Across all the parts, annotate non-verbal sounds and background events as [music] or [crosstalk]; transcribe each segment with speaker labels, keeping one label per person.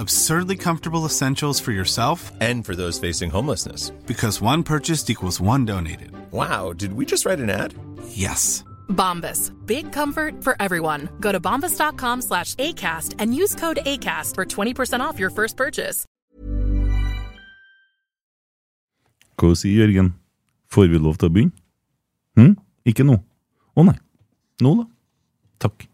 Speaker 1: Absurdly comfortable essentials for yourself
Speaker 2: And for those facing homelessness.
Speaker 1: because one purchased equals one donated.
Speaker 2: Wow, did we just write an ad?
Speaker 1: Yes.
Speaker 3: Bombas. Big comfort for everyone. Go to bombas.com slash ACAST and use code ACAST for 20% off your first purchase.
Speaker 4: Hva sier Jørgen? Får vi lov til å begynne? Hm? Ikke nå? Å nei. Nå, da. Takk.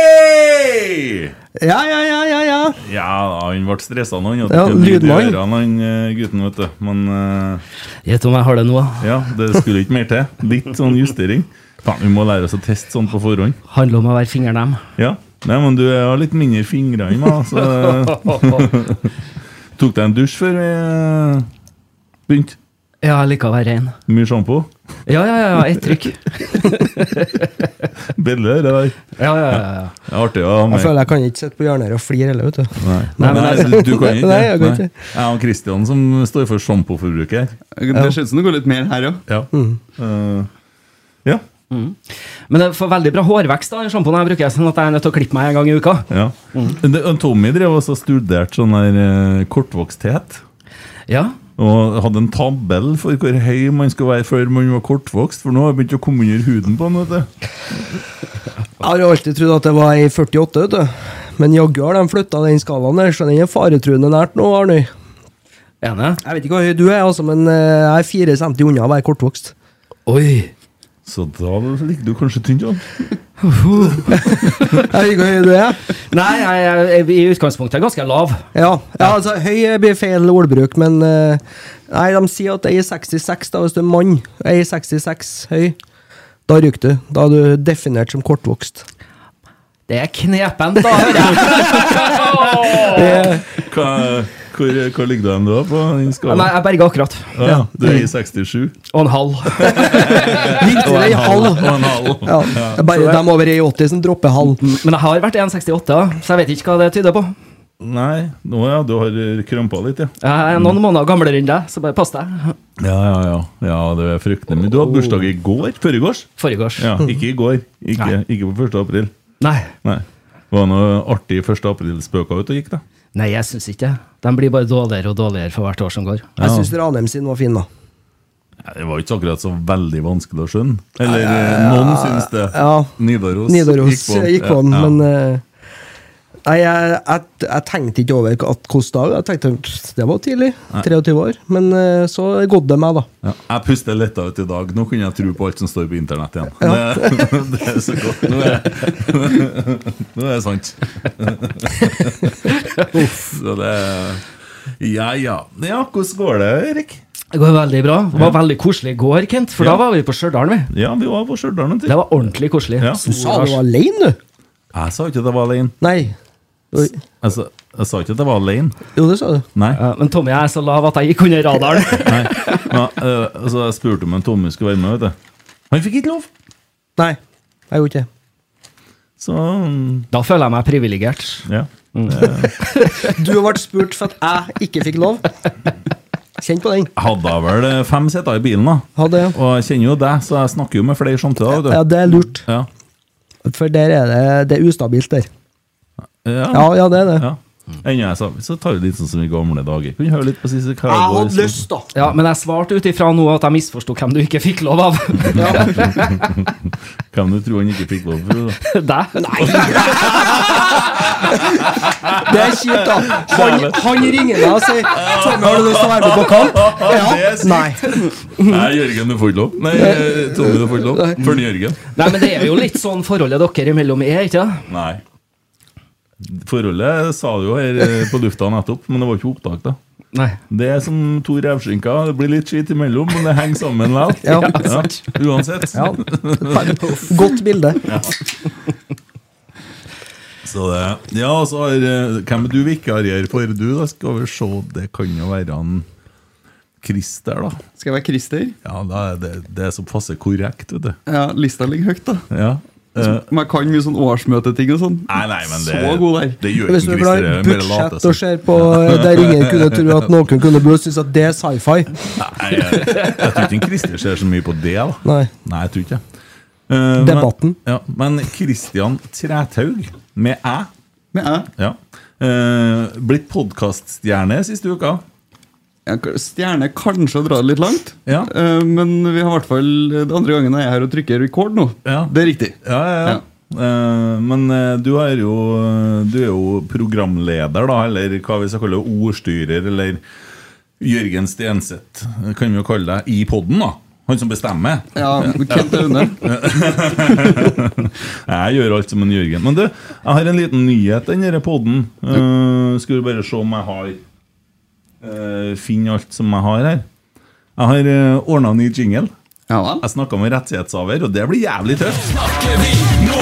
Speaker 4: Hei!
Speaker 5: Ja, ja, ja, ja, ja.
Speaker 4: Ja, han ble stressa nå. Han hadde
Speaker 5: Ja,
Speaker 4: ikke en lyd i
Speaker 5: lydmann.
Speaker 4: ørene, han eh, gutten, vet du. Men eh,
Speaker 5: Gjett om jeg har det nå.
Speaker 4: ja, det skulle ikke mer til. Litt sånn justering. Faen, vi må lære oss å teste sånn på forhånd.
Speaker 5: Handler om å være fingernem.
Speaker 4: Ja. Nei, men du har litt mindre fingre enn meg,
Speaker 5: [laughs]
Speaker 4: så Tok deg en dusj før vi eh, begynte?
Speaker 5: Ja, jeg liker å være rein.
Speaker 4: Mye sjampo?
Speaker 5: Ja, ja, ja, ett
Speaker 4: [laughs]
Speaker 6: [laughs]
Speaker 5: trykk.
Speaker 4: Bille, det der.
Speaker 5: Ja, ja, ja, ja.
Speaker 4: Det er artig å ha
Speaker 6: Jeg
Speaker 4: med.
Speaker 6: føler jeg kan ikke sitte på hjørnet her og flire heller, vet du.
Speaker 4: Nei,
Speaker 5: Nei, men
Speaker 4: Nei,
Speaker 5: jeg-
Speaker 4: du kan
Speaker 5: [laughs]
Speaker 4: ikke
Speaker 6: Nei, jeg kan
Speaker 4: Nei.
Speaker 6: ikke.
Speaker 4: Jeg og Kristian som står for sjampoforbruket her.
Speaker 7: Det ser ut som det går litt mer her òg.
Speaker 4: Ja.
Speaker 5: Mm.
Speaker 4: Eh, ja.
Speaker 5: Men jeg får veldig bra hårvekst av sjampoen jeg bruker, sånn at jeg er nødt til å klippe meg en gang i uka.
Speaker 4: ja. Det, og Tommy drev også og studerte sånn der eh, kortvoksthet.
Speaker 5: Ja.
Speaker 4: Og hadde en tabell for hvor høy man skal være før man var kortvokst. For nå har jeg begynt å komme under huden på han. vet du
Speaker 6: Jeg har jo alltid trodd at det var i 48, vet du. Men jaggu har de flytta den skalaen der, så den er faretruende nært nå, Arnøy.
Speaker 5: Enig?
Speaker 6: Jeg vet ikke hvor høy du er, altså, men eh, jeg er fire centi unna å være kortvokst.
Speaker 5: Oi.
Speaker 4: Så da ligger du kanskje tynt
Speaker 6: [laughs]
Speaker 4: an.
Speaker 6: Jeg vet ikke hvor høy du er.
Speaker 5: Nei, jeg, jeg, jeg, i utgangspunktet er jeg ganske lav.
Speaker 6: Ja, ja altså, høy blir feil ordbruk, men eh, Nei, de sier at jeg er 66, da, hvis du er mann. Jeg er 66 høy. Da ryker du. Da er du definert som kortvokst.
Speaker 5: Det er knepent, da. hører jeg.
Speaker 4: [laughs] Hva, hvor, hvor ligger du hen da på den skalaen?
Speaker 5: Nei, jeg berga akkurat.
Speaker 4: Ah, ja. Du er i
Speaker 5: [laughs]
Speaker 4: 67.
Speaker 5: Og en halv.
Speaker 6: [laughs] Viktig er halv.
Speaker 4: Og en halv.
Speaker 6: [laughs] Ja, det er bare dem over i 80 som dropper halv.
Speaker 4: Mm,
Speaker 5: Men jeg har vært 1,68, da, så jeg vet ikke hva det tyder på.
Speaker 4: Nei, nå ja, du har krømpa litt, ja. Mm.
Speaker 5: Jeg er noen måneder gamlere enn deg, så bare pass deg.
Speaker 4: [laughs] Ja, ja, ja. ja det er fryktelig mye. Du hadde bursdag i går? Førregårs?
Speaker 5: Forgårs.
Speaker 4: Ja, ikke i går. Ikke,
Speaker 5: Nei.
Speaker 4: ikke på 1. april.
Speaker 5: Nei.
Speaker 4: Nei. Var det noe artig 1. april-spøker ute og gikk, da?
Speaker 5: Nei, jeg syns ikke det. De blir bare dårligere og dårligere for hvert år som går.
Speaker 6: Jeg syns Ranheim sin var fin, da.
Speaker 4: Ja, det var jo ikke akkurat så veldig vanskelig å skjønne. Eller eh, noen syns det.
Speaker 6: Ja,
Speaker 4: Nidaros,
Speaker 6: Nidaros
Speaker 4: den.
Speaker 6: gikk på den,
Speaker 4: Ja, ja.
Speaker 6: men eh, Nei, jeg, jeg, jeg tenkte ikke over at hvordan da. Jeg tenkte pff, det var tidlig. 23 år. Men eh, så gått det meg, da.
Speaker 4: Ja, jeg puster letta ut i dag. Nå kunne jeg tro på alt som står på internett igjen. Det, [laughs] det er så godt. Nå er, nå er [laughs] det
Speaker 6: [laughs]
Speaker 4: sant. Så det Ja, ja. Ja, hvordan går det, Erik?
Speaker 5: Det går veldig bra. Det var veldig koselig i går, Kent, for
Speaker 4: Ja.
Speaker 5: da var vi på Stjørdal, vi.
Speaker 4: Ja, vi var på Stjørdal en tur.
Speaker 5: Det var ordentlig koselig.
Speaker 4: Ja.
Speaker 5: Sol
Speaker 6: Du sa du
Speaker 5: og-
Speaker 6: var alene, du!
Speaker 4: Jeg sa ikke at jeg var alene.
Speaker 6: Nei. Oi.
Speaker 4: Jeg sa, Altså, jeg sa ikke at jeg var alene.
Speaker 6: Jo, det sa du.
Speaker 4: Nei.
Speaker 5: Ja, men Tommy jeg er så lav at jeg gikk under radaren.
Speaker 4: [laughs] Nei. Ja, eh, altså, jeg spurte om en Tommy skulle være med. Vet du. Han fikk ikke lov!
Speaker 6: Nei. Jeg gjorde ikke det.
Speaker 4: Så mm.
Speaker 5: Da føler jeg meg privilegert. Mm.
Speaker 4: ja.
Speaker 5: [laughs]
Speaker 4: [laughs]
Speaker 6: Du ble spurt for at jeg ikke fikk lov. Kjenn på den.
Speaker 4: Jeg hadde vel eh, fem seter i bilen, da.
Speaker 6: Hadde jeg.
Speaker 4: Og jeg kjenner jo deg, så jeg snakker jo med flere samtidig. vet du.
Speaker 6: Ja, det er lurt.
Speaker 4: Ja.
Speaker 6: For der er det, det er ustabilt der.
Speaker 4: Ja.
Speaker 6: Ja, ja, det er det.
Speaker 4: Ja. Ennå jeg sa Så tar vi litt sånn som i gamle dager. Kunne høre litt på Sissy
Speaker 6: Jeg
Speaker 4: Kærgaard.
Speaker 6: hadde lyst, da.
Speaker 5: Ja, Men jeg svarte ut ifra nå at jeg misforsto hvem du ikke fikk lov av. [laughs]
Speaker 4: Hvem du tror han ikke fikk lov for? Da.
Speaker 5: Deg.
Speaker 6: Det er kjipt, da. Han,
Speaker 4: Dæven.
Speaker 6: han ringer meg og sier 'Tommy, har du lyst til å være med på kamp?'
Speaker 4: Det er
Speaker 6: Ja.
Speaker 4: sykt.
Speaker 6: Nei.
Speaker 4: Nei, Jørgen, du får ikke lov. Nei, eh, Tommy, du får ikke lov. Følg Jørgen.
Speaker 5: Nei, men det er jo litt sånn forholdet dere imellom er, ikke sant?
Speaker 4: Nei. Forholdet sa du jo her eh, på lufta nettopp, men det var ikke opptak, da.
Speaker 5: Nei.
Speaker 4: Det er som to revskinker. Det blir litt skitt imellom, men det henger sammen likevel.
Speaker 6: Ja.
Speaker 4: Uansett. [laughs]
Speaker 6: Godt bilde.
Speaker 4: Så det Ja, og så har eh, Hvem er du vikarierer for, du? da? Skal vi se, det kan jo være han Christer, da.
Speaker 7: Skal jeg være Christer?
Speaker 4: Ja, da er det, det er så passe korrekt, vet du.
Speaker 7: Ja, lista ligger høyt, da.
Speaker 4: Ja. Eh,
Speaker 7: Men jeg kan mye sånn årsmøteting og sånn.
Speaker 4: nei, nei, men det,
Speaker 7: Så god der.
Speaker 4: det gjør
Speaker 6: Hvis
Speaker 4: ikke
Speaker 6: du er glad
Speaker 4: Christer.
Speaker 6: i
Speaker 4: det er Bare late altså.
Speaker 6: budsjett og
Speaker 4: som.
Speaker 6: ser på eh, der ingen kunne tro at noen kunne burde synes at det er sci-fi
Speaker 4: Nei, jeg, jeg tror ikke Christer ser så mye på det, da.
Speaker 6: Nei.
Speaker 4: Nei, jeg tror ikke det. Eh,
Speaker 6: Debatten.
Speaker 4: Men, ja, men Christian Trætaug, med æ,
Speaker 7: Men jeg,
Speaker 4: ja. eh, blitt podkaststjerne siste uka.
Speaker 7: jeg kan- stjerne kanskje å dra det litt langt.
Speaker 4: Ja.
Speaker 7: Eh, Men vi har i hvert fall eh, det andre gangen jeg er her og trykker record nå.
Speaker 4: Ja.
Speaker 7: Det er riktig.
Speaker 4: Ja, ja, ja.
Speaker 7: Ja.
Speaker 4: Eh, men eh, du er, jo, eh, du er jo programleder, da, eller hva vi skal kalle det, ordstyrer, eller Jørgen Stenseth, eh, kan vi jo kalle deg, i podden, da. Han som bestemmer.
Speaker 7: Ja, Kent er under.
Speaker 4: [laughs] Jeg gjør alt som en Jørgen. Men du, jeg har en liten nyhet, den denne podden. Eh, skal du bare se om jeg har eh, Finne alt som jeg har her. Jeg har uh, ordna ny jingle.
Speaker 7: Ja vel.
Speaker 4: Jeg snakka med rettighetshaver, og det blir jævlig tøft.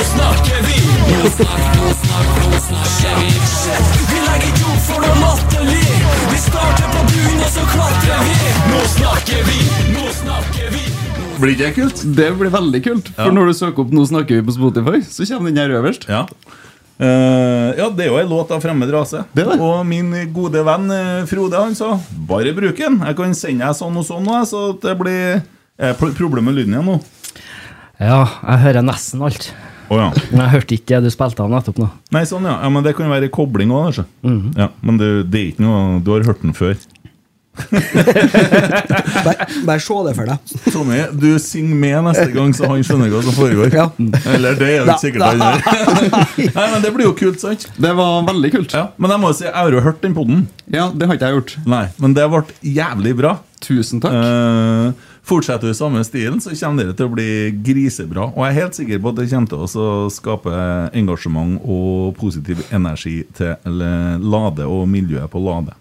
Speaker 4: Blir ikke det kult?
Speaker 7: Det blir veldig kult. For
Speaker 4: Ja.
Speaker 7: når du søker opp 'Nå snakker vi' på Spotify, så kommer den her øverst.
Speaker 4: Ja. Eh, ja, det er jo en låt av fremmed rase.
Speaker 7: Det er det.
Speaker 4: Og min gode venn eh, Frode han sa bare bruk den. Jeg kan sende deg sånn og sånn, og jeg, så at det blir Er pro- problemet med lyden igjen nå?
Speaker 5: Ja, jeg hører nesten alt.
Speaker 4: Å ja.
Speaker 5: Men jeg hørte ikke det du spilte av nettopp nå.
Speaker 4: Nei, sånn, ja. ja. Men det kan være kobling òg, kanskje. Ja, men det, det er ikke noe Du har hørt den før.
Speaker 6: Bare, bare se det for deg.
Speaker 4: Tommy, du synger med neste gang, så han skjønner hva som [laughs] foregår.
Speaker 6: Ja.
Speaker 4: Eller det er jo
Speaker 6: Da-
Speaker 4: ikke sikkert han [laughs]
Speaker 7: [laughs]
Speaker 4: gjør. Nei, men det blir jo kult, sant?
Speaker 7: Det var veldig kult.
Speaker 4: Ja, Men jeg må jo si, jeg har jo hørt den poden.
Speaker 7: Ja, det har ikke jeg gjort.
Speaker 4: Nei, men det ble jævlig bra.
Speaker 7: Tusen takk.
Speaker 4: Eh, fortsetter du i samme stilen, så kommer dere til å bli grisebra. Og jeg er helt sikker på at det kommer til oss å skape engasjement og positiv energi til eller, Lade og miljøet på Lade.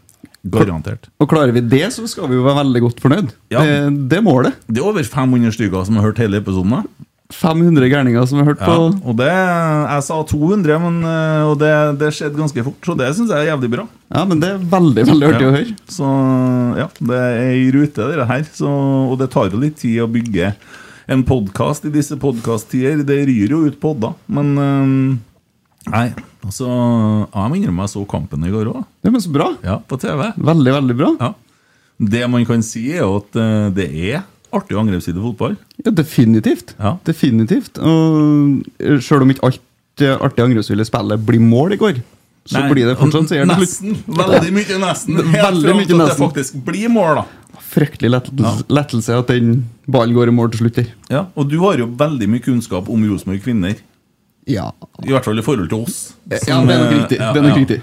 Speaker 4: Garantert.
Speaker 7: Og klarer vi det, så skal vi jo være veldig godt fornøyd.
Speaker 4: Ja.
Speaker 7: Det, det er målet.
Speaker 4: Det er over 500 stykker som har hørt hele episoden. da.
Speaker 7: 500 gærninger som har hørt
Speaker 4: Ja,
Speaker 7: på.
Speaker 4: og det, Jeg sa 200, men, eh, og det, det skjedde ganske fort. Så det syns jeg er jævlig bra.
Speaker 7: Ja, men det er veldig, veldig artig å høre.
Speaker 4: Så ja, det er i rute, det her. Så, og det tar jo litt tid å bygge en podkast i disse podkasttider. Det ryr jo ut podder, men øhm, Nei. Så ja, Altså, jeg må innrømme jeg så kampen i går òg.
Speaker 7: Det er så bra.
Speaker 4: Ja, på TV.
Speaker 7: Veldig, veldig bra.
Speaker 4: Ja. Det man kan si, er jo at øh, det er artig angrepsside fotball.
Speaker 7: Ja, definitivt.
Speaker 4: Ja.
Speaker 7: Definitivt. Og selv om ikke alt det artige angrepsspillet spillet blir mål i går, så
Speaker 4: Nei,
Speaker 7: blir det fortsatt seier til slutt.
Speaker 4: Nesten. Veldig mye nesten. Helt
Speaker 7: [laughs] Veldig
Speaker 4: fram
Speaker 7: mye
Speaker 4: til at det
Speaker 7: nesten.
Speaker 4: faktisk blir mål, da.
Speaker 7: Fryktelig lettelse, lettelse at den ballen går i mål til slutt der.
Speaker 4: Ja, og du har jo veldig mye kunnskap om Rosenborg kvinner.
Speaker 7: Ja.
Speaker 4: I hvert fall i forhold til oss.
Speaker 7: Ja, det er nok
Speaker 4: eh,
Speaker 7: riktig, det er nok riktig.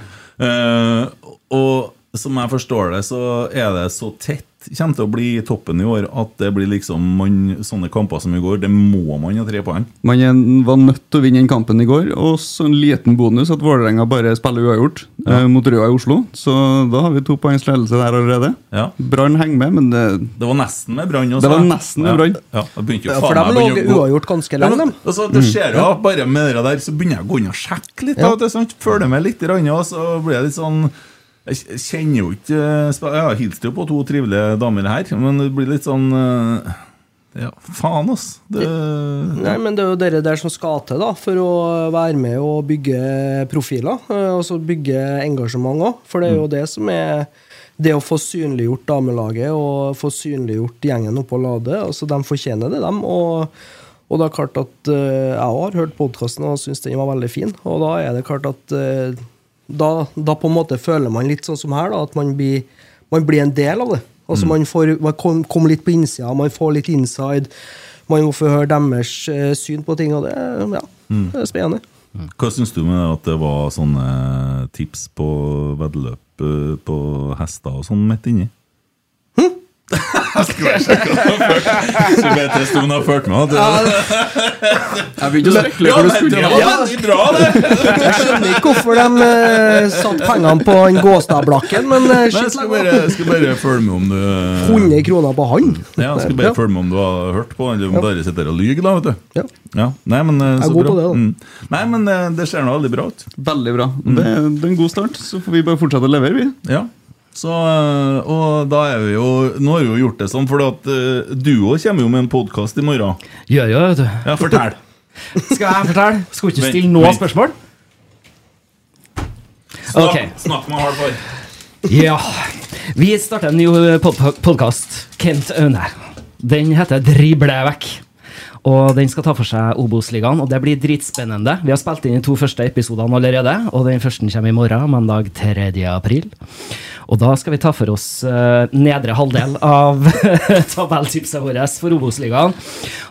Speaker 4: Eh, og som jeg forstår det, så er det så tett kommer til å bli i toppen i år at det blir liksom man, sånne kamper som i går. Det må man ha tre poeng.
Speaker 7: Man er, var nødt til å vinne den kampen i går, og så en liten bonus at Vålerenga bare spiller uavgjort eh, mot Røa i Oslo. Så da har vi to poengs ledelse der allerede.
Speaker 4: Ja.
Speaker 7: Brann henger med, men det,
Speaker 4: Det var nesten med brann. også.
Speaker 7: Det var nesten med Brann.
Speaker 4: Ja, ja, det begynte jo
Speaker 6: Ja, for
Speaker 4: faen
Speaker 6: de
Speaker 4: meg å
Speaker 6: lå
Speaker 4: begynne å gå-
Speaker 6: uavgjort ganske lenge,
Speaker 4: Ja,
Speaker 6: dem.
Speaker 4: men, altså, det
Speaker 7: Mm.
Speaker 4: skjer jo at bare med det der, så begynner jeg å gå inn og sjekke litt. da,
Speaker 6: Ja.
Speaker 4: vet du, sant? Følger med litt, grann, og så blir jeg litt sånn Jeg kj- kjenner jo ikke eh, sp- Jeg har hilst jo på to trivelige damer her, men det blir litt sånn eh, Ja, faen, ass. Det,
Speaker 6: Nei, men det er jo dere der som skal til da, for å være med og bygge profiler. eh, Og så bygge engasjement òg, for det er jo det som er det å få synliggjort damelaget og få synliggjort gjengen oppå Lade. altså De fortjener det, dem. Og, og det er klart at eh, jeg også har hørt podkasten og syns den var veldig fin. Og da er det klart at eh, da, da på en måte føler man litt sånn som her, da, at man blir, man blir en del av det. Altså Man får man kom, kom litt på innsida, man får litt inside. Man må få høre deres eh, syn på ting, og det, ja,
Speaker 4: [laughs]
Speaker 6: det er spennende.
Speaker 4: Mm. hva syns du med at det var sånne eh, tips på veddeløp eh, på hester og sånn midt inni?
Speaker 6: Hm?
Speaker 4: [laughs] Jeg skulle bare sjekke om hun har ført- skulle bare teste om hun har ført med. at-
Speaker 7: [laughs] Jeg begynte å strekke litt
Speaker 4: Ja,
Speaker 7: hvor du
Speaker 4: men det
Speaker 7: skulle.
Speaker 4: var veldig bra, det!
Speaker 6: Jeg skjønner ikke hvorfor de eh, satte pengene på en Gåstadblakken, men eh,
Speaker 4: Nei, jeg
Speaker 6: shit,
Speaker 4: skal
Speaker 6: la
Speaker 4: bare, jeg skal bare følge med om du
Speaker 6: 100 kroner på han!
Speaker 4: Ja, jeg skal bare følge med om du har hørt på, eller om du bare sitter og lyver, da, vet du.
Speaker 6: Ja.
Speaker 4: Ja. Nei, men eh,
Speaker 6: Jeg
Speaker 4: så
Speaker 6: er god
Speaker 4: bra.
Speaker 6: på det, da.
Speaker 4: Mm. Nei, men eh, det ser nå veldig bra ut. Mm.
Speaker 7: Veldig bra. Det, det er en god start, så får vi bare fortsette å levere, vi.
Speaker 4: Ja. Så, eh, og da er vi jo Nå har vi jo gjort det sånn, for at eh, du òg kommer jo med en podkast i morgen.
Speaker 5: Gjør jo, vet du.
Speaker 4: Ja, fortell.
Speaker 5: Skal jeg fortelle? Skal ikke
Speaker 4: Vent,
Speaker 5: stille noe
Speaker 4: vent.
Speaker 5: spørsmål?
Speaker 4: Snakk,
Speaker 5: [laughs] Ok.
Speaker 4: snakk med hardfar.
Speaker 5: Ja. Vi starter en ny podkast. Kent Aune. Den heter Drible vekk. Og den skal ta for seg Obos-ligaen, og det blir dritspennende. Vi har spilt inn de to første episodene allerede, og den første kommer i morgen, mandag 3. april. Og da skal vi ta for oss eh, nedre halvdel av [laughs] tabelltipset vårt for Obos-ligaen.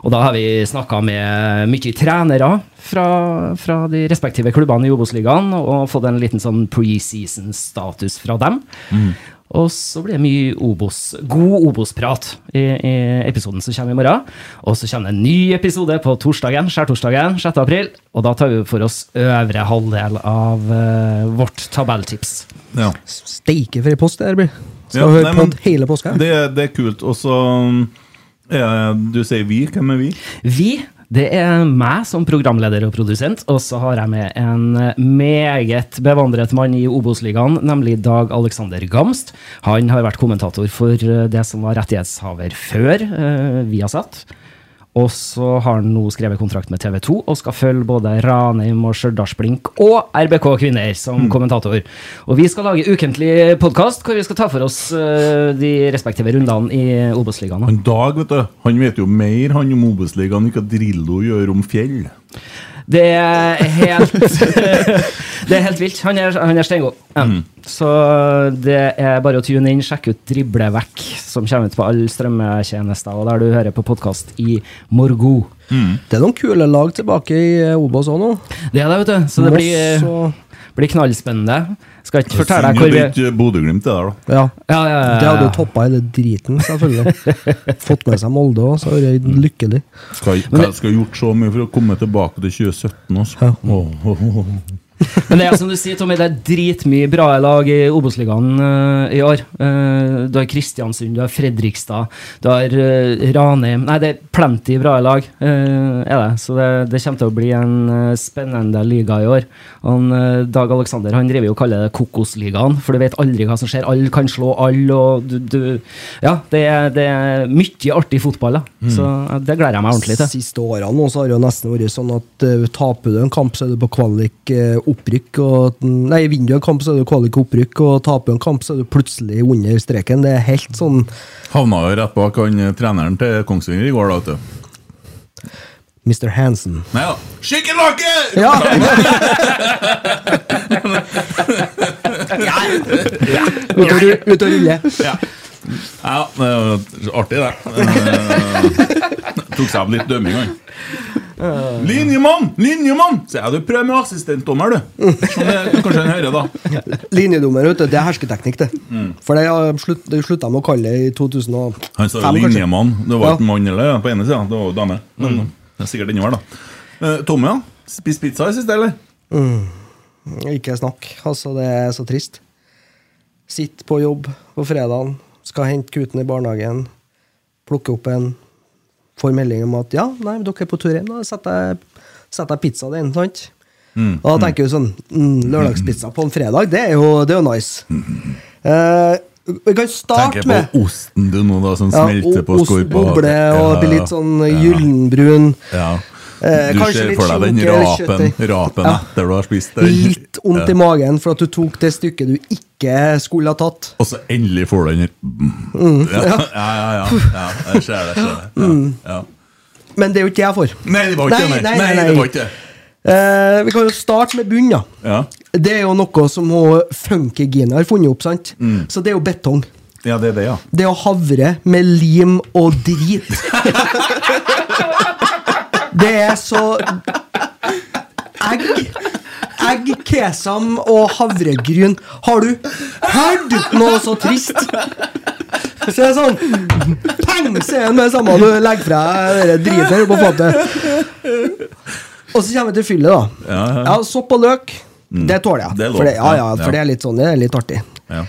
Speaker 5: Og da har vi snakka med mye trenere fra, fra de respektive klubbene i Obos-ligaen, og fått en liten sånn preseason-status fra dem. Og så blir det mye Obos, god Obos-prat i, i episoden som kommer i morgen. Og så kommer det en ny episode på torsdagen, skjærtorsdagen 6. april. Og da tar vi for oss øvre halvdel av eh, vårt tabelltips.
Speaker 4: Ja.
Speaker 6: Steike for ei post det her blir. Skal
Speaker 4: Ja,
Speaker 6: høre
Speaker 4: nei,
Speaker 6: på
Speaker 4: men-
Speaker 6: hele påska.
Speaker 4: Det, det er um, kult. Og så eh, Du sier vi. Hvem er vi?
Speaker 5: Vi, det er meg som programleder og produsent, og så har jeg med en meget bevandret mann i Obos-ligaen, nemlig Dag Alexander Gamst. Han har vært kommentator for eh, det som var rettighetshaver før eh, Viasat. Og så har han nå skrevet kontrakt med TV 2 og skal følge både Ranheim og Stjørdalsblink og RBK Kvinner
Speaker 4: Mm.
Speaker 5: som kommentator. Og vi skal lage ukentlig podkast hvor vi skal ta for oss eh, de respektive rundene i Obos-ligaen. da.
Speaker 4: Han Dag vet du, han vet jo mer han om Obos-ligaen enn hva Drillo gjør om fjell.
Speaker 5: Det er helt [laughs] Det er helt vilt. Han er, han er steingod. Ja. Så det er bare å tune inn, sjekke ut Drible vekk, som kommer ut på alle strømmetjenester, og der du hører på podkast i morgo.
Speaker 6: Det er noen kule lag tilbake i eh, Obos òg nå.
Speaker 5: Det er det, vet du. Så det blir,
Speaker 6: Moss
Speaker 5: blir knallspennende. Skal ikke
Speaker 4: Synd
Speaker 5: fortelle
Speaker 4: at
Speaker 5: deg hvor
Speaker 4: det
Speaker 5: vi
Speaker 4: ikke er eh, Bodø-Glimt det der, da.
Speaker 6: og ja.
Speaker 5: ja, ja, ja,
Speaker 6: Det hadde jo toppa hele driten, selvfølgelig.
Speaker 5: [laughs]
Speaker 6: Fått med seg Molde òg, så hadde jeg vært lykkelig.
Speaker 4: Skal, skal, skal gjort så mye for å komme tilbake til 2017 også. Åh, åh, åh.
Speaker 5: Men det er som du sier, Tommy, det er dritmye bra lag i Obos-ligaen eh, i år. Eh, du har Kristiansund, du har Fredrikstad, du har eh, Ranheim Nei, det er plenty bra lag, eh, er det. Så det, det kommer til å bli en eh, spennende liga i år. Han, eh, Dag Alexander han driver jo og kaller det Kokosligaen, for du vet aldri hva som skjer. Alle kan slå alle, og du, du Ja, det er, det er mye artig fotball, da. Så eh, det gleder jeg meg ordentlig til.
Speaker 6: siste årene nå, så har det jo nesten vært sånn at eh, taper du en kamp, så er du på kvalik eh, opprykk. Og, nei, vinner du en kamp, så er du kvalik opprykk, og taper du en kamp, så er du plutselig under streken. Det er helt sånn
Speaker 4: Havna jo rett bak han eh, treneren til Kongsvinger i går, da, vet du.
Speaker 6: Mr. Hansen.
Speaker 4: Nei da. Skikkelake!
Speaker 6: Ja!
Speaker 4: [laughs]
Speaker 6: Ut og ru- ut og rulle.
Speaker 4: Ja. ja, det var artig, det. Eh, Tok seg av litt dømming, han. Linjemann! Linjemann! Sier jeg. Du prøver med assistentdommer, du. Sånn det, kanskje han hører, da.
Speaker 6: Linjedommer, vet du, det er hersketeknikk, det. For det har slutt- det slutta de å kalle det i 2005,
Speaker 4: Mm. Han sa jo
Speaker 6: kanskje.
Speaker 4: linjemann. Det var
Speaker 6: Ja. Mm.
Speaker 4: ikke mann eller på ene sida. Det var jo dame. Men det er sikkert innover, da. Eh, Tommy, ja? Spist pizza i siste, eller?
Speaker 6: Mm. Ikke snakk. Altså, det er så trist. Sitt på jobb på fredagen, skal hente gutten i barnehagen, plukke opp en, får melding om at ja, nei, men dere er på tur hjem, da setter jeg, setter jeg pizzaen din, sant?
Speaker 4: Mm.
Speaker 6: Og da tenker du sånn, mm, lørdagspizza på en fredag, det er jo, det er jo nice. Eh, vi kan starte
Speaker 4: Mm. Tenker
Speaker 6: med
Speaker 4: på osten du nå, da, som
Speaker 6: ja,
Speaker 4: smelter Sånn på
Speaker 6: ost,
Speaker 4: skorpa.
Speaker 6: boble, og
Speaker 4: Ja,
Speaker 6: blir litt sånn
Speaker 4: ja.
Speaker 6: gyllenbrun.
Speaker 4: Ja.
Speaker 6: Eh,
Speaker 4: Du
Speaker 6: kanskje
Speaker 4: ser
Speaker 6: litt
Speaker 4: for deg den
Speaker 6: skinke eller
Speaker 4: rapen,
Speaker 6: kjøttdeig.
Speaker 4: rapen
Speaker 6: Ja.
Speaker 4: etter du har spist den.
Speaker 6: Litt vondt i
Speaker 4: Ja.
Speaker 6: magen for at du tok det stykket du ikke skulle ha tatt.
Speaker 4: Og så endelig får du den mm. [laughs] ja. ja, ja, ja, ja. Jeg ser det. Jeg ser det. Ja. Ja.
Speaker 6: Mm. Men det er jo ikke jeg for.
Speaker 4: Nei, det var ikke det. Nei, det var ikke det.
Speaker 6: Eh, vi kan jo starte med bunnen, da.
Speaker 4: Ja.
Speaker 6: Det er jo noe som hun Funky Gine har funnet opp, sant?
Speaker 4: Mm.
Speaker 6: Så det er jo betong.
Speaker 4: ja, det er det, ja.
Speaker 6: Det er jo havre med lim og drit. det er så Egg. Egg, kesam og havregryn. Har du hørt noe så trist? Så det er sånn Pang, så er det med det samme du legger fra deg det dritet her på
Speaker 4: [laughs]
Speaker 6: fatet. Og så kommer vi til fyllet, da. Ja, Sopp og løk, det tåler jeg.
Speaker 4: Mm. Det er lov.
Speaker 6: for, det, ja, ja,
Speaker 4: Ja.
Speaker 6: for det er litt sånn, det er litt artig.
Speaker 4: Ja,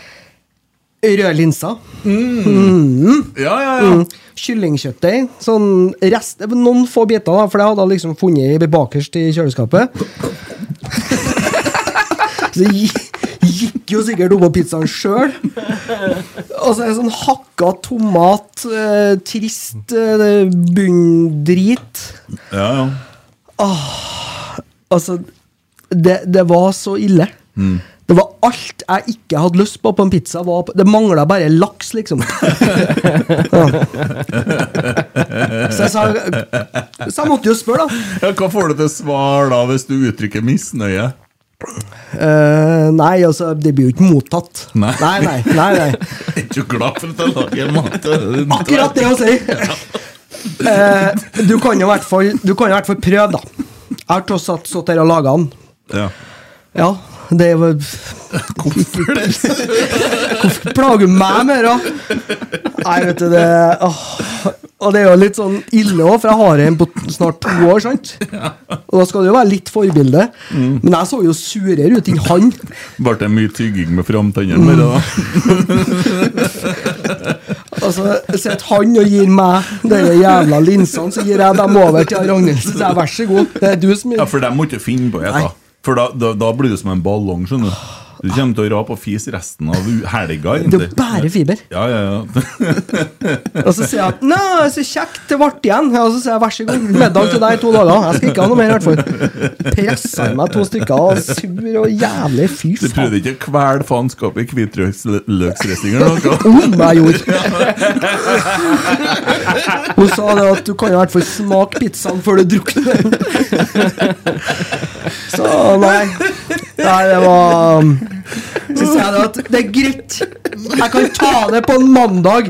Speaker 4: Mm.
Speaker 6: Røde linser.
Speaker 4: ja, ja. ja.
Speaker 6: Mm. Kyllingkjøttdeig. Sånn rest, noen få biter, da, for det hadde jeg liksom funnet i bakerst i kjøleskapet. [laughs] Så det gi- gikk jo sikkert oppå pizzaen sjøl. Og så er det sånn hakka tomat, eh, trist eh, bunndrit.
Speaker 4: ja, ja.
Speaker 6: Altså, det, det var så ille. Det var alt jeg ikke hadde lyst på på en pizza. Var på, det mangla bare laks, liksom. [laughs] ja. Så jeg sa Så jeg måtte jo spørre, da.
Speaker 4: [laughs] Ja, Hva får du til svar da, hvis du uttrykker misnøye?
Speaker 6: Eh, nei, altså, det blir jo ikke mottatt.
Speaker 4: Nei.
Speaker 6: nei, nei, nei, nei.
Speaker 4: Jeg er ikke glad for at jeg lager mat.
Speaker 6: Akkurat det å si! Eh, du kan jo i hvert fall Du kan jo i hvert fall prøve, da. Jeg har tross alt stått her og laga den.
Speaker 4: Ja.
Speaker 6: Ja, det var
Speaker 4: Hvorfor
Speaker 6: [laughs]
Speaker 4: det?
Speaker 6: plager meg med det. Nei, vet du, det åh. Og det er jo litt sånn ille òg, for jeg har en på snart to år, sant? Og da skal det jo være litt forbilde.
Speaker 4: Mm.
Speaker 6: Men jeg så jo surere ut enn han.
Speaker 4: Ble det mye tygging med framtennene med det, da?
Speaker 6: Altså, Sitter han og gir meg de jævla linsene, så gir jeg dem over til Ragnhild. [laughs] Så sier jeg vær så god, det er du som
Speaker 4: Ja, for de må ikke finne på det, da.
Speaker 6: Nei.
Speaker 4: For da, da, da blir du som en ballong, skjønner du. Du kommer til å rape og fise resten av u- helga,
Speaker 6: Det er
Speaker 4: egentlig.
Speaker 6: jo bare fiber.
Speaker 4: Ja, ja, [laughs] ja.
Speaker 6: Og så sier jeg at nei, så kjekt, det ble igjen. Ja, Og så sier jeg vær så god, middag til deg i to dager. Jeg skal ikke ha noe mer, i hvert fall. Presser i meg to stykker, og sur og jævlig. Fy
Speaker 4: Du
Speaker 6: faen.
Speaker 4: prøvde ikke å kvele faenskapet i hvitløksdressing eller noe?
Speaker 6: [laughs] Om jeg gjorde! Hun sa det at du kan i hvert fall smake pizzaen før du drukner den. Så nei. Nei, det var um, Så sier jeg det at det er greit. Jeg kan ta det på en mandag,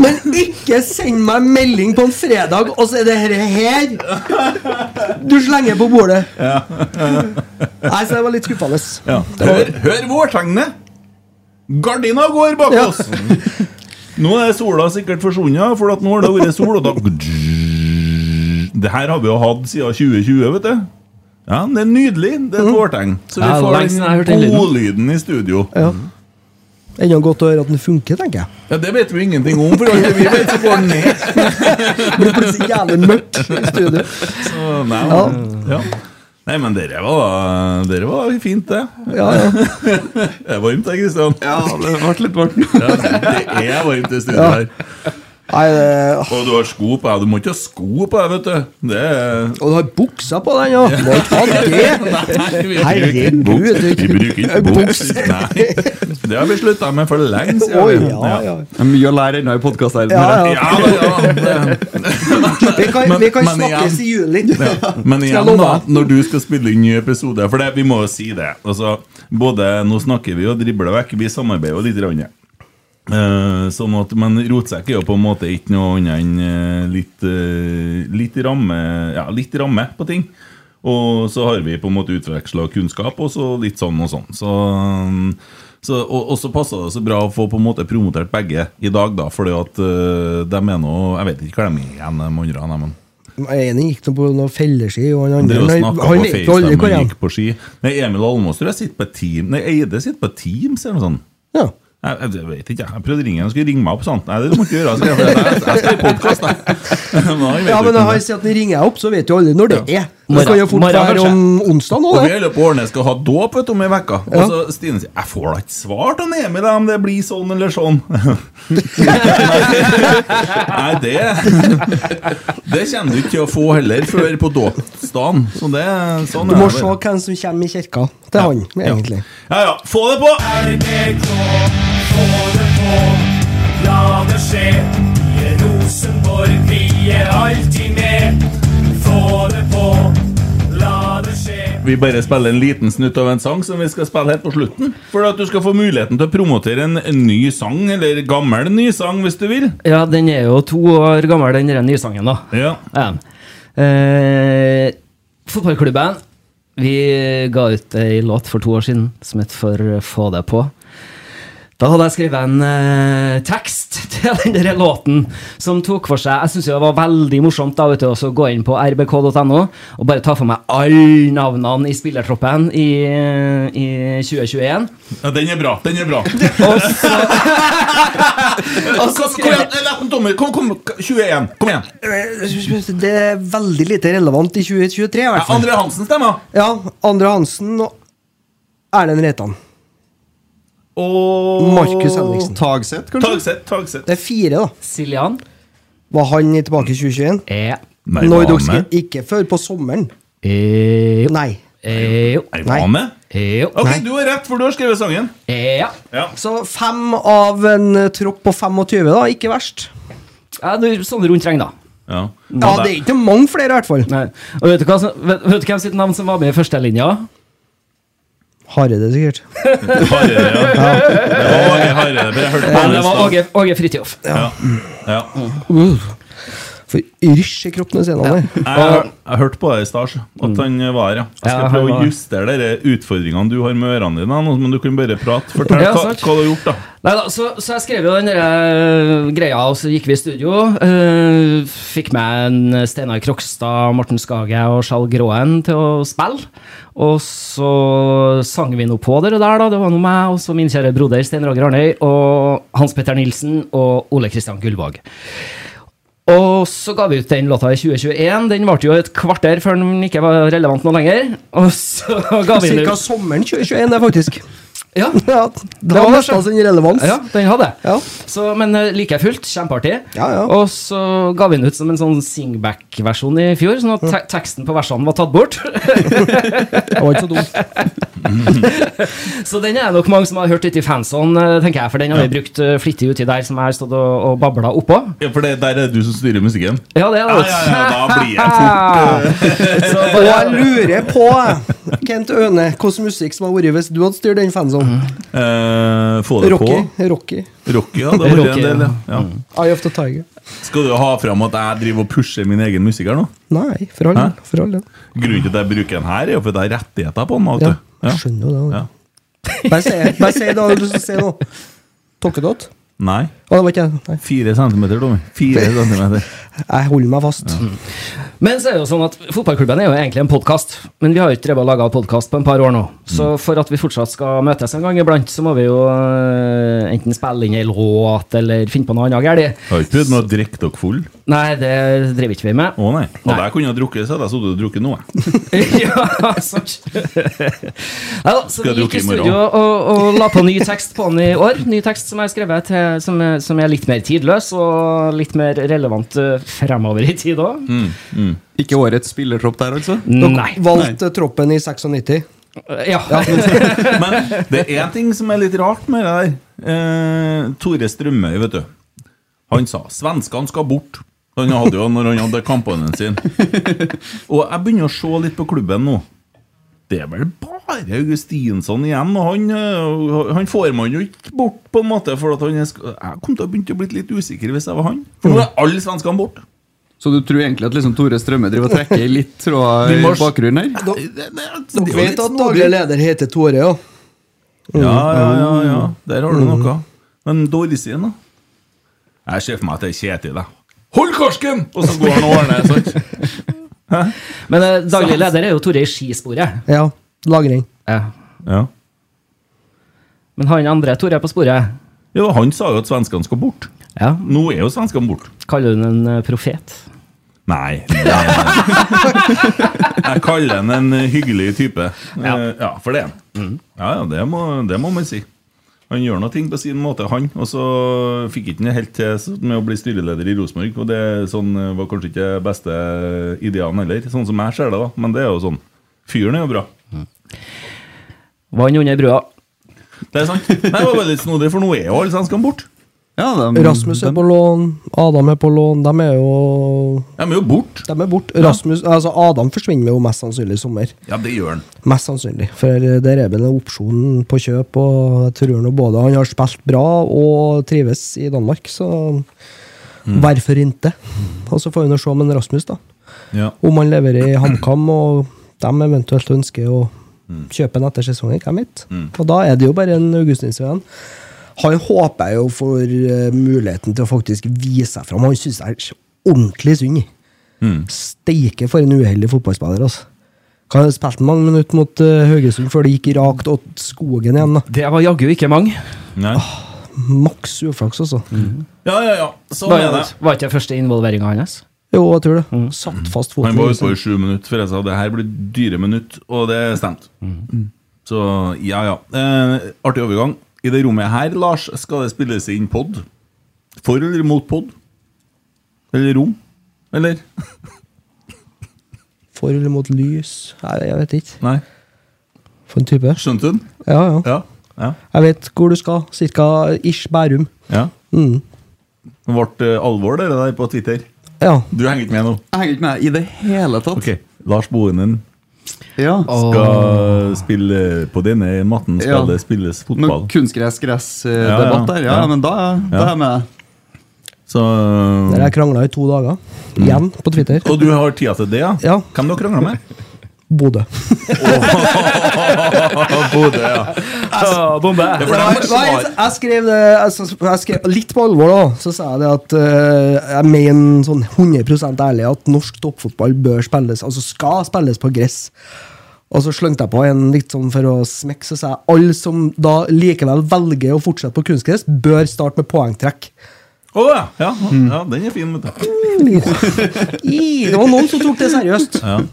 Speaker 6: men ikke send meg en melding på en fredag, og så er det dette her du slenger på bordet. Nei, så det var litt skuffende.
Speaker 4: Ja. Hør, hør vårtegnet! Gardina går bak
Speaker 6: Ja.
Speaker 4: oss! Nå er sola sikkert forsvunnet, for at nå har det vært sol, og da Det her har vi jo hatt siden 2020, vet du. Ja, men Det er nydelig. Det
Speaker 6: Mm.
Speaker 4: er et vårtegn. Så vi
Speaker 5: Ja,
Speaker 4: får
Speaker 5: lenge siden jeg har hørt den
Speaker 4: den
Speaker 5: lyden.
Speaker 4: godlyden i studio.
Speaker 6: Ja. Ennå godt å høre at den funker, tenker jeg.
Speaker 4: Ja, Det vet vi ingenting om, for alt vi vet, så går den
Speaker 6: [laughs]
Speaker 4: ned.
Speaker 6: blir plutselig jævlig mørkt i studio.
Speaker 4: Så, nei, men- ja. nei, men dere var, dere var fint, det.
Speaker 6: Ja,
Speaker 4: [laughs]
Speaker 6: ja.
Speaker 4: Det er varmt, det, Kristian.
Speaker 7: Ja, det ble litt varmt.
Speaker 4: Ja, det er varmt i studio
Speaker 6: Ja.
Speaker 4: her.
Speaker 6: Nei, det,
Speaker 4: Og du har sko på deg. Du må ikke ha sko på deg, vet du. Det er
Speaker 6: og du har buksa på den, ja! Må
Speaker 4: [laughs]
Speaker 6: ikke ha det!
Speaker 4: Nei, vi
Speaker 6: Herregud.
Speaker 4: bruker ikke buks. Vi bruker ikke buks. Nei. Det har vi slutta med for lenge siden.
Speaker 6: Oi,
Speaker 4: vi.
Speaker 6: ja, ja.
Speaker 7: Det er mye å lære ennå i
Speaker 6: Ja,
Speaker 7: podkastverdenen.
Speaker 6: ja.
Speaker 4: Ja, ja, ja.
Speaker 6: Vi kan, vi kan
Speaker 4: Men- men
Speaker 6: snakkes
Speaker 4: igjen-
Speaker 6: i juli.
Speaker 4: Men
Speaker 6: jeg
Speaker 4: igjen,
Speaker 6: love
Speaker 4: da,
Speaker 6: deg?
Speaker 4: når du skal spille inn ny episode For det, vi må jo si det. Altså, både Nå snakker vi og dribler vekk. Vi samarbeider jo litt. grann. Eh, sånn at, men rotsekk er jo på en måte ikke noe annet enn eh, litt, eh, litt, ramme, ja, litt ramme på ting. Og så har vi på en måte utveksla kunnskap, og så litt sånn og sånn. Så, mm, så, og, og så passa det så bra å få på en måte promotert begge i dag, da, fordi at eh, de er nå Jeg vet ikke hva de er igjen, de andre. nei, men
Speaker 6: En gikk nå på noen felleski, og
Speaker 4: han
Speaker 6: han
Speaker 4: drev og
Speaker 6: andre han-
Speaker 4: snakket
Speaker 6: han
Speaker 4: på
Speaker 6: vet jo aldri
Speaker 4: FaceTime
Speaker 6: hvor
Speaker 4: og
Speaker 6: han
Speaker 4: gikk på ski. Nei, Emil Almås tror jeg sitter på et team Nei, Eide sitter på et Teams eller noe sånt.
Speaker 6: Ja.
Speaker 4: Jeg, sånn. jeg, jeg vet ikke, jeg. jeg prøvde å ringe han, han skulle ringe meg opp. Sant? Nei, det må du ikke gjøre. Jeg, jeg, jeg, jeg skal i [laughs] podkast, jeg. Men han vet
Speaker 6: ja,
Speaker 4: jo ikke
Speaker 6: men når
Speaker 4: om
Speaker 6: han
Speaker 4: det.
Speaker 6: sier at han ringer jeg opp, så vet jo alle når det er. Det
Speaker 5: Morgen-
Speaker 6: kan jo fort
Speaker 5: morgen,
Speaker 6: være sånn-
Speaker 5: kanskje.
Speaker 6: om onsdag nå,
Speaker 4: Og vi
Speaker 6: det.
Speaker 4: holder på å ordne skal ha dåp vet du, om ei uke. Og
Speaker 6: Ja.
Speaker 4: så Stine sier 'Jeg får da ikke svar til Emil da, om det blir sånn eller sånn'. Nei, det [laughs] Det kommer du ikke til å få heller før på dåpsdagen. Så det sånn
Speaker 6: Du må
Speaker 4: det
Speaker 6: se
Speaker 4: bare.
Speaker 6: hvem som kommer i kirka til han, egentlig.
Speaker 4: Ja ja, få det på! Vi bare spiller en liten snutt av en sang som vi skal spille helt på slutten. For at du skal få muligheten til å promotere en, en ny sang, eller gammel ny sang, hvis du vil.
Speaker 5: Ja, den er jo to år gammel, den der nysangen, da.
Speaker 4: Ja.
Speaker 5: Ja. Eh, fotballklubben Vi ga ut ei låt for to år siden som het For få det på. Da hadde jeg skrevet en eh, tekst [laughs] til den der låten som tok for seg Jeg syns det var veldig morsomt da, vet du, også å gå inn på rbk.no og bare ta for meg alle navnene i spillertroppen i, i 2021.
Speaker 4: ja, den er bra. Den er bra.
Speaker 5: [laughs] Og
Speaker 4: [laughs]
Speaker 5: så, og så
Speaker 4: Kom
Speaker 5: skrev jeg
Speaker 4: igjen, la den tomme. Kom, kom, 21. Kom igjen.
Speaker 6: Det er veldig lite relevant i 2023, i
Speaker 4: Ja,
Speaker 6: hvert fall.
Speaker 4: André Hansen stemmer.
Speaker 6: Ja, Andre Hansen og Erlend Reitan.
Speaker 4: Og
Speaker 6: Markus Henriksen.
Speaker 7: Tagseth, kanskje?
Speaker 4: Tagseth. Tagseth.
Speaker 6: Det er fire, da.
Speaker 5: Siljan
Speaker 6: Var han tilbake i 2021?
Speaker 5: er
Speaker 6: Når dere skal, ikke før på sommeren.
Speaker 5: Eh, Jo.
Speaker 6: Nei.
Speaker 5: Eh, Jo.
Speaker 4: Er var
Speaker 6: Nei.
Speaker 4: han med?
Speaker 5: Eh, Jo.
Speaker 4: Ok, du har rett, for du har skrevet sangen.
Speaker 5: Eh, Ja.
Speaker 4: Ja.
Speaker 6: Så fem av en eh, tropp på 25, da. Ikke verst.
Speaker 5: Ja, det er sånn rundt regn, da.
Speaker 4: Ja,
Speaker 6: Ja, Det er ikke mange flere, i hvert fall.
Speaker 5: Nei. Og vet du, hva, som- vet, vet du hvem sitt navn som var med
Speaker 4: [laughs]
Speaker 5: i førstelinja?
Speaker 6: Hareide, sikkert.
Speaker 4: Hareide, ja. Det var Åge Hareide. bare Jeg hørte på
Speaker 5: Ja,
Speaker 4: han i
Speaker 5: det var
Speaker 4: stad.
Speaker 5: Åge, Åge Fridtjof.
Speaker 4: Ja. Ja.
Speaker 6: For yrsch i kroppen ved siden av der.
Speaker 4: Jeg, jeg, jeg hørte på deg i stad, så, at han var her. ja. Jeg skal
Speaker 5: Mm. Ja, han
Speaker 4: prøve
Speaker 5: var
Speaker 4: å
Speaker 5: her.
Speaker 4: justere de utfordringene du har med ørene dine, nå, men du kan bare prate. Fortell
Speaker 5: Ja,
Speaker 4: hva, hva du
Speaker 5: sant.
Speaker 4: har gjort, da.
Speaker 5: Nei da, så, så jeg skrev jo den der, eh, greia, og så gikk vi i studio. eh, fikk med en eh, Steinar Krokstad, Morten Skage og Skjalg Gråen til å spille. Og så sang vi noe på det der, da. Det var noe meg og så min kjære broder Stein Roger Arnøy og Hans Petter Nilsen og Ole Kristian Gullvåg. Og så ga vi ut den låta i 2021. Den varte jo et kvarter før den ikke var relevant noe lenger. Og så [laughs] ga vi den
Speaker 6: Cirka
Speaker 5: ut.
Speaker 6: sommeren 2021, det, faktisk.
Speaker 5: Ja,
Speaker 6: [laughs] Ja, det
Speaker 5: var
Speaker 6: var nesten
Speaker 5: det.
Speaker 6: sin relevans.
Speaker 5: ja, den hadde jeg.
Speaker 6: Ja.
Speaker 5: Så, men eh, like fullt, kjempeartig.
Speaker 6: Ja, ja.
Speaker 5: Og så ga vi den ut som en sånn singback-versjon i fjor, sånn at te teksten på versene var tatt bort.
Speaker 6: [laughs] Det var ikke så dumt.
Speaker 5: [laughs] så den er det nok mange som har hørt ute i fansonen, eh, tenker jeg, for den har vi brukt eh, flittig uti der som jeg har stått og, og babla oppå.
Speaker 4: Ja, for det, der er du som styrer musikken?
Speaker 5: Ja, det er
Speaker 4: Ja,
Speaker 5: det.
Speaker 4: ja, ja, da blir jeg fort
Speaker 5: [laughs] Så
Speaker 6: Og
Speaker 5: bare-
Speaker 6: jeg lurer på, jeg, Kent Øne, hvilken musikk som hadde vært hvis du hadde styrt den fansonen.
Speaker 4: eh, Få det
Speaker 6: Rocky. Mm.
Speaker 4: på.
Speaker 6: Rocky.
Speaker 4: Rocky, ja. Det har vært en
Speaker 5: Rocky,
Speaker 4: del, ja. ja.
Speaker 6: Eye of the Tiger.
Speaker 4: Skal du ha fram at jeg driver og pusher min egen musikk her nå?
Speaker 6: Nei, for all
Speaker 4: Hæ?
Speaker 6: del. For all del.
Speaker 4: Grunnen til at jeg bruker den her, er jo fordi jeg har rettigheter på den.
Speaker 6: Ja,
Speaker 4: vet du.
Speaker 6: jeg skjønner jo det.
Speaker 4: Ja.
Speaker 6: Bare si bare si det du skal si nå. Tokkedott?
Speaker 4: Nei.
Speaker 6: Å, det var ikke jeg. Nei.
Speaker 4: Fire centimeter, Tommy. Fire centimeter.
Speaker 6: [laughs] Jeg holder meg fast.
Speaker 5: Men så er det jo sånn at fotballklubben er jo egentlig en podkast, men vi har jo ikke drevet og laga podkast på en par år nå. Så
Speaker 4: Mm.
Speaker 5: for at vi fortsatt skal møtes en gang iblant, så må vi jo øh, enten spille inn ei låt eller finne på noe annet galt.
Speaker 4: Har ikke prøvd med å drikke dere full?
Speaker 5: Nei, det driver ikke vi med.
Speaker 4: Å nei. Hadde
Speaker 5: Nei.
Speaker 4: jeg kunnet drukke, så hadde jeg sittet og drukket nå. jeg.
Speaker 5: [laughs] ja, sant. Ja, da, så
Speaker 4: Skal jeg
Speaker 5: vi gikk
Speaker 4: drukke
Speaker 5: i
Speaker 4: i morgen?
Speaker 5: studio og, og la på ny tekst på den i år. Ny tekst som jeg har skrevet til, som, er- som er litt mer tidløs og litt mer relevant øh, fremover i tid òg.
Speaker 4: Mm,
Speaker 7: Ikke årets spillertropp der, altså?
Speaker 5: Nei.
Speaker 6: Valgte troppen i 96.
Speaker 5: Ja.
Speaker 4: [laughs] Men det er en ting som er litt rart med det der. Eh, Tore Strømøy, vet du. Han sa svenskene skal bort. Han hadde jo når han hadde kampene sine. Og jeg begynner å se litt på klubben nå. Det er vel bare Augustinsson igjen, og han, øh, han får man jo ikke bort, på en måte. For at han er sk jeg kom til å begynne å bli litt usikker hvis jeg var han. For nå er alle svenskene borte.
Speaker 7: Så du tror egentlig at liksom Tore Strømme driver og trekker i litt tråder
Speaker 4: Vi
Speaker 7: i
Speaker 4: må-
Speaker 7: bakgrunnen her?
Speaker 4: Nei, det- det- det- det er
Speaker 6: Dere
Speaker 4: jo litt
Speaker 6: vet at
Speaker 4: snodig.
Speaker 6: daglig leder heter Tore, ja. Mm.
Speaker 4: Ja, ja, ja, ja. Der har du noe. Men Dorsien, da? Mm. Jeg ser for meg at det er Kjetil. da. Hold karsken! Og så går han og ordner. sant? [laughs]
Speaker 5: Men eh, daglig leder er jo Tore i skisporet.
Speaker 6: ja. Lagring.
Speaker 5: Ja.
Speaker 4: Ja.
Speaker 5: Men han andre Tore er på sporet.
Speaker 4: Ja, Han sa jo at svenskene skal bort.
Speaker 5: Ja.
Speaker 4: Nå er jo svenskene borte.
Speaker 5: Kaller du den en eh, profet?
Speaker 4: Nei. det- Jeg kaller han en hyggelig type. Ja, ja for det er han. Ja, ja, det må, det må man si. Han gjør noe ting på sin måte, han. Og så fikk ikke han det helt til sånn med å bli styreleder i Rosenborg. Og det sånn, var kanskje ikke beste ideaen heller, sånn som jeg ser det, da. Men det er jo sånn. Fyren er jo bra.
Speaker 5: Vann under brua.
Speaker 4: Det er sant. Nei, det var veldig snodig, for nå er jo alle svenskene borte.
Speaker 7: Ja, de,
Speaker 6: Rasmus er på lån, Adam er på lån. De er jo
Speaker 4: De er jo borte.
Speaker 6: De er borte. Rasmus, altså Adam forsvinner jo mest sannsynlig i sommer.
Speaker 4: Ja, det gjør han.
Speaker 6: Mest sannsynlig. For der er vel en opsjon på kjøp, og jeg tror nå både han har spilt bra og trives i Danmark, så hvorfor ikke? Og så får vi nå se med Rasmus, da.
Speaker 4: Ja.
Speaker 6: Om han leverer i HamKam, og de eventuelt ønsker å kjøpe han etter sesongen, hvem vet? Og da er det jo bare en Augustinsveen. Han håper jeg jo får eh, muligheten til å faktisk vise seg fram. Han syns jeg er ordentlig synd i. Steike for en uheldig fotballspiller, altså. Kan ha spilt mange minutter mot eh, Haugesund før det gikk rakt åt skogen igjen. da.
Speaker 5: Det var jaggu ikke mange. Mm.
Speaker 4: Nei.
Speaker 6: Maks uflaks, altså.
Speaker 4: Ja, ja, ja. Sånn
Speaker 5: Var,
Speaker 4: er det.
Speaker 5: var ikke det første involveringa hans? Mm.
Speaker 6: Jo, jeg tror det. Satt fast foten.
Speaker 4: Han var ute
Speaker 6: liksom.
Speaker 4: i sju minutter før jeg sa det her blir dyre minutt, og det stemte.
Speaker 6: Mm.
Speaker 4: Så ja, ja. Eh, artig overgang. I det rommet her, Lars, skal det spilles inn pod? For eller mot pod? Eller rom? Eller?
Speaker 6: For eller mot lys? Nei, jeg vet ikke.
Speaker 4: Nei.
Speaker 6: For en type.
Speaker 4: Skjønte du den?
Speaker 6: Ja, ja.
Speaker 4: Ja. ja.
Speaker 6: Jeg vet hvor du skal. Cirka ish Bærum. Mm.
Speaker 4: ja. Det ble eh, alvor, det der på Twitter.
Speaker 6: Ja.
Speaker 4: Du henger ikke med nå.
Speaker 7: Jeg henger ikke med i det hele tatt.
Speaker 4: Ok, Lars Bohinen
Speaker 7: Ja.
Speaker 4: skal spille på denne matten, skal
Speaker 7: Ja.
Speaker 4: det spilles
Speaker 7: Med
Speaker 4: fotball. Ja, ja,
Speaker 7: kunstgress-gress-debatt der, eh, ja,
Speaker 4: ja.
Speaker 7: men da, da
Speaker 4: Ja.
Speaker 7: er jeg med.
Speaker 4: Så
Speaker 6: Der jeg krangla i to dager. Igjen på Twitter.
Speaker 4: Og du har tida til det, ja?
Speaker 6: Ja.
Speaker 4: Hvem dere krangla med?
Speaker 6: Bodø.
Speaker 4: Bodø, ja.
Speaker 5: bombe!
Speaker 4: Ja, for
Speaker 6: Nei,
Speaker 4: det var-
Speaker 6: nei, jeg skrev det jeg, s- jeg skrev, Litt på alvor, da. Så sa jeg det at eh, jeg mener sånn 100 ærlig at norsk toppfotball bør spilles, altså skal spilles på gress. Og så slengte jeg på en litt sånn for å smekke, så sa jeg alle som da likevel velger å fortsette på kunstgress, bør starte med poengtrekk.
Speaker 4: Å ja. Ja,
Speaker 6: Mm.
Speaker 4: ja, den er fin. vet du.
Speaker 6: I, det var noen som tok det seriøst.
Speaker 4: Ja.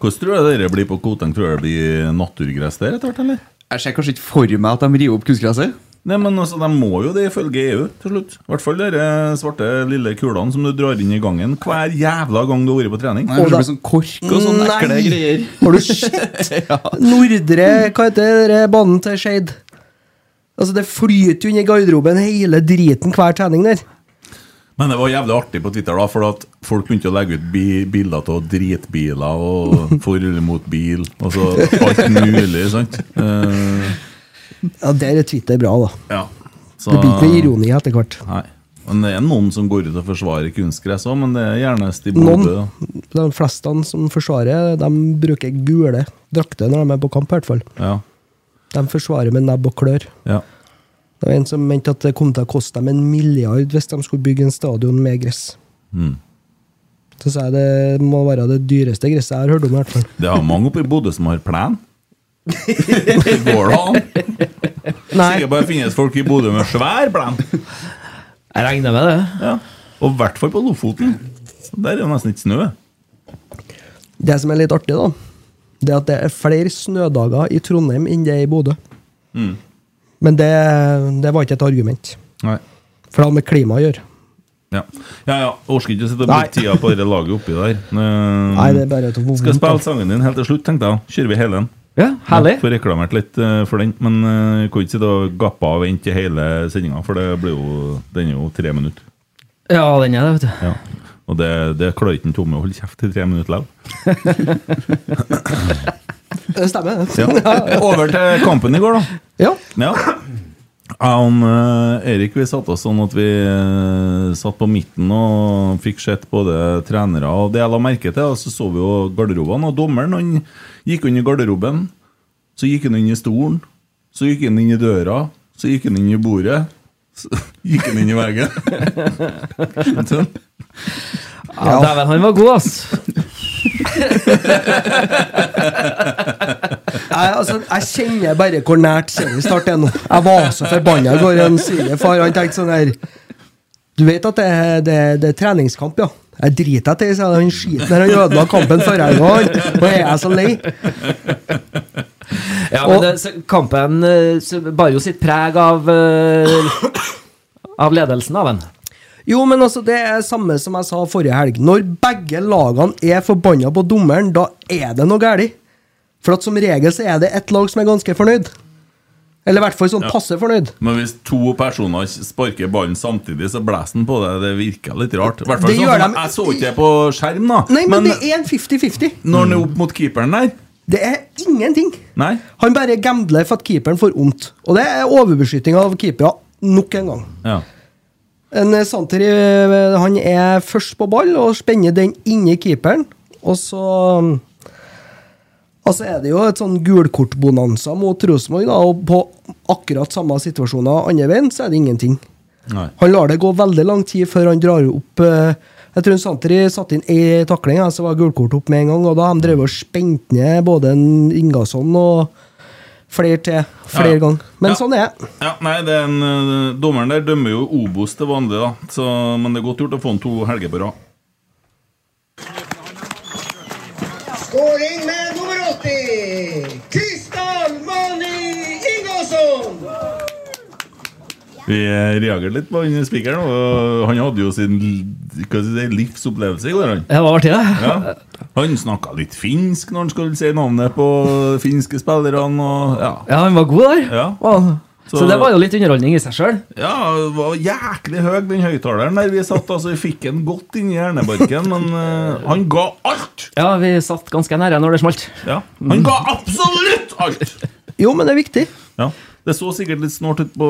Speaker 4: Hvordan tror du dere blir på Koteng? Tror du det blir naturgress der etter hvert, eller?
Speaker 7: Jeg ser kanskje ikke for meg at de river opp kunstgresset.
Speaker 4: Nei, men altså, De må jo det ifølge EU til slutt. I hvert fall de eh, svarte lille kulene som du drar inn i gangen hver jævla gang du har vært på trening.
Speaker 7: Nei,
Speaker 6: Og
Speaker 7: det
Speaker 6: da-
Speaker 7: blir sånn kork og sånne ekle
Speaker 6: Nei.
Speaker 7: greier.
Speaker 6: Har
Speaker 7: [laughs]
Speaker 6: du sett? Nordre Hva heter det, banen til Skeid? Altså, det flyter jo inn i garderoben hele driten hver trening der.
Speaker 4: Men det var jævlig artig på Twitter, da, for at folk begynte å legge ut bi bilder av dritbiler
Speaker 6: [laughs]
Speaker 4: og for eller mot bil, og så alt mulig, sant? Eh,
Speaker 6: Ja, Der er Twitter bra, da.
Speaker 4: ja. Så-
Speaker 6: Det blir ikke noe ironi etter hvert.
Speaker 4: Nei. Men det er noen som går ut og forsvarer kunstgress òg, men det er gjerne i
Speaker 6: Noen,
Speaker 4: Bodø. da.
Speaker 6: De fleste som forsvarer, de bruker gule drakter når de er på kamp, i hvert fall.
Speaker 4: Ja.
Speaker 6: De forsvarer med nebb og klør.
Speaker 4: ja.
Speaker 6: Det var en som mente at det kom til å koste dem en milliard hvis de skulle bygge en stadion med gress.
Speaker 4: Mm.
Speaker 6: Så sa jeg det må være det dyreste gresset jeg har hørt om, i hvert fall.
Speaker 4: Det er mange oppe i Bodø som har
Speaker 5: [laughs]
Speaker 4: plen. Det går da an. Sikkert bare finnes folk i Bodø med svær plen.
Speaker 5: Jeg regner med det.
Speaker 4: Ja. Og i hvert fall på Lofoten. Der er jo nesten ikke snø.
Speaker 6: Det som er litt artig, da, det er at det er flere snødager i Trondheim enn det er i Bodø.
Speaker 4: Mm.
Speaker 6: Men det, det var ikke et argument.
Speaker 4: Nei.
Speaker 6: For det har med klima å gjøre.
Speaker 4: Ja ja, ja. orker ikke å sitte og bruke tida på det laget oppi
Speaker 6: [laughs]
Speaker 4: der. Ehm,
Speaker 6: Nei, det er bare at det var
Speaker 4: Skal
Speaker 6: vondt, da.
Speaker 4: spille sangen din helt til slutt, tenkte jeg. Kjører vi hele den?
Speaker 5: Ja, herlig.
Speaker 4: Ja, Får reklamert litt eh, for den, men eh, jeg kunne ikke sitte og gappe av og vente til hele sendinga, for det blir jo, den er jo tre minutter.
Speaker 5: Ja, den er det, vet du.
Speaker 4: Ja. Og det, det klarer ikke en Tomme å holde kjeft i tre minutter likevel.
Speaker 6: [laughs] Det stemmer, det.
Speaker 4: Ja. Over til kampen i går, da.
Speaker 6: Ja.
Speaker 4: Ja. Jeg og eh, Erik vi satt oss sånn at vi eh, satt på midten og fikk sett både trenere og det jeg la merke til, og så så vi jo garderobene. Og dommeren han gikk under garderoben, så gikk han inn i stolen, så gikk han inn i døra, så gikk han inn i bordet, så [laughs] gikk han inn i veggen. [laughs] Sånn.
Speaker 5: Ja, Dæven, han var god, ass.
Speaker 6: Jeg, altså, jeg kjenner bare hvor nært seriestart er nå. Jeg var så forbanna i går. Han sier far, han tenkte sånn her Du vet at det, det, det er treningskamp, ja? Jeg driter deg i, sa han. Han skiter når han ødela kampen før jeg går. Og er jeg så lei?
Speaker 5: Ja, men
Speaker 6: Og-
Speaker 5: det, så kampen eh, så bar jo sitt preg av eh, Av ledelsen av den.
Speaker 6: Jo, men altså, det er samme som jeg sa forrige helg. Når begge lagene er forbanna på dommeren, da er det noe galt. For at som regel så er det ett lag som er ganske fornøyd. Eller i hvert fall sånn passe fornøyd.
Speaker 4: Men hvis to personer sparker ballen samtidig, så blæser den på deg. Det virker litt rart. I hvert fall
Speaker 6: Det
Speaker 4: sånn
Speaker 6: gjør
Speaker 4: som
Speaker 6: de-
Speaker 4: Jeg så ikke det på skjerm, da.
Speaker 6: Nei, men det er en 50-50.
Speaker 4: når han er opp mot keeperen der
Speaker 6: Det er ingenting.
Speaker 4: Nei.
Speaker 6: Han bare gambler for at keeperen får vondt. Og det er overbeskytting av keepere nok en gang.
Speaker 4: Ja.
Speaker 6: En eh, Santer eh, han er først på ball og spenner den inni keeperen. Og så Og så er det jo et sånn gulkortbonanza mot Rosenborg, da, og på akkurat samme situasjoner andre veien, så er det ingenting.
Speaker 4: Nei.
Speaker 6: Han lar det gå veldig lang tid før han drar opp eh, Jeg tror Santeri satte inn ei takling, ja, så var gulkort opp med en gang. Og da har de drevet og spent ned både en Ingasson og flere til flere
Speaker 4: Ja.
Speaker 6: ganger. Men
Speaker 4: Ja.
Speaker 6: sånn er det.
Speaker 4: Ja, nei, det er en, øh, Dommeren der dømmer jo Obos til vanlig, da. Så, men det er godt gjort å få han to helger på rad.
Speaker 8: Skåring med nummer 80! Kristal Mani Ingolfsson!
Speaker 4: Vi eh, reagerte litt på han spikeren. og Han hadde jo sin l- hva skal jeg si, livsopplevelse i går. han
Speaker 5: Det var artig, det.
Speaker 4: ja. Han snakka litt finsk når han skulle si navnet på de finske spillerne. og ja.
Speaker 5: Ja, han var god der.
Speaker 4: Ja.
Speaker 5: Wow. Så,
Speaker 4: Så-
Speaker 5: det var jo litt underholdning i seg sjøl.
Speaker 4: ja, det var jæklig høy, den høyttaleren der vi satt. altså Vi fikk den godt inn i hjernebarken, men eh, han ga alt!
Speaker 5: Ja, vi satt ganske nære når det smalt.
Speaker 4: Ja, Han ga absolutt alt!
Speaker 6: Jo, men det er viktig.
Speaker 4: Ja. Det så sikkert litt snålt ut på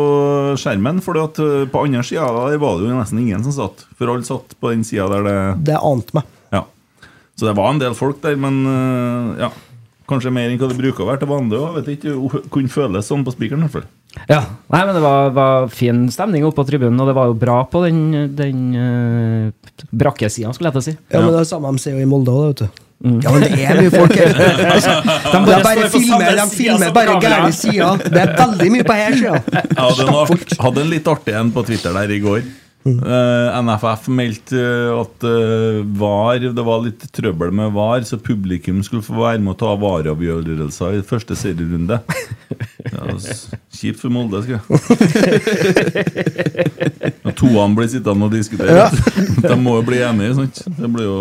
Speaker 4: skjermen, for på andre sida der var det jo nesten ingen som satt. For alle satt på den sida der det
Speaker 6: Det ante meg.
Speaker 4: Ja. Så det var en del folk der, men eh, ja. Kanskje mer enn hva det bruker å være til vanlig òg. Vet ikke. o- Kunne føles sånn på spikeren, i hvert fall.
Speaker 5: Ja, Nei, men det var, var fin stemning oppe på tribunen, og det var jo bra på den, den eh, brakkesida, skulle jeg til å si. Mm.
Speaker 6: Ja, men Det er det samme de sier jo i Molde òg, vet du. Ja, men det er mye folk
Speaker 5: [laughs]
Speaker 6: her. Altså, de
Speaker 4: står på
Speaker 6: bare,
Speaker 4: samme
Speaker 6: filmer, de
Speaker 4: sida
Speaker 6: filmer
Speaker 4: som
Speaker 6: bare
Speaker 4: kamera.
Speaker 6: gærne sider. Det er veldig mye på her
Speaker 4: [laughs]
Speaker 6: sida.
Speaker 4: Jeg hadde en, art, hadde en litt artig en på Twitter der i går. Eh, NFF meldte eh, at eh, VAR, det var litt trøbbel med VAR, så publikum skulle få være med å ta VAR-avgjørelser i første serierunde. Ja, s- kjipt for Molde, skulle jeg. Når toene blir sittende og diskutere. [laughs] De må jo bli enige, sant? Det blir jo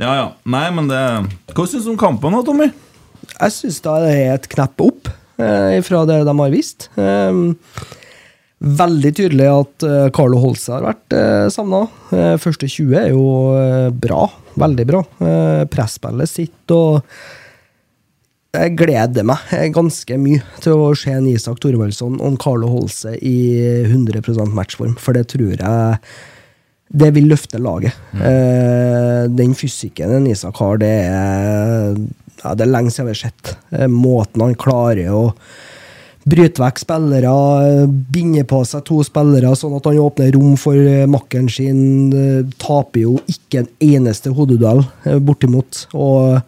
Speaker 4: Ja, ja. Nei, men det Hva syns du om kampen da, Tommy?
Speaker 6: Jeg syns da det er et knepp opp eh, fra det de har vist. Ehm, veldig tydelig at eh, Carlo Holse har vært eh, savna. Eh, første 20 er jo eh, bra. Veldig bra. Eh, Presspillet sitt og jeg gleder meg eh, ganske mye til å se en Isak Thorvaldsson og en Carlo Holse i 100 matchform, for det tror jeg det vil løfte laget. Eh, den fysikken en Isak har, det er, ja, det er lenge siden vi har sett. Eh, måten han klarer å bryte vekk spillere, eh, binde på seg to spillere, sånn at han åpner rom for eh, makkeren sin. eh, Taper jo ikke en eneste hodeduell, eh, bortimot. Og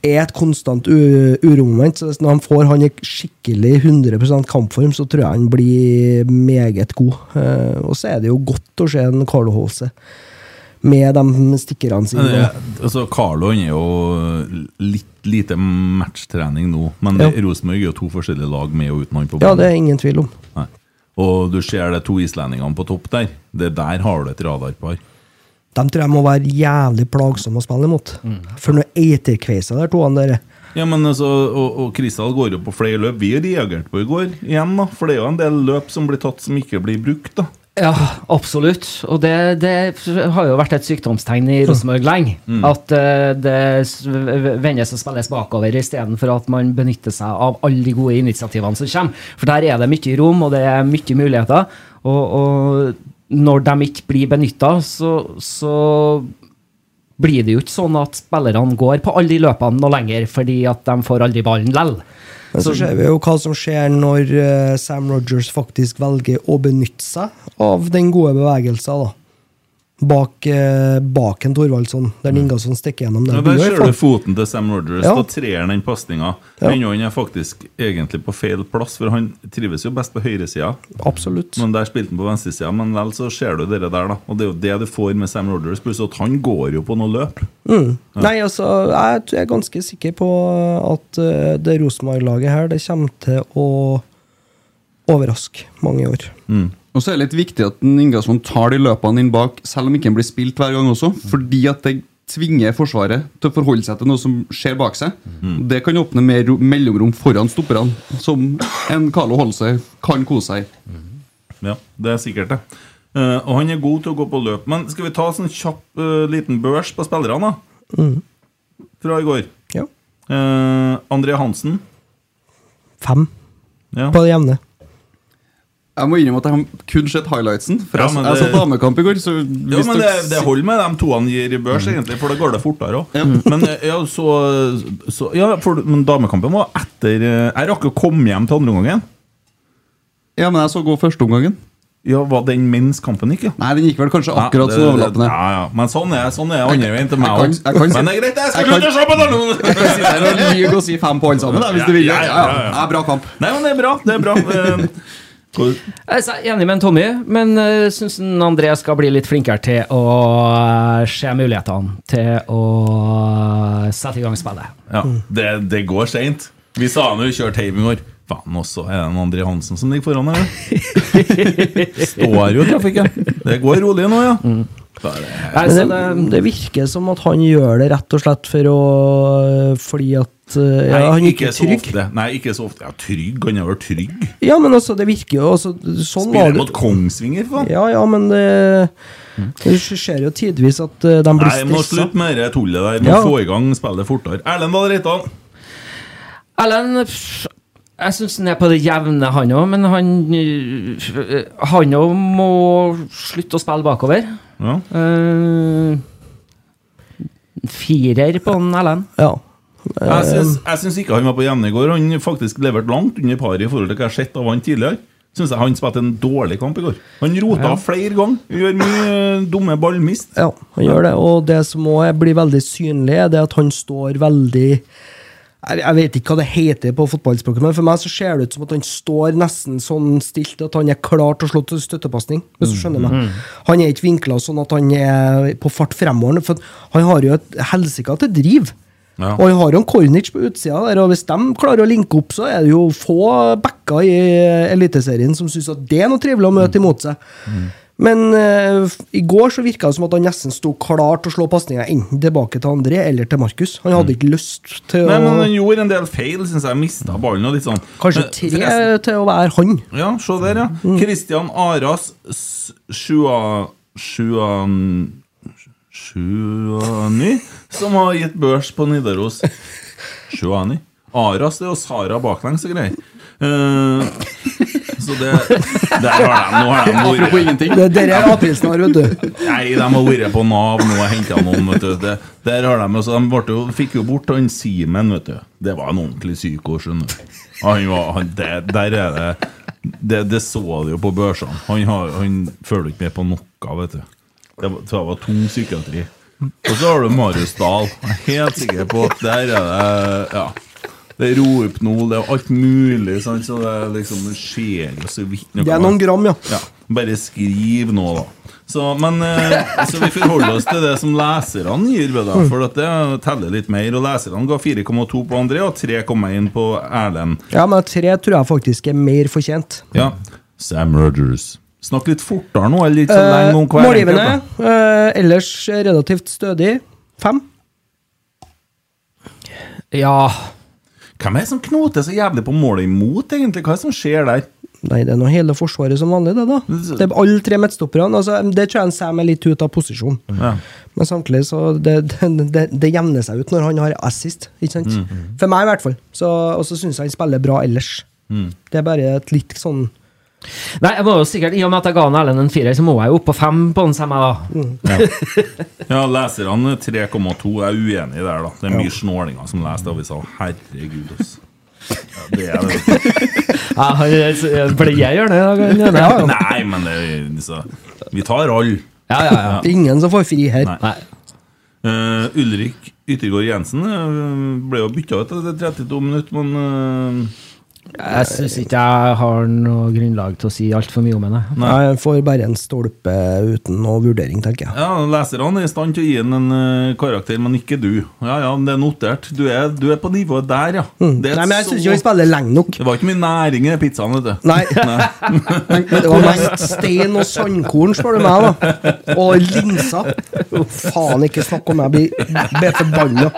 Speaker 6: er et konstant u- uromoment. så Når han får han i skikkelig 100 kampform, så tror jeg han blir meget god. Eh, og så er det jo godt å se en Carlo Holse med de stikkerne sine.
Speaker 4: Men det- Altså, Carlo han er jo eh, litt lite matchtrening nå, men
Speaker 6: Ja.
Speaker 4: Rosenborg er jo to forskjellige lag med og uten han på
Speaker 6: Ja, det er ingen tvil om.
Speaker 4: Nei. Og du ser det to islendingene på topp der. Det der har du et radarpar.
Speaker 6: De tror jeg må være jævlig plagsomme å spille imot. For når eiterkveiser der, to han der
Speaker 4: Ja, men altså, og, og Kristal går jo på flere løp. Vi reagerte på i går igjen, da. For det er jo en del løp som blir tatt som ikke blir brukt, da.
Speaker 5: Ja, absolutt. Og det, det har jo vært et sykdomstegn
Speaker 6: Mm.
Speaker 5: i Rosenborg lenge. At eh, det s- v- vendes og spilles bakover istedenfor at man benytter seg av alle de gode initiativene som kommer. For der er det mye rom, og det er mye muligheter. Og, og når de ikke blir benytta, så, så blir det jo ikke sånn at spillerne går på alle de løpene noe lenger, fordi at de får aldri ballen lell.
Speaker 6: Men så ser vi jo hva som skjer når eh, Sam Rogers faktisk velger å benytte seg av den gode bevegelsen da. Bak, eh, bak en Thorvaldsson, der Ningasson stikker gjennom.
Speaker 4: Ja, der
Speaker 6: Der blir jo
Speaker 4: ser du
Speaker 6: fatt-
Speaker 4: foten til Sam Rogers.
Speaker 6: Ja.
Speaker 4: Da trer han den pasninga.
Speaker 6: Ja.
Speaker 4: Men han er faktisk egentlig på feil plass, for han trives jo best på høyresida.
Speaker 6: Absolutt.
Speaker 4: Men der spilte han på venstresida, men likevel så ser du det der, da. Og det er jo det du får med Sam Rogers, pluss at han går jo på noe løp.
Speaker 6: Nei, altså, jeg t- jeg er ganske sikker på at eh, det Rosenborg-laget her, det kommer til å overraske mange i år.
Speaker 4: Mm.
Speaker 7: Og så er det litt viktig at en Ingasson tar de løpene inn bak, selv om ikke den blir spilt hver gang også.
Speaker 4: Mm.
Speaker 7: Fordi at det tvinger Forsvaret til å forholde seg til noe som skjer bak seg.
Speaker 4: Mm.
Speaker 7: Det kan åpne mer ro- mellomrom foran stopperne, som en Carlo Holse kan kose seg i.
Speaker 4: Ja, det er sikkert det. Eh, og han er god til å gå på løp. Men skal vi ta en sånn kjapp eh, liten børs på spillerne, da?
Speaker 6: Mm.
Speaker 4: Fra i går.
Speaker 6: Ja.
Speaker 4: Eh, André Hansen.
Speaker 6: Fem
Speaker 4: Ja.
Speaker 6: på det jevne.
Speaker 7: Jeg må innrømme at jeg har kun sett highlightsen. For
Speaker 4: Ja,
Speaker 7: jeg,
Speaker 4: men
Speaker 7: jeg
Speaker 4: det-
Speaker 7: satt damekamp i går, så
Speaker 4: Ja,
Speaker 7: hvis
Speaker 4: men det,
Speaker 7: dere-
Speaker 4: det holder med de to han gir i børs, egentlig, for da går det fortere òg. [laughs] Men eh, ja, så, så ja, for, Men damekampen var etter eh, Jeg rakk å komme hjem til andre omgangen.
Speaker 7: ja, men jeg så gå første omgangen.
Speaker 4: Ja, var den mens kampen gikk, ja?
Speaker 7: Nei, den gikk vel kanskje akkurat
Speaker 4: Ja,
Speaker 7: som
Speaker 4: det- [laughs]
Speaker 7: overlappende.
Speaker 4: Ja, ja. Men sånn er sånn er andre veien til meg
Speaker 7: jeg kan-
Speaker 4: også.
Speaker 7: jeg kan-
Speaker 4: Men det er greit, jeg skal
Speaker 7: jeg
Speaker 4: slutte å se på den! [laughs] andre.
Speaker 7: Jeg sitter [laughs] her og lyver og sier fem på alle sammen, da, hvis du vil. Ja, ja, ja. Ja, bra kamp.
Speaker 4: Nei, men det er bra. Det er bra. Eh, hvor-
Speaker 5: Jeg er så enig med en Tommy, men uh, syns en André skal bli litt flinkere til å eh, se mulighetene til å eh, sette i gang spillet.
Speaker 4: Ja, det, det går seint. Vi sa han jo kjørt heim i går. Faen også, er det en André Hansen som ligger foran her? da? Står jo i trafikken. Det går rolig nå, ja. Da er det-
Speaker 5: Nei, så
Speaker 6: Men
Speaker 5: det,
Speaker 6: det, det virker som at han gjør det rett og slett for å Fordi at eh, ja,
Speaker 4: Nei,
Speaker 6: Han er
Speaker 4: ikke
Speaker 6: ikke
Speaker 4: så
Speaker 6: trygg.
Speaker 4: ofte. Nei, ikke så ofte. Ja, trygg. Han er vel trygg?
Speaker 6: Ja, men altså, det virker jo altså, Sånn var
Speaker 4: Spiller mot
Speaker 6: det.
Speaker 4: Kongsvinger, faen. Mm.
Speaker 6: Ja, ja, men det, det skjer jo tidvis at eh,
Speaker 4: Nei,
Speaker 6: de
Speaker 4: må
Speaker 6: blir stressa.
Speaker 4: slutte med det tullet der. Må
Speaker 6: Ja.
Speaker 4: få i gang spillet fortere. Erlend Dahl Reitan.
Speaker 5: Ellen pff, Jeg syns han er på det jevne, han òg, men han eh, Han òg må slutte å spille bakover.
Speaker 4: Ja.
Speaker 5: Eh, firer på han Ellen.
Speaker 6: Ja.
Speaker 4: Jeg
Speaker 6: Eh,
Speaker 4: syns, jeg syns ikke han var på jevne i går. Han faktisk leverte langt under paret i forhold til hva jeg har sett av han tidligere. Syns jeg han spilte en dårlig kamp i går. Han rota flere ganger. Gjør mye eh, dumme ballmist.
Speaker 6: Ja, han gjør det. Og det som òg blir veldig synlig, er det at han står veldig jeg, jeg vet ikke hva det heter på fotballspråket, men for meg så ser det ut som at han står nesten sånn stilt at han er klar til å slå til støttepasning, hvis du skjønner meg. Han er ikke vinkla sånn at han er på fart fremover, for han har jo et helsika til driv.
Speaker 4: Ja.
Speaker 6: Og han har jo en Kornic på utsida der, og hvis de klarer å linke opp, så er det jo få backer i Eliteserien som syns at det er noe trivelig å møte imot seg. Men eh, f- i går så virka det som at han nesten sto klar til å slå pasninga enten tilbake til André eller til Markus. Han
Speaker 4: Mm.
Speaker 6: hadde ikke lyst til
Speaker 4: Nei, men
Speaker 6: å
Speaker 4: han gjorde en del feil, syns jeg. Mista ballen og litt sånn.
Speaker 6: Kanskje
Speaker 4: Men
Speaker 6: tre
Speaker 4: forresten-
Speaker 6: til å være han.
Speaker 4: Ja, se der, ja. Kristian Aras s- Sjua Sjua Sjuani, som har gitt børs på Nidaros. Sjuani. Aras det er jo Sara baklengs og greier. Eh, så det Der har de Nå har
Speaker 6: [laughs]
Speaker 4: de
Speaker 7: Apropos
Speaker 4: vært
Speaker 7: ingenting.
Speaker 6: Det er dere er aprilsen har, vet du.
Speaker 4: Nei, de har vært på Nav nå og henta noen, vet du. Det, der har de også, De ble jo, fikk jo bort han Simen, vet du. Det var en ordentlig psyko, skjønner du. Han var, han, det, der er det, det Det så du jo på børsene. Han, har, han følger ikke med på noe, vet du. Det var, det var tung psykiatri. Og så har du Marius Dahl. Jeg er helt sikker på at der er det Ja. Det er Rohypnol, det er alt mulig, sant? så det er liksom Det skjer jo så vidt noe.
Speaker 6: Det er noen gram, ja.
Speaker 4: Ja, bare skriv nå, da. Så, men, eh, så vi forholder oss til det som leserne gir, ved det, for at det teller litt mer. Og leserne ga 4,2 på André og 3,1 på Erlend.
Speaker 6: Ja, Men tre tror jeg faktisk er mer fortjent.
Speaker 4: Ja. Sam Rogers. Snakk litt fortere nå, eller ikke så lenge om hver
Speaker 6: Eh, Målgivende.
Speaker 4: enkelt,
Speaker 6: eh, ellers relativt stødig. Fem.
Speaker 5: Ja
Speaker 4: da. Hvem er det som knoter så jævlig på målet imot, egentlig? Hva er det som skjer der?
Speaker 6: Nei, det er nå hele Forsvaret som vanlig, det, da. Det er alle tre midtstopperne. Altså, det tror jeg en Sam er litt ute av posisjon.
Speaker 4: Ja.
Speaker 6: Men samtidig så det, det, det, det jevner seg ut når han har assist. Ikke sant?
Speaker 4: Mm,
Speaker 6: For meg, i hvert fall. Så- Og så syns jeg han spiller bra ellers.
Speaker 4: Mm.
Speaker 6: Det er bare et litt sånn
Speaker 5: Nei, jeg må jo sikkert, I og med at jeg ga han Erlend en firer, så må jeg jo opp på fem på han Sam. jeg da.
Speaker 6: Mm.
Speaker 4: Ja, leserne 3,2 er uenig der, da. Det er mye snålinger som leser avisa. Herregud, ass. Ja, det er det.
Speaker 5: Jeg har- jeg Ble Eh, jeg gjør det i dag? han gjør det.
Speaker 4: [laughs] Nei, men det er så. Vi tar alle.
Speaker 5: Ja, ja, ja.
Speaker 6: Ingen som får fri her.
Speaker 4: Nei. Eh, Ulrik Yttergård Jensen eh, ble jo bytta ut etter 32 minutter, men eh,
Speaker 5: Jeg syns ikke jeg har noe grunnlag til å si altfor mye om henne.
Speaker 6: Nei, Han får bare en stolpe uten noe vurdering, tenker jeg.
Speaker 4: Ja, leserne er i stand til å gi den en eh, karakter, men ikke du. Ja, ja, men det er notert. Du er, du er på nivået der, ja. Det er
Speaker 6: Mm. Nei, men jeg
Speaker 4: så-
Speaker 6: syns ikke han spiller lenge nok.
Speaker 4: det var ikke mye næring i den pizzaen, vet du. [laughs]
Speaker 6: Nei. Men det var mest stein og sandkorn, spør du meg, da. Og linser. Faen, ikke snakk om jeg blir blir forbanna.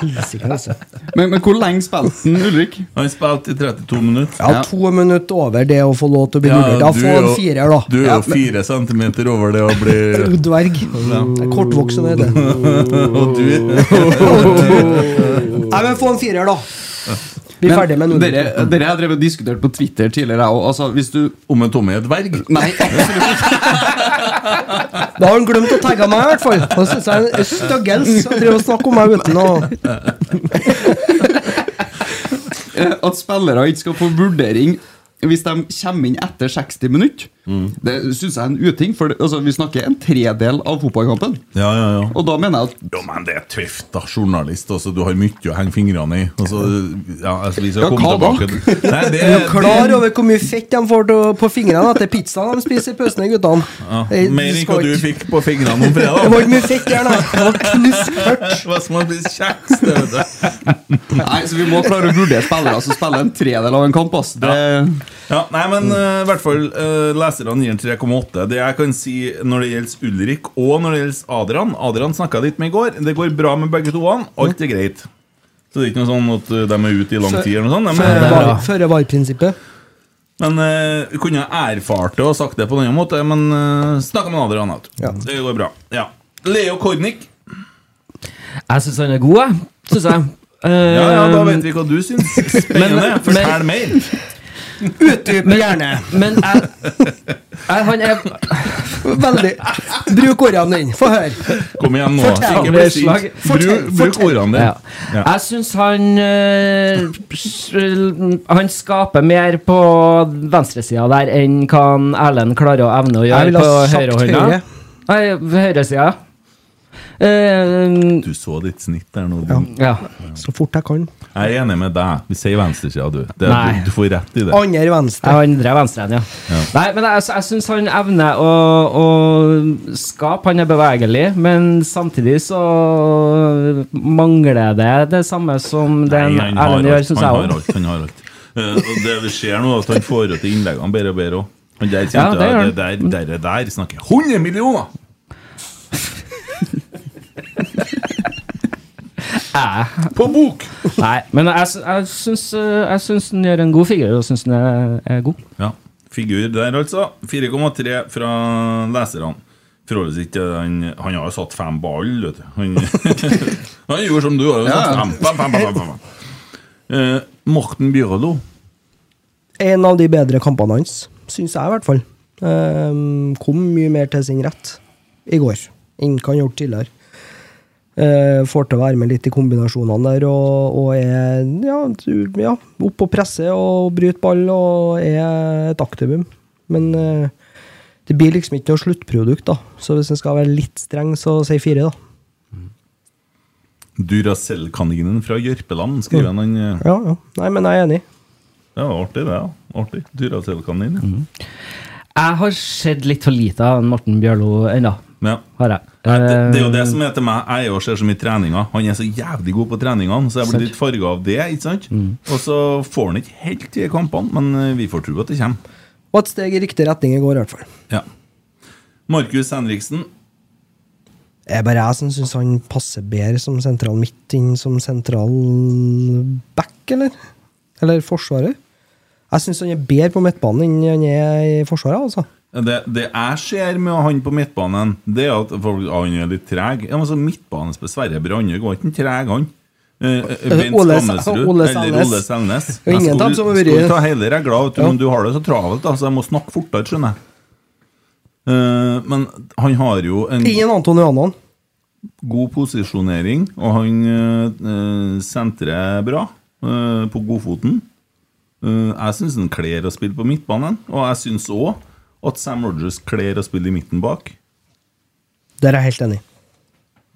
Speaker 6: Helsike, altså.
Speaker 7: Men, men hvor lenge spilte han,
Speaker 4: [laughs]
Speaker 7: Ulrik?
Speaker 4: Han spilte i 32 minutter.
Speaker 6: Ja, to minutter over det å få lov til å bli vurdert. Da
Speaker 4: du
Speaker 6: få
Speaker 4: er
Speaker 6: en
Speaker 4: jo-
Speaker 6: firer, da.
Speaker 4: Du er
Speaker 6: Ja,
Speaker 4: jo fire centimeter over det å bli
Speaker 6: [laughs] men- Dverg. Det er Kortvoksen er det.
Speaker 4: [laughs] Og du
Speaker 6: Nei, men få en firer, da. Vi er ferdig med
Speaker 7: Men Dere,
Speaker 6: null.
Speaker 7: dere har drevet og diskutert på Twitter tidligere, jeg òg. Altså, hvis du
Speaker 4: Om en tomme er et verg?
Speaker 7: Nei.
Speaker 4: [laughs]
Speaker 6: Da har han glemt å tagge meg, i hvert fall. Da syns jeg en støggels som driver og snakker om meg
Speaker 4: [laughs]
Speaker 6: uten å
Speaker 7: Eh, At spillere ikke skal få vurdering hvis de kommer inn etter 60 minutter,
Speaker 4: Mm.
Speaker 7: det syns jeg er en uting. For det, altså, vi snakker en tredel av fotballkampen.
Speaker 4: Ja, ja, ja.
Speaker 7: Og da mener jeg at
Speaker 4: Jo, men det er tøft, da. Journalist. Altså, du har mye å henge fingrene i. Altså, ja, altså, vi skal
Speaker 7: Ja,
Speaker 4: komme
Speaker 7: hva da?
Speaker 4: tilbake til- Nei, det,
Speaker 6: Er du klar over hvor mye fett de får til, på fingrene etter pizzaen de spiser i pausen, de guttene?
Speaker 4: ja,
Speaker 6: Eh,
Speaker 4: Mer
Speaker 6: de
Speaker 4: enn
Speaker 6: skal
Speaker 4: hva du
Speaker 6: ikke-
Speaker 4: fikk på fingrene om
Speaker 6: [laughs] Det var
Speaker 4: fredag.
Speaker 6: ikke mye fett der, nei. Det var knusktørt.
Speaker 4: Det var som å bli kjeks, det, vet du.
Speaker 7: Nei, så vi må klare å vurdere spillere som spiller en tredel av en kamp. Ass. Det,
Speaker 4: Ja, nei, men eh, i hvert fall eh, leserne gir den 3,8. Det jeg kan si når det gjelder Ulrik, og når det gjelder Adrian Adrian snakka litt med i går. Det går bra med begge to. han. Alt er greit. Så det er ikke noe sånn at eh, de er ute i lang tid eller noe sånt. De er-
Speaker 6: Føre-var-prinsippet.
Speaker 4: Men eh, vi kunne ha erfart det og sagt det på en annen måte, men uh, snakka med Adrian. vet du.
Speaker 6: Ja.
Speaker 4: Det går bra. Ja. Leo Kornik.
Speaker 5: Jeg syns han er god, jeg. Synes jeg.
Speaker 4: [laughs]
Speaker 5: Ehm,
Speaker 4: Ja, ja, da vet vi hva du syns. Spennende.
Speaker 5: Eh, Men-
Speaker 4: Fortell mer.
Speaker 5: Men, men jeg, jeg, han er
Speaker 6: Veldig. Bruk ordene dine. Få høre.
Speaker 4: Kom igjen nå.
Speaker 6: Fortell.
Speaker 4: Ikke bli
Speaker 5: [laughs] Slag.
Speaker 4: sint. Bruk, bruk ordene
Speaker 5: ja.
Speaker 4: dine. Ja.
Speaker 5: Jeg syns han eh, s- Han skaper mer på venstresida der enn hva han Erlend klarer å evne å
Speaker 6: Jeg
Speaker 5: gjøre
Speaker 6: ville
Speaker 5: på
Speaker 6: ha sagt
Speaker 5: høyrehånda.
Speaker 6: høyre.
Speaker 5: Nei, høyresida. Uh,
Speaker 4: Du så ditt snitt der nå.
Speaker 6: Ja.
Speaker 4: Bjørn.
Speaker 5: ja.
Speaker 6: Så fort jeg kan.
Speaker 4: Jeg er enig med deg. Vi sier venstresida, du. Det,
Speaker 5: Nei.
Speaker 4: du. Du får rett i det.
Speaker 6: Andre venstre.
Speaker 5: Jeg andre er venstre enn, ja. Nei, men jeg, jeg syns han evner å, å skape. Han er bevegelig, men samtidig så mangler det det samme som den
Speaker 4: Nei, han har
Speaker 5: Erlend gjør,
Speaker 4: alt.
Speaker 5: syns
Speaker 4: Han
Speaker 5: jeg
Speaker 4: har
Speaker 5: òg.
Speaker 4: alt. Han har alt. Eh, og det vi ser nå, er at han får ut de innleggene bedre og bedre òg. Han der
Speaker 5: Ja,
Speaker 4: kjente
Speaker 5: det gjør
Speaker 4: jeg, det der, der, der, der snakker 100 millioner! På bok!
Speaker 5: [laughs] Nei, men jeg, sy- jeg, syns, eh, jeg syns den gjør en god figur, og syns den er, er god.
Speaker 4: Ja, Figur der, altså. 4,3 fra leserne. Forholdes ikke til han, han har jo satt fem ball, vet du. Han, [laughs] han gjorde som du har jo satt
Speaker 7: Ja.
Speaker 4: fem. fem, fem, fem, fem, fem. Eh, Morten Bjørlo.
Speaker 6: En av de bedre kampene hans, syns jeg i hvert fall. Ehm, kom mye mer til sin rett i går enn hva han gjorde tidligere. Eh, får til å være med litt i kombinasjonene der og, og er ja, du- ja, opp og presse og bryte ball og er et aktivum. Men eh, det blir liksom ikke noe sluttprodukt, da. Så hvis en skal være litt streng, så si fire, da.
Speaker 4: Duracell-kaninen fra Jørpeland, skriver han. han. eh.
Speaker 6: Mm. Ja, ja. Nei, men jeg er enig.
Speaker 4: Det var artig, det. ja. Artig. Duracell-kanin. ja.
Speaker 6: Mm.
Speaker 5: Jeg har sett litt for lite av en Morten Bjørlo ennå,
Speaker 4: Ja.
Speaker 5: har jeg.
Speaker 4: Nei, det, det er jo det
Speaker 5: Eh,
Speaker 4: som er til meg. Jeg er jo ser så mye treninger. Han er så jævlig god på treningene, så jeg blir litt farga av det. ikke sant?
Speaker 6: Mm.
Speaker 4: Og så får han ikke helt til i kampene, men eh, vi får tro at det kommer.
Speaker 6: Og et steg i riktig retning i går, i hvert fall.
Speaker 4: Ja. Markus Henriksen.
Speaker 6: Det er bare jeg som syns han passer bedre som sentral midt inn som sentral back, eller? Eller forsvarer? Jeg syns han er bedre på midtbanen enn han er i Forsvaret. altså.
Speaker 4: Det, det jeg ser med han på midtbanen, det er at folk, ja, han er litt treg. Ja, men så Midtbanen på Sverre Brandøy var ikke en treg, han. Eh, eh, Bent
Speaker 6: Ole-
Speaker 4: Skammelsrud
Speaker 6: Ole
Speaker 4: eller
Speaker 6: Selnes.
Speaker 4: Ole Selnes.
Speaker 6: Det er jo
Speaker 4: Jeg
Speaker 6: ingen av dem som har vært-
Speaker 4: skulle ta hele regla, vet du,
Speaker 6: Ja.
Speaker 4: men du har det så travelt, da, så jeg må snakke fortere, skjønner jeg. Eh, men han har jo en
Speaker 6: Ingen Anton Johanan.
Speaker 4: god posisjonering, og han eh, eh, sentrer bra eh, på godfoten. Eh, jeg syns han kler å spille på midtbanen, og jeg syns òg at Sam Rogers kler å spille i midten bak.
Speaker 6: Der er jeg helt enig.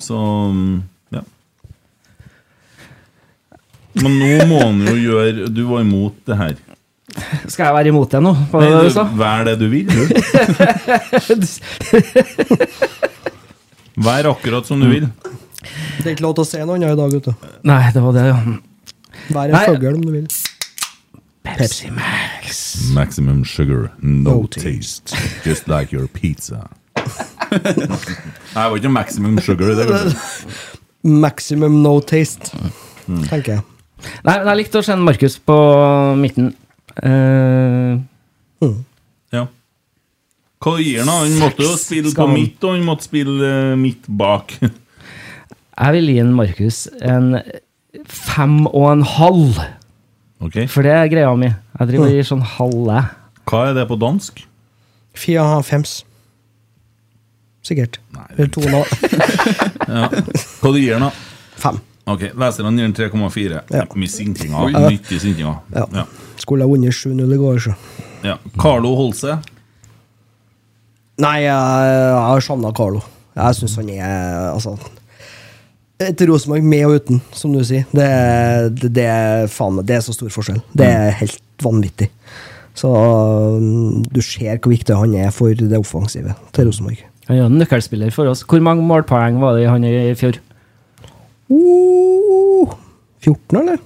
Speaker 4: Så mm, ja. Men nå må han jo gjøre Du var imot det her.
Speaker 5: Skal jeg være imot det nå? Hva
Speaker 4: Nei,
Speaker 5: var det du
Speaker 4: du,
Speaker 5: sa? [laughs]
Speaker 4: vær det du vil, du. [laughs] Vær akkurat som du vil.
Speaker 6: Det er ikke lov til å se noe annet i dag, vet du.
Speaker 5: Nei, det var det, ja.
Speaker 6: Vær en
Speaker 5: Nei.
Speaker 6: fugl om du vil.
Speaker 5: Pepsi Max.
Speaker 4: Maximum sugar, no,
Speaker 6: No
Speaker 4: taste. [laughs] Just like your pizza. Nei, det var ikke maximum sugar. Det var det.
Speaker 6: Maximum no taste, tenker jeg.
Speaker 5: Nei, men jeg likte å se Markus på midten. Eh,
Speaker 6: Mm.
Speaker 4: Ja. Hva gir han? da? Han måtte jo spille på
Speaker 5: Skal han-
Speaker 4: midt, og han måtte spille eh, midt bak.
Speaker 5: jeg vil gi en Markus en fem og en halv,
Speaker 4: Ok,
Speaker 5: for det er greia mi. Jeg
Speaker 6: Mm.
Speaker 5: driver og gir sånn halve.
Speaker 4: Hva er det på dansk?
Speaker 6: Fia har fems. Sikkert.
Speaker 4: Nei, det-
Speaker 6: Eller to og en halv.
Speaker 4: Hva du gir han, da?
Speaker 6: Fem.
Speaker 4: Ok, Leserne gir han 3,4.
Speaker 6: Ja.
Speaker 4: Mye sinkinga.
Speaker 7: Oi.
Speaker 4: Nyttig sinkinga.
Speaker 6: Ja.
Speaker 4: [laughs] Ja.
Speaker 6: Skulle ha vunnet 7-0 i går, så.
Speaker 4: Ja. Carlo Holse.
Speaker 6: Nei, jeg, jeg har savna Carlo. Jeg syns han er altså, Et Rosenborg med og uten, som du sier. Det, det, det, er faen, meg- det er så stor forskjell. Det er helt vanvittig. Så mm, du ser hvor viktig han er for det offensive til Rosenborg.
Speaker 5: Han er jo en nøkkelspiller for oss. Hvor mange målpoeng var det han i fjor?
Speaker 6: Oh, 14, eller?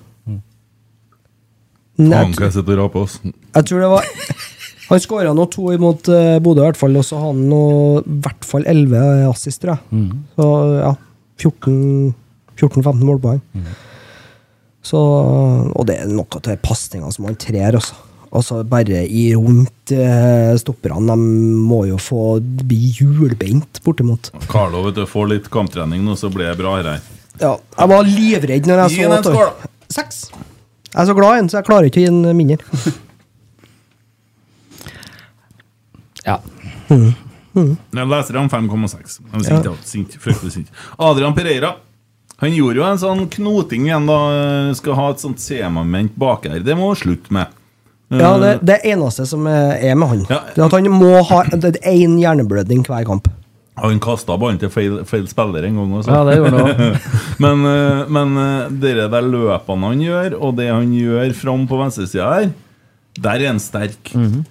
Speaker 6: Nei, jeg
Speaker 4: jeg sitter og raper oss.
Speaker 6: Jeg tror det var Han skåra nå to imot eh, Bodø, i hvert fall, og så har han nå i hvert fall 11 assist, tror jeg. Så ja, 14 14-15 målpoeng. Så, og det er noe til pasninga som han trer, altså. Altså Bare i rundt eh, stopperne. De må jo få bli hjulbeint, bortimot.
Speaker 4: Carlo vet du, får litt kamptrening nå, så blir det bra her.
Speaker 6: Ja, jeg var livredd når jeg
Speaker 4: Gi
Speaker 6: så
Speaker 4: den en skål, da.
Speaker 6: Seks. Jeg er så glad i den, så jeg klarer ikke å gi den
Speaker 4: [laughs]
Speaker 6: mindre.
Speaker 5: Ja.
Speaker 4: Jeg leser om 5,6. Han er sint, ja. sint, fryktelig sint. Adrian Pereira. Han gjorde jo en sånn knoting igjen, da. eh, Skal ha et sånt semamoment bak her. Det må hun slutte med. Eh,
Speaker 6: Ja, det, det eneste som er er med han,
Speaker 4: Ja.
Speaker 6: det er at han må ha én hjerneblødning hver kamp.
Speaker 4: Han kasta ballen til feil, feil spiller en gang. Også.
Speaker 5: ja, det gjorde han òg.
Speaker 4: [laughs] men, eh, men eh, dere der løpene han gjør, og det han gjør fram på venstresida her, der er han sterk.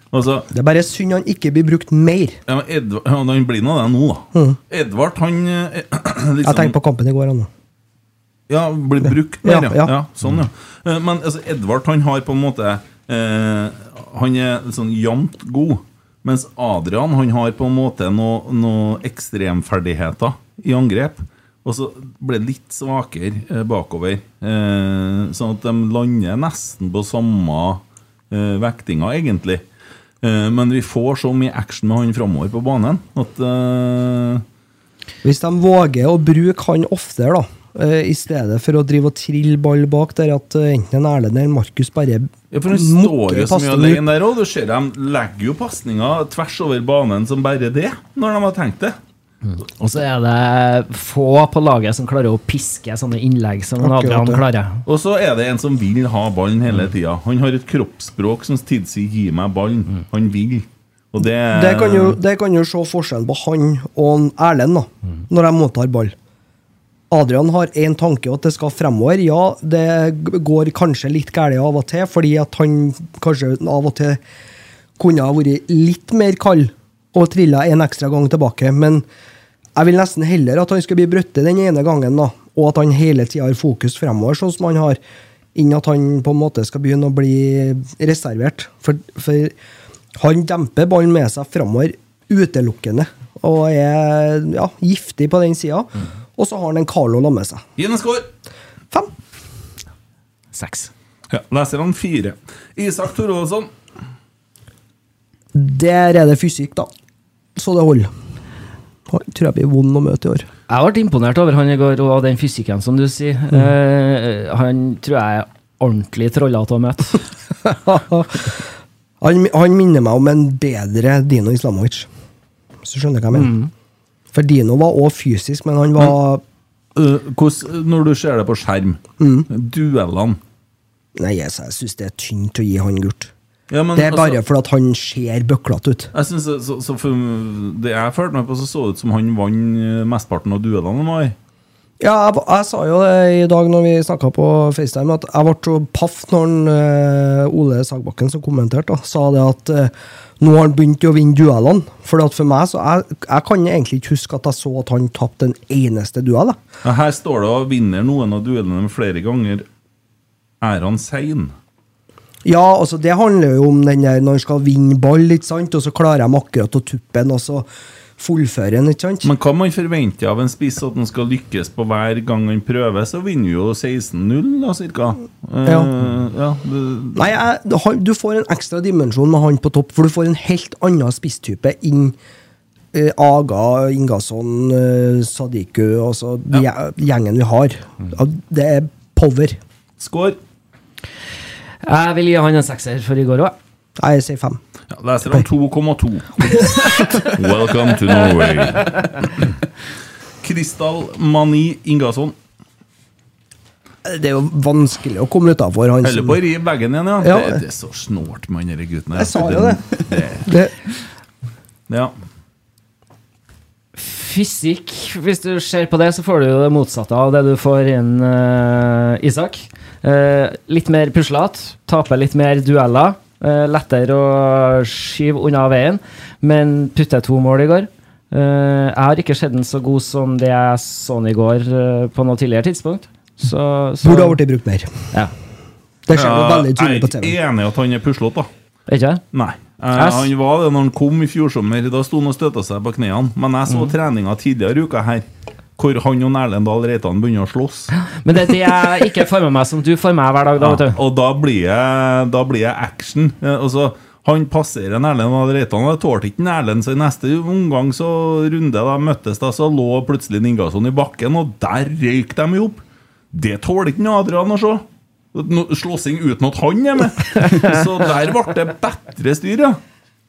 Speaker 4: Altså,
Speaker 6: Det er bare synd han ikke blir brukt mer. Mm.
Speaker 4: ja, men Edvard, ja, Han blir nå det nå, da. Edvard, han eh, [clears throat] liksom,
Speaker 6: Hmm. Jeg tenkte på kampen i går. Han.
Speaker 4: Ja, blir brukt mer, ja.
Speaker 6: Ja,
Speaker 4: ja.
Speaker 6: ja.
Speaker 4: sånn, ja. Eh, Men altså, Edvard han har på en måte eh, Han er sånn jevnt god, mens Adrian han har på en måte noe- noe ekstremferdigheter i angrep. Og så ble det litt svakere eh, bakover. Eh, sånn at de lander nesten på samme eh, vektinga, egentlig. Eh, men vi får så mye action med han framover på banen at eh,
Speaker 6: Hvis de våger å bruke han oftere, da, eh, i stedet for å drive og trille ball bak der at eh, enten en Erlend eller Markus bare
Speaker 4: Ja, for han står jo så mye
Speaker 6: pasningen ut.
Speaker 4: alene der òg. Du ser dem legger jo pasninger tvers over banen som bare det, når de har tenkt det.
Speaker 5: Og så er det få på laget som klarer å piske sånne innlegg som
Speaker 6: Akkurat
Speaker 5: Adrian
Speaker 6: det.
Speaker 5: klarer.
Speaker 4: Og så er det en som vil ha ballen hele tida. Han har et kroppsspråk som tilsier 'gi meg ballen'. Han vil. Og det
Speaker 6: Det kan, jo, det kan jo se forskjellen på han og en Erlend da, når de mottar ball. Adrian har én tanke, at det skal fremover. Ja, det g- går kanskje litt galt av og til, fordi at han kanskje av og til kunne ha vært litt mer kald og trilla en ekstra gang tilbake. Men jeg vil nesten heller at han skal bli brøtte den ene gangen, da, og at han hele tida har fokus fremover, sånn som han har, enn at han på en måte skal begynne å bli reservert. For, for han demper ballen med seg fremover utelukkende, og er ja, giftig på den sida. Og så har han en Carlo la med seg.
Speaker 4: Gi den en score!
Speaker 6: Fem.
Speaker 5: Seks.
Speaker 4: Ja, Leserne fire. Isak Thorvaldsson.
Speaker 6: Der er det fysikk, da. Så det holder. Han tror jeg blir vond å møte i år.
Speaker 5: Jeg ble imponert over han i går og den fysikken, som du sier.
Speaker 6: Mm.
Speaker 5: Eh, han tror jeg er ordentlig trollete å
Speaker 6: [laughs]
Speaker 5: møte.
Speaker 6: han, han minner meg om en bedre Dino Islamovic. Hvis du skjønner hva jeg mener.
Speaker 4: Mm.
Speaker 6: For Dino var òg fysisk, men han var
Speaker 4: Øh, hvordan- når du ser det på skjerm, duellene
Speaker 6: Mm. Nei, altså, jeg, jeg syns det er tynt å gi han gult.
Speaker 4: Ja, men
Speaker 6: Det er bare
Speaker 4: altså-
Speaker 6: fordi at han ser bøklete ut.
Speaker 4: Jeg synes, så, så for Det jeg følte meg på, så så det ut som han vant eh, mesteparten av duellene han var i.
Speaker 6: Ja, jeg, ba- jeg sa jo det i dag når vi snakka på FaceTime, at jeg ble så paff når han, eh, Ole Sagbakken, som kommenterte, da, sa det at eh, nå har han begynt å vinne duellene. For at for meg, så jeg, jeg kan egentlig ikke huske at jeg så at han tapte en eneste duell. Jeg.
Speaker 4: Ja, Her står det å vinner noen av duellene flere ganger. Er han sein?
Speaker 6: Ja, altså det handler jo om den der når han skal vinne ball, ikke sant, og så klarer de akkurat å tuppe den, og så fullføre den, ikke sant.
Speaker 4: Men hva man forventer av en spiss at han skal lykkes på hver gang han prøver, så vinner jo 16-0, da, cirka. Eh,
Speaker 6: Ja.
Speaker 4: ja, det,
Speaker 6: Nei, jeg, det har- du får en ekstra dimensjon med han på topp, for du får en helt annen spisstype inn eh, Aga, Ingasson, eh, Sadiku, altså gje- gjengen vi har. Ja, det er power.
Speaker 4: skår!
Speaker 5: Jeg vil gi han en sekser for i går òg.
Speaker 6: Nei, Jeg sier fem.
Speaker 4: Ja, leser han
Speaker 6: [laughs]
Speaker 4: 2,2. Welcome to Norway. Kristall Mani Ingasson.
Speaker 6: Det er jo vanskelig å komme utafor han
Speaker 4: Holder
Speaker 6: som
Speaker 4: på å rive veggen igjen, ja.
Speaker 6: Ja.
Speaker 4: Det, det er så snålt med han denne gutten. her.
Speaker 6: Jeg sa jo det. det.
Speaker 4: Ja.
Speaker 5: Fysikk Hvis du ser på det, så får du jo det motsatte av det du får inn eh, Isak. Eh, litt mer puslete. Taper litt mer dueller. eh, lettere å skyve unna veien. Men putter to mål i går. Eh, jeg har ikke sett den så god som det jeg så den i går eh, på noe tidligere tidspunkt. Så, så
Speaker 6: Burde ha blitt brukt mer.
Speaker 5: Ja.
Speaker 6: Det ser jo
Speaker 4: Ja,
Speaker 6: veldig
Speaker 4: jeg
Speaker 6: tydelig på
Speaker 4: er
Speaker 6: TV.
Speaker 4: ikke enig i at han er puslete, da.
Speaker 5: Er ikke det?
Speaker 4: Nei. Eh,
Speaker 5: Jeg s-
Speaker 4: han var det når han kom i fjor sommer. Da sto han og støtta seg på knærne. Men jeg så
Speaker 5: Mhm.
Speaker 4: treninga tidligere i uka her, hvor han og Erlend Dahl Reitan begynner å slåss.
Speaker 5: [gasps] Men det er det jeg ikke får med meg, som du får med hver dag. da,
Speaker 4: Ja,
Speaker 5: vet du
Speaker 4: og da blir jeg, da blir jeg action. Eh, Altså, han passerer en Erlend Dahl Reitan, og jeg tålte ikke en Erlend, så i neste omgang så runde da møttes, da, så lå plutselig Ningasson i bakken, og der røyk de i hop. Det tåler ikke noe Adrian å se. No, slåssing uten at han er
Speaker 6: [laughs]
Speaker 4: med. Så der ble det bedre styr, ja.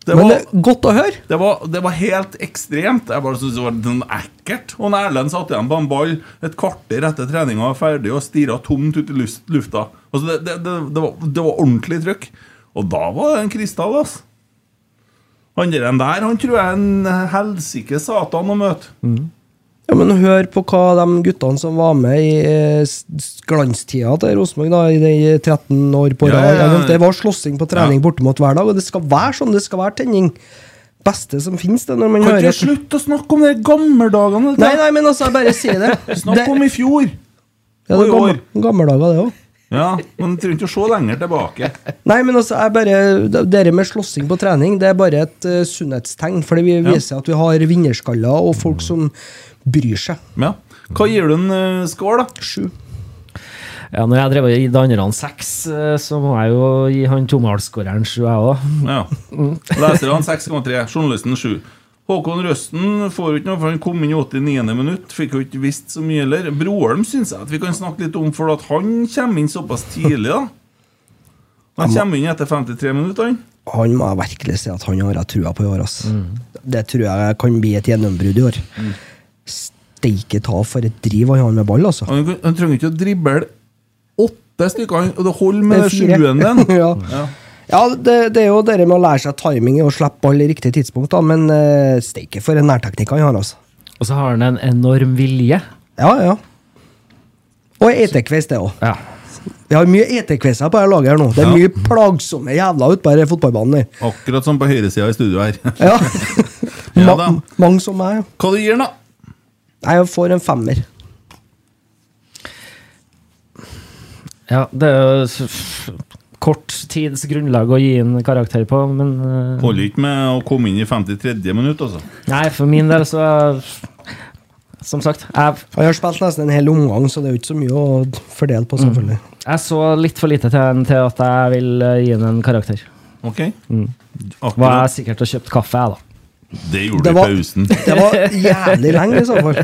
Speaker 4: Det
Speaker 6: Men
Speaker 4: var-
Speaker 6: det er godt å høre.
Speaker 4: det var, det var helt ekstremt. Jeg bare syntes det var sånn ekkelt. Og når Erlend satt igjen på en ball et kvarter etter treninga var ferdig og stirra tomt ut i lus- lufta altså det, det, det, det, var, det var ordentlig trøkk. Og da var det en krystall, altså. Han der, enn der han tror jeg er en helsike satan å møte.
Speaker 6: Ja, men hør på hva de guttene som var med i eh, s- s- glanstida til Rosenborg da, i de 13 år på
Speaker 4: Ja,
Speaker 6: rad.
Speaker 4: ja, ja.
Speaker 6: Det var slåssing på trening bortimot hver dag, og det skal være sånn, det skal være tenning. Beste som finnes det når man
Speaker 4: Kan
Speaker 6: hører
Speaker 4: ikke slutte å snakke om de gammeldagene?
Speaker 6: Nei, nei, men altså, jeg bare sier det.
Speaker 4: [laughs] Snakk om i fjor!
Speaker 6: ja, det
Speaker 4: i
Speaker 6: er
Speaker 4: år.
Speaker 6: gammel, gammeldager, det òg.
Speaker 4: Ja, men du trenger ikke å se lenger tilbake.
Speaker 6: Nei, men altså, jeg bare, det det med slåssing på trening det er bare et eh, sunnhetstegn. For det viser at vi har vinnerskaller og folk som bryr seg.
Speaker 4: Ja. Hva gir du en eh, skål, da?
Speaker 6: Sju.
Speaker 5: Ja, Når jeg drev og gitt andre han seks, eh, så må jeg jo gi han tomålsskåreren sju, jeg Mm. òg.
Speaker 4: Ja. Leserne 6,3, journalisten 7. Håkon Røsten får jo ikke noe, for han kom inn i 89. minutt. Fikk jo ikke visst så mye heller. Broholm syns jeg at vi kan snakke litt om, for at han kommer inn såpass tidlig, da. Han kommer inn etter 53 minutter, han.
Speaker 6: Han må jeg virkelig si at han har jeg trua på i år. Ass.
Speaker 4: Mm.
Speaker 6: Det tror jeg kan bli et gjennombrudd i år. Steike ta for et driv han har med ball, altså.
Speaker 4: Han, kan- han trenger ikke å drible åtte stykker, han. Og det holder med
Speaker 6: Det er fire.
Speaker 4: sjuende.
Speaker 6: [laughs] ja.
Speaker 4: Ja.
Speaker 6: Ja, det, det er jo det med å lære seg timing og slippe ball i riktig tidspunkt, da, men uh, steike for en nærteknikk han har, altså.
Speaker 5: Og så har han en enorm vilje.
Speaker 6: Ja, ja. Og etekveis, det òg.
Speaker 5: Ja.
Speaker 6: Vi har mye etekveiser på dette laget her nå. Det er mye plagsomme jævla ute på denne fotballbanen. her.
Speaker 4: Akkurat som på høyresida i studio her.
Speaker 6: Ja.
Speaker 4: Ja da.
Speaker 6: Ma mange som meg. ja.
Speaker 4: [laughs] Hva du gir han, da?
Speaker 6: Nei, Jeg får en femmer.
Speaker 5: Det er jo s- kort tids grunnlag å gi en karakter på, men eh,
Speaker 4: Holder ikke med å komme inn i 53. minutt, altså.
Speaker 5: Nei, for min del så Som sagt, jeg
Speaker 4: Mm.
Speaker 6: Og Jeg har spilt nesten en hel omgang, så det er jo ikke så mye å fordele på, selvfølgelig.
Speaker 5: Jeg så litt for lite til den til at jeg vil eh, gi den en karakter. Mm.
Speaker 4: Ok?
Speaker 5: Var jeg
Speaker 4: Akkurat.
Speaker 5: sikkert og kjøpte kaffe, jeg, da.
Speaker 4: Det gjorde
Speaker 6: Det
Speaker 4: du i
Speaker 6: var-
Speaker 4: pausen.
Speaker 6: Det var
Speaker 5: [laughs]
Speaker 6: jævlig lenge, i så fall.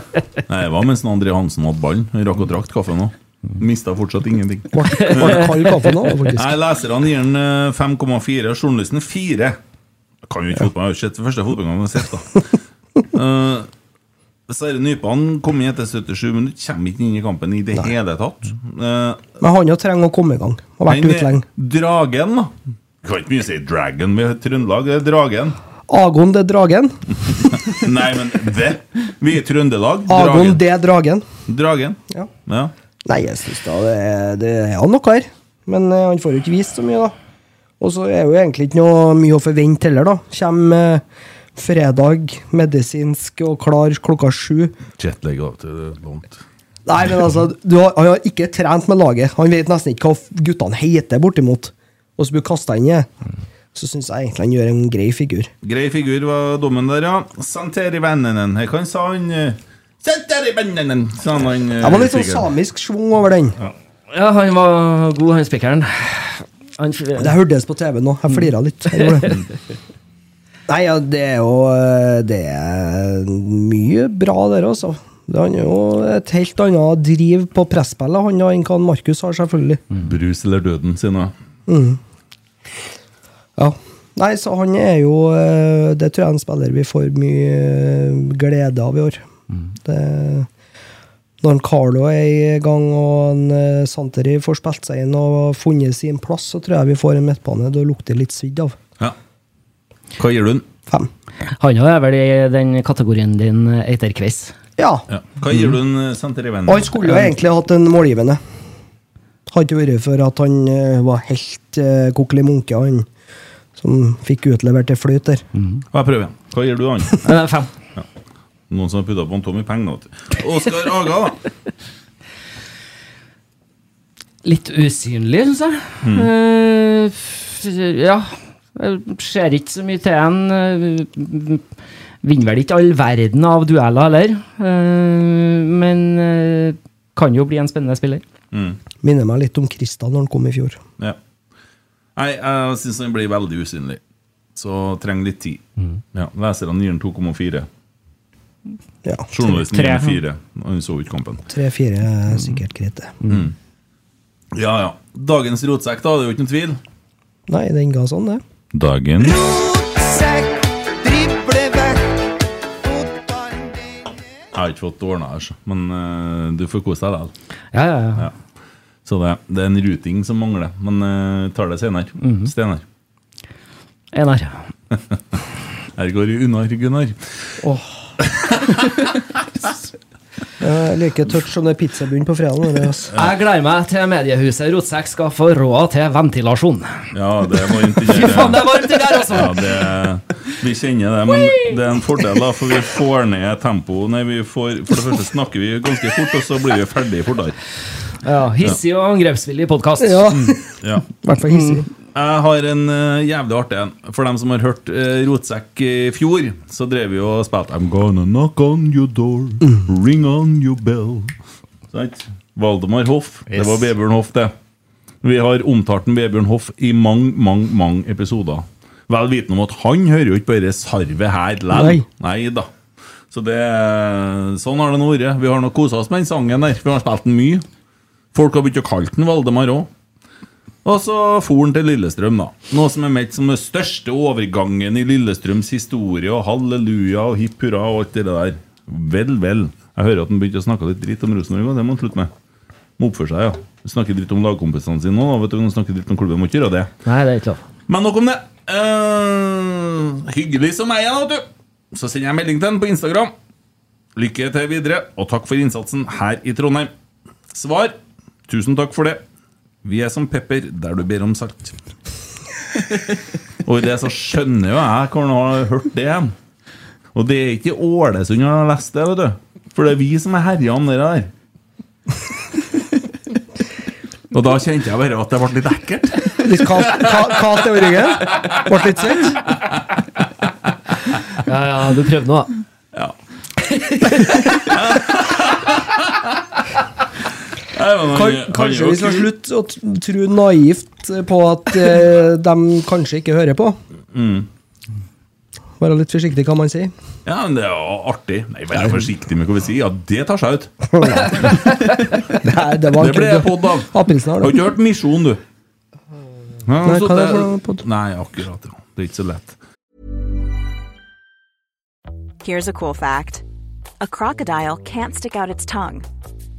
Speaker 4: Nei, det var mens André Hansen hadde ballen. Han rakk å drakk kaffen òg. Mista fortsatt ingenting.
Speaker 6: Ble ble kald kaffe nå, faktisk.
Speaker 4: Nei, leserne gir den eh, 5,4, journalisten 4. Jeg kan jo ikke fotball, jeg har jo ikke sett den første fotballkampen jeg har sett, da. Eh, Sverre Nypan kom inn etter 77 minutter, kommer ikke inn i kampen i det hele tatt. Eh,
Speaker 6: Men han jo trenger å komme i gang. Har vært
Speaker 4: men, eh,
Speaker 6: ute lenge.
Speaker 4: Dragen, da. Vi kan ikke mye si Dragon med Trøndelag, det er Dragen.
Speaker 6: Agon, det er dragen.
Speaker 4: [laughs] Nei, men det Vi er i Trøndelag.
Speaker 6: Agon,
Speaker 4: Dragen.
Speaker 6: det er dragen.
Speaker 4: Dragen.
Speaker 6: Ja.
Speaker 4: Ja.
Speaker 6: Nei, jeg syns da det er, det er han noe her. Men eh, han får jo ikke vist så mye, da. Og så er jo egentlig ikke noe mye å forvente heller, da. Kjem eh, fredag, medisinsk og klar klokka sju.
Speaker 4: Jetlag av til vondt.
Speaker 6: Nei, men altså, du har, han har ikke trent med laget. Han vet nesten ikke hva f- guttene heter, bortimot. Og så blir kasta inn i det. Så syns jeg egentlig han gjør en grei figur.
Speaker 4: Grei figur var dommen der, ja. Santeri Vennenen. Her kan sa han eh, Santeri Vennenen, sa han han eh,
Speaker 6: Det var litt sånn
Speaker 4: spikeren.
Speaker 6: samisk schwung over den.
Speaker 5: Ja, han var god, han spikeren. Han f-
Speaker 6: Det hørtes på TV nå. Jeg flira litt. Jeg gjorde det. [laughs] Nei, ja, det er jo eh, Det er mye bra der, altså. Det- Han er jo et helt annet driv på presspillet han har enn hva Markus har, selvfølgelig. Mm.
Speaker 4: Brus eller døden, sier han.
Speaker 6: Ja. Nei, så han er jo eh, Det tror jeg er en spiller vi får mye eh, glede av i år. Det, når en Carlo er i gang og en eh, Santeri får spilt seg inn og funnet sin plass, så tror jeg vi får en midtbane det lukter litt svidd av.
Speaker 4: Ja. [laughs] Hva gir du den?
Speaker 6: Fem.
Speaker 5: Han jo er vel i den kategorien din, Eiterkveis.
Speaker 6: Ja.
Speaker 4: Ja. Hva gir du den, eh, Santeri
Speaker 6: Og han
Speaker 4: Vennenen?
Speaker 6: skulle jo egentlig hatt en målgivende. Hadde ikke vært for at han eh, var helt uh, kokelig munke, han som fikk utlevert en fløyt der.
Speaker 4: Jeg prøver igjen. Hva gir du
Speaker 5: [laughs]
Speaker 4: han?
Speaker 5: Nei, det er Eh, fem.
Speaker 4: Noen som har putta på en Tommy penger, vet du. Oskar
Speaker 5: [laughs]
Speaker 4: Aga, da.
Speaker 5: Litt usynlig, syns jeg.
Speaker 4: Mm.
Speaker 5: Eh, f- ja. Jeg ser ikke så mye til en. eh, Vinner vel ikke all verden av dueller heller. Eh, men eh, kan jo bli en spennende spiller.
Speaker 4: Mm.
Speaker 6: Minner meg litt om Kristian når han kom i fjor.
Speaker 4: Ja. Nei, jeg syns han blir veldig usynlig. Så trenger litt tid.
Speaker 5: Mm.
Speaker 4: Ja, Leserne gir den 2,4.
Speaker 6: Ja,
Speaker 4: Journalisten gir
Speaker 5: Tre.
Speaker 4: den 4. Han så ikke kampen.
Speaker 6: Tre-fire
Speaker 4: Mm.
Speaker 6: er sikkert greit, det.
Speaker 4: Ja, ja. Dagens rotsekk, da. Det er jo ikke noen tvil.
Speaker 6: Nei, den ga sånn, det.
Speaker 4: Dagen Jeg har ikke fått ordna her, så. men eh, du får kose deg likevel.
Speaker 5: Ja, ja, ja.
Speaker 4: Så det, det er en ruting som mangler, men uh, tar det senere.
Speaker 5: Mhm.
Speaker 4: Steinar.
Speaker 5: Einar.
Speaker 4: [laughs] Her går det unna, Gunnar.
Speaker 6: Jeg liker touch som det pizzabunn på fredagen. Det, altså.
Speaker 5: Jeg gleder meg til mediehuset Rotsekk skal få råd til ventilasjon.
Speaker 4: Ja, det var ikke det.
Speaker 5: Fy faen, det er varmt det der, altså!
Speaker 4: Ja, det, vi kjenner det, men det er en fordel, da, for vi får ned tempoet. Nei, vi får- For det første snakker vi ganske fort, og så blir vi ferdig fortere.
Speaker 5: Ja, hissig og angrepsvillig podkast.
Speaker 6: ja,
Speaker 4: Mm, Ja. Mm.
Speaker 6: i hvert fall hissig.
Speaker 4: Jeg har en eh, jævlig artig en. For dem som har hørt eh, Rotsekk i fjor, så drev vi og spilte I'm gonna knock on your door, ring on your bell. Sant? Valdemar Hoff. Det var Vebjørn Hoff, det. Vi har omtalt en Vebjørn Hoff i mange, mange mange episoder. Vel vitende om at han hører jo ikke bare sarvet her likevel.
Speaker 6: Nei.
Speaker 4: Nei da. Så det, sånn har det nå vært. Vi har nå kosa oss med den sangen der. Vi har spilt den mye. Folk har begynt å kalle den Valdemar òg. Og så for han til Lillestrøm, da. Noe som er meldt som den største overgangen i Lillestrøms historie. Og halleluja og hipp hurra og alt det der. Vel, vel. Jeg hører at han begynte å snakke litt dritt om Rosenborg, og det må han slutte med. Må oppføre seg, ja. Snakke dritt om lagkompisene sine nå, da. Vet du, når du snakker dritt om klubben, må ikke gjøre det.
Speaker 5: Nei, det er ikke lov.
Speaker 4: Men nok om det. Eh, hyggelig som meg, da, vet du. Så sender jeg melding til den på Instagram. Lykke til videre, og takk for innsatsen her i Trondheim. Svar. Tusen takk for det. Vi er som pepper der du ber om salt. og i det så skjønner jo jeg hvor han har hørt det. hen. Og det er ikke i Ålesund han har lest det, vet du. For det er vi som er herja om det der. og da kjente jeg bare at det ble litt ekkelt.
Speaker 6: Litt kaldt ka i ryggen. Ble litt
Speaker 8: [laughs]
Speaker 6: svett.
Speaker 5: Ja, ja, du prøvde nå, da.
Speaker 4: Ja.
Speaker 6: Kan- Kanskje vi skal slutte å t- tro naivt på at eh, de kanskje ikke hører på.
Speaker 4: Mm.
Speaker 6: Være litt forsiktig hva man sier.
Speaker 4: Ja, men det er jo artig. Nei, vær forsiktig med hva vi sier. Ja, det tar seg ut.
Speaker 6: [laughs] Nei, det var
Speaker 4: Det ble
Speaker 6: ikke
Speaker 4: pod av. Har
Speaker 6: aprilsnarr,
Speaker 4: du
Speaker 6: da.
Speaker 4: ikke hørt Misjon, du? Ja,
Speaker 6: Nei,
Speaker 4: så
Speaker 6: hva er det for noe pod?
Speaker 4: Nei, akkurat. ja. Det er ikke så lett.
Speaker 9: Here's a cool fact a crocodile can't stick out its tongue.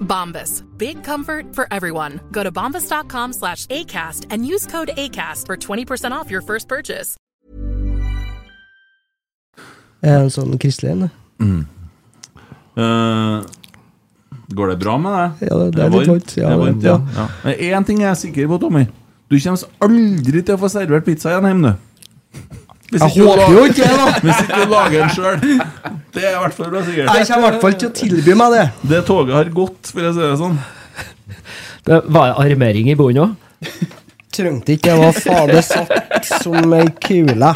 Speaker 3: Bombas. Big comfort for everyone. Go to bombas.com slash ACAST and use code ACAST for 20% off your first purchase.
Speaker 6: Er det en sånn kristelig en? det?
Speaker 4: Eh, går det bra med deg?
Speaker 6: Ja, det- det er litt varmt. Ja,
Speaker 4: Ja, det er varmt, ja.
Speaker 6: det- ja.
Speaker 4: ja. Men Én ting er jeg sikker på, Tommy. Du kommer aldri til å få servert pizza igjen hjemme, du. Hvis
Speaker 6: Jeg
Speaker 4: ikke du
Speaker 6: håper
Speaker 4: lager-
Speaker 6: jo ikke det, da!
Speaker 4: [laughs] Hvis ikke du lager den sjøl. Det er i hvert fall bra sikkert.
Speaker 6: Jeg kommer i hvert fall til å tilby meg det.
Speaker 4: Det toget har gått, for å si det sånn.
Speaker 5: Det var armering i bunnen òg.
Speaker 6: Trengte ikke, jeg var fader satt som ei kule,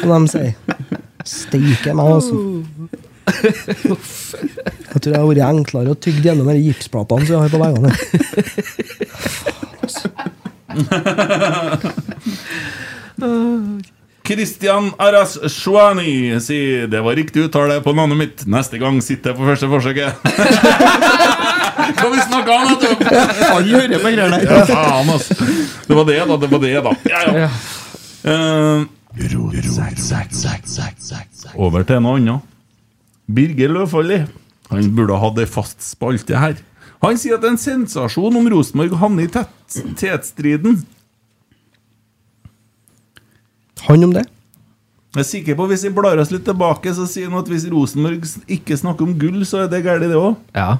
Speaker 6: som de sier. Steike meg, altså. Jeg tror det hadde vært enklere å tygge gjennom de gipsplatene som jeg har på altså. veggene.
Speaker 4: Christian Aras Shwani sier det var riktig uttale på navnet mitt. Neste gang sitter jeg på første forsøket.
Speaker 7: [laughs]
Speaker 4: Kan vi snakke om det? du?
Speaker 7: Alle hører på greiene der.
Speaker 4: Ja, faen, ass. Det var det, da. Det var det, da. Ja, ja. Eh, over til noe annet. Birger Løvfalli. Han burde ha hatt ei fast spalte her. Han sier at det er en sensasjon om Rosenborg havner i tett- tetstriden.
Speaker 6: Han om det.
Speaker 4: Jeg er sikker på Hvis vi blar oss litt tilbake, så sier han at hvis Rosenborg s- ikke snakker om gull, så er det galt, det òg.
Speaker 5: Ja.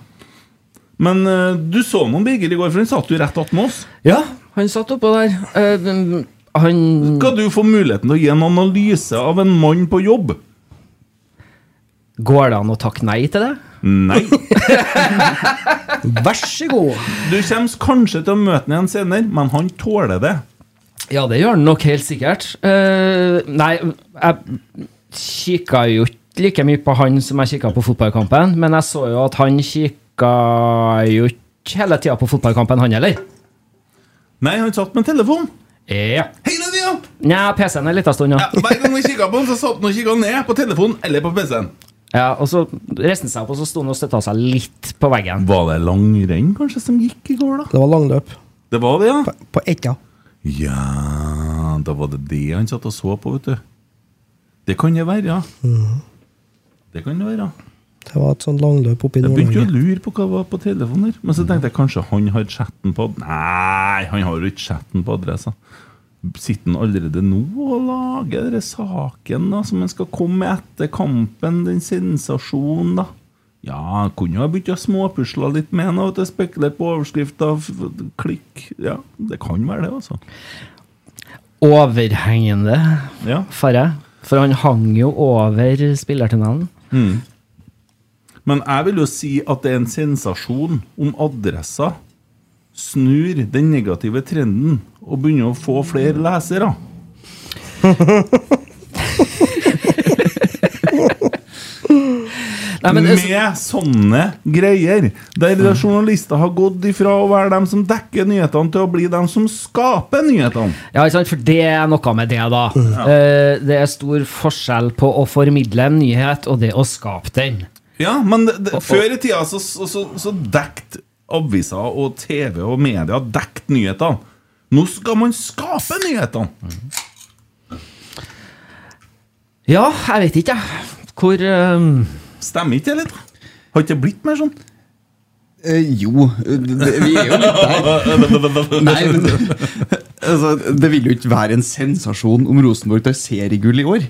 Speaker 4: Men eh, du så noen Birger i går, for han satt jo rett attmed oss.
Speaker 5: ja, han satt oppå der. Eh, han
Speaker 4: Skal du få muligheten til å gi en analyse av en mann på jobb?
Speaker 5: Går det an å takke nei til det? [laughs]
Speaker 4: Nei.
Speaker 6: Vær så god.
Speaker 4: Du kommer kanskje til å møte ham igjen senere, men han tåler det.
Speaker 5: Ja, det gjør han nok helt sikkert. Eh, nei, jeg kikka jo ikke like mye på han som jeg kikka på fotballkampen, men jeg så jo at han kikka jo ikke hele tida på fotballkampen, han heller.
Speaker 4: Nei, han satt med telefon.
Speaker 5: Ja.
Speaker 4: Hele tida!
Speaker 5: Nja, PC-en er en liten stund,
Speaker 4: Ja,
Speaker 5: ja.
Speaker 4: hver gang vi kikka på han, så satt han og kikka ned på telefonen eller på PC-en.
Speaker 5: ja. Og så reiste han seg opp, og så sto han og støtta seg litt på veggen.
Speaker 4: Var det langrenn kanskje som gikk i går, da?
Speaker 6: Det var langløp.
Speaker 4: Det var det, ja.
Speaker 6: På etta.
Speaker 4: Ja, da var det det han satt og så på, vet du. Det kan det være, ja. Det kan det være.
Speaker 6: Mm. Det var et sånt langløp oppi
Speaker 4: Jeg begynte jo å
Speaker 6: Nord-Norge.
Speaker 4: lure på hva det var på telefonen der. Men så tenkte jeg kanskje han har chatten på ad- Nei, han har jo ikke chatten på adressa. Sitter han allerede nå og lager den saken da, som han skal komme med etter kampen? Den sensasjonen, da. Ja, han kunne jo ha begynt å småpusle litt med den. og Spekulert på overskrifta, f- f- klikk Ja, det kan være det, altså.
Speaker 5: Overhengende
Speaker 4: Ja.
Speaker 5: fare. For han hang jo over spillertunnelen.
Speaker 4: Men jeg vil jo si at det er en sensasjon om adressa snur den negative trenden og begynner å få flere lesere.
Speaker 5: [laughs] Nei, men altså- Mm. det-
Speaker 4: med sånne greier, der journalister har gått ifra å være dem som dekker nyhetene, til å bli dem som skaper nyhetene.
Speaker 5: Ja, ikke sant? For det er noe med det, da. Eh, det er stor forskjell på å formidle en nyhet og det å skape den.
Speaker 4: Ja, men det, det, før i tida så, så, så, så dekt aviser og TV og media dekt nyhetene. Nå skal man skape nyhetene!
Speaker 5: Ja, jeg vet ikke, jeg. Hvor ehm,
Speaker 4: Stemmer ikke det litt? Har ikke det blitt mer sånn?
Speaker 7: Eh, jo, eh, det, [laughs] vi er jo litt
Speaker 4: [laughs]
Speaker 7: der. Nei, men altså, Det vil jo ikke være en sensasjon om Rosenborg tar seriegull i år.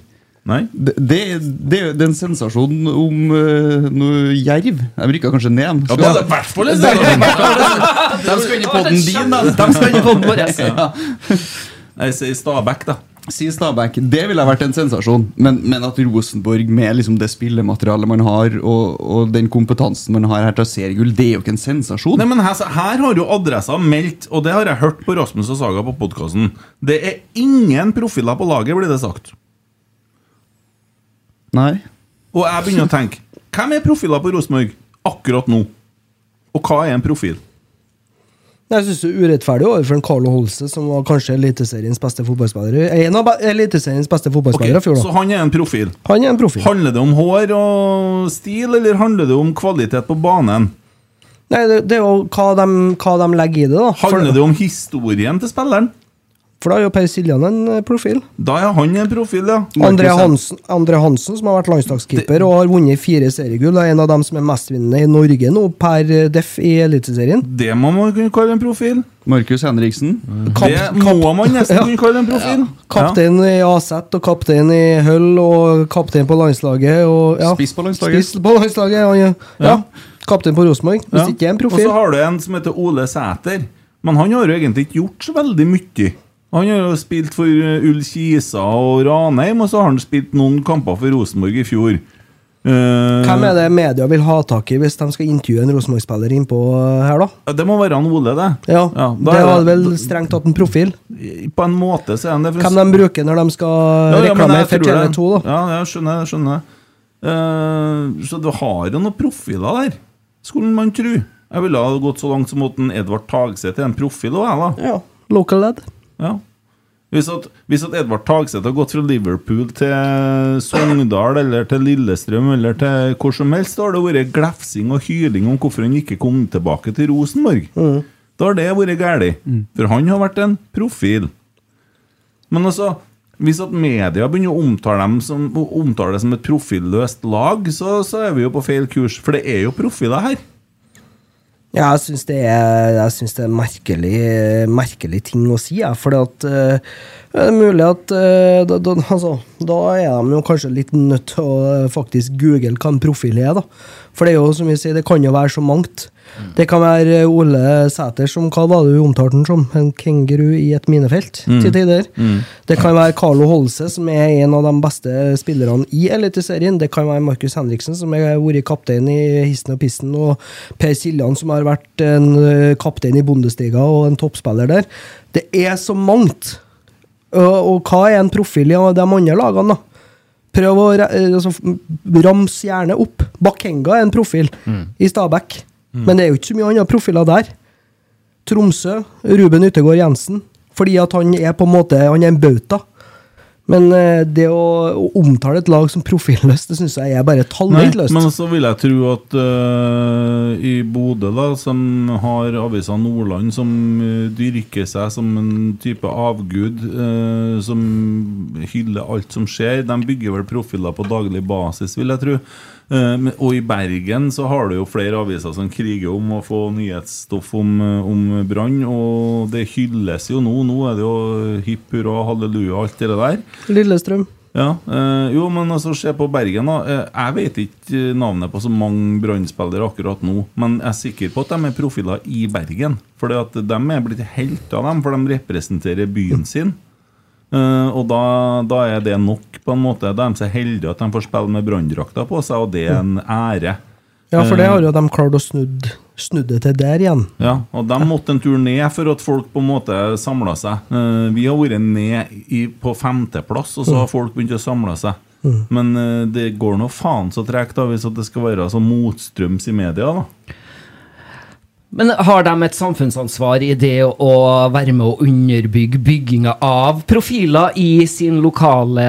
Speaker 4: Nei?
Speaker 7: Det, det, det, det er en sensasjon om eh, noe jerv. De rykka kanskje ned.
Speaker 4: Ja, det er i hvert fall en sensasjon.
Speaker 7: De skal inn i podden din, da!
Speaker 5: De skal ikke få den vår.
Speaker 7: [laughs] Ja.
Speaker 4: Jeg sier Stabæk, da.
Speaker 7: Si Stabæk. Det ville ha vært en sensasjon. Men, men at Rosenborg, med liksom det spillematerialet man har, og, og den kompetansen man har her til å se gull, det er jo ikke en sensasjon.
Speaker 4: Nei, men her, her har jo adressa meldt, og det har jeg hørt på Rasmus og Saga på podkasten. Det er ingen profiler på laget, blir det sagt.
Speaker 7: Nei.
Speaker 4: Og jeg begynner å tenke Hvem er profiler på Rosenborg akkurat nå? Og hva er en profil?
Speaker 6: Jeg syns det er urettferdig overfor en Carlo Holse, som var kanskje Eliteseriens beste fotballspiller. En av be- Eliteseriens beste
Speaker 4: Ok,
Speaker 6: fotballspillere i fjor,
Speaker 4: så
Speaker 6: da.
Speaker 4: han er en profil.
Speaker 6: Han er en profil.
Speaker 4: Handler det om hår og stil, eller handler det om kvalitet på banen?
Speaker 6: Nei, det, det er jo hva de, hva de legger i det, da. For,
Speaker 4: Handler det om historien til spilleren?
Speaker 6: for da er jo Per Siljan en eh, profil.
Speaker 4: Da er han en profil, ja.
Speaker 7: Markus,
Speaker 6: André
Speaker 7: ja.
Speaker 6: Hansen, André Hansen, som har vært landslagskeeper og har vunnet fire seriegull, er en av dem som er mestvinnende i Norge nå, per eh, def i Eliteserien.
Speaker 4: Det må man kunne kalle en profil.
Speaker 7: Markus Henriksen.
Speaker 6: Kap,
Speaker 4: det må man nesten
Speaker 6: Ja.
Speaker 4: kunne kalle en profil.
Speaker 6: kaptein i Aset og kaptein i Hull og kaptein på landslaget. Og, ja.
Speaker 7: Spiss på landslaget.
Speaker 6: Spiss på landslaget, ja, ja. ja. Kaptein på Rosenborg. Hvis
Speaker 4: Ja.
Speaker 6: ikke er en
Speaker 4: Og
Speaker 6: profil.
Speaker 4: så har du en som heter Ole Sæter. Men han har jo egentlig ikke gjort så veldig mye. Han har jo spilt for eh, Ull-Kisa og Ranheim, og så har han spilt noen kamper for Rosenborg i fjor. Eh,
Speaker 6: Hvem er det media vil ha tak i hvis de skal intervjue en Rosenborg-spiller innpå eh, her, da?
Speaker 4: ja, Det må være han Ole, det.
Speaker 6: Ja,
Speaker 4: da
Speaker 6: Det
Speaker 4: er
Speaker 6: var vel strengt tatt en profil.
Speaker 4: På en måte så er han det. for-
Speaker 6: Hvem de bruker når de skal
Speaker 4: Ja, ja, men
Speaker 6: reklamere
Speaker 4: jeg
Speaker 6: for
Speaker 4: tror det.
Speaker 6: TV2, da.
Speaker 4: Ja, jeg skjønner. jeg skjønner. Eh, så du har jo noen profiler der, skulle man tro. Jeg ville ha gått så langt som at en Edvard Tagseth er en profil òg, jeg, da.
Speaker 6: Ja. Local lad.
Speaker 4: Ja. Hvis at, hvis at Edvard Tagseth har gått fra Liverpool til Sogndal eller til Lillestrøm eller til hvor som helst, da har det vært glefsing og hyling om hvorfor han ikke kom tilbake til Rosenborg. Da har det vært galt. For han har vært en profil. Men altså, hvis at media begynner å omtale dem som, å omtale det som et profilløst lag, så, så er vi jo på feil kurs. For det er jo profiler her.
Speaker 6: Ja, jeg syns det er, jeg synes det er merkelig, merkelig ting å si, jeg. For eh, det er mulig at eh, da, da, altså, da er de jo kanskje litt nødt til å eh, faktisk google hva en profil er, da. For det er jo, som vi sier, det kan jo være så mangt. Det kan være eh, Ole Sæter som Hva var det du omtalte han som? En kenguru i et minefelt?
Speaker 5: Mm.
Speaker 6: Til tider. Det kan være Carlo Holse, som er en av de beste spillerne i Eliteserien. Det kan være Markus Henriksen, som har vært kaptein i Hissen og Pissen, og Per Siljan, som har vært en eh, kaptein i Bundesliga og en toppspiller der. Det er så mangt. Og, og hva er en profil i de andre lagene, da? Prøv å re- eh, altså, f- ramse gjerne opp. Bakenga er en profil i Stabæk, men det er jo ikke så mye andre profiler der. Tromsø, Ruben Utegård Jensen, fordi at han er på en måte Han er en bauta. Men eh, det å, å omtale et lag som profilløst, det syns jeg er bare
Speaker 4: Nei,
Speaker 6: tallrøyt løst.
Speaker 4: men så vil jeg tro at øh, i Bodø, da, som har avisa Nordland, som øh, dyrker seg som en type avgud, øh, som hyller alt som skjer, de bygger vel profiler på daglig basis, vil jeg tro. Eh, men- og i Bergen så har du jo flere aviser som kriger om å få nyhetsstoff om, øh, om brann, og det hylles jo nå. Nå er det jo hipp hurra, halleluja, alt det der.
Speaker 6: Lillestrøm.
Speaker 4: Ja, eh, jo, men altså, se på Bergen, da. Eh, jeg vet ikke eh, navnet på så mange Brann-spillere akkurat nå, men jeg er sikker på at de er profiler i Bergen. For de er blitt helter, dem, for de representerer byen sin. Eh, og da, da er det nok, på en måte. Da er de så heldige at de får spille med Brann-drakta på seg, og det er en ære.
Speaker 6: Ja,
Speaker 4: Eh.
Speaker 6: for det har jo de klart å snudd, snudd det til der igjen.
Speaker 4: Ja, og de måtte en tur ned for at folk på en måte samla seg. Eh, vi har vært ned i, på femteplass, og så har folk begynt å samle seg. Men eh, det går nå faen så tregt da, hvis at det skal være så motstrøms i media. da
Speaker 5: Men har de et samfunnsansvar i det å være med å underbygge bygginga av profiler i sin lokale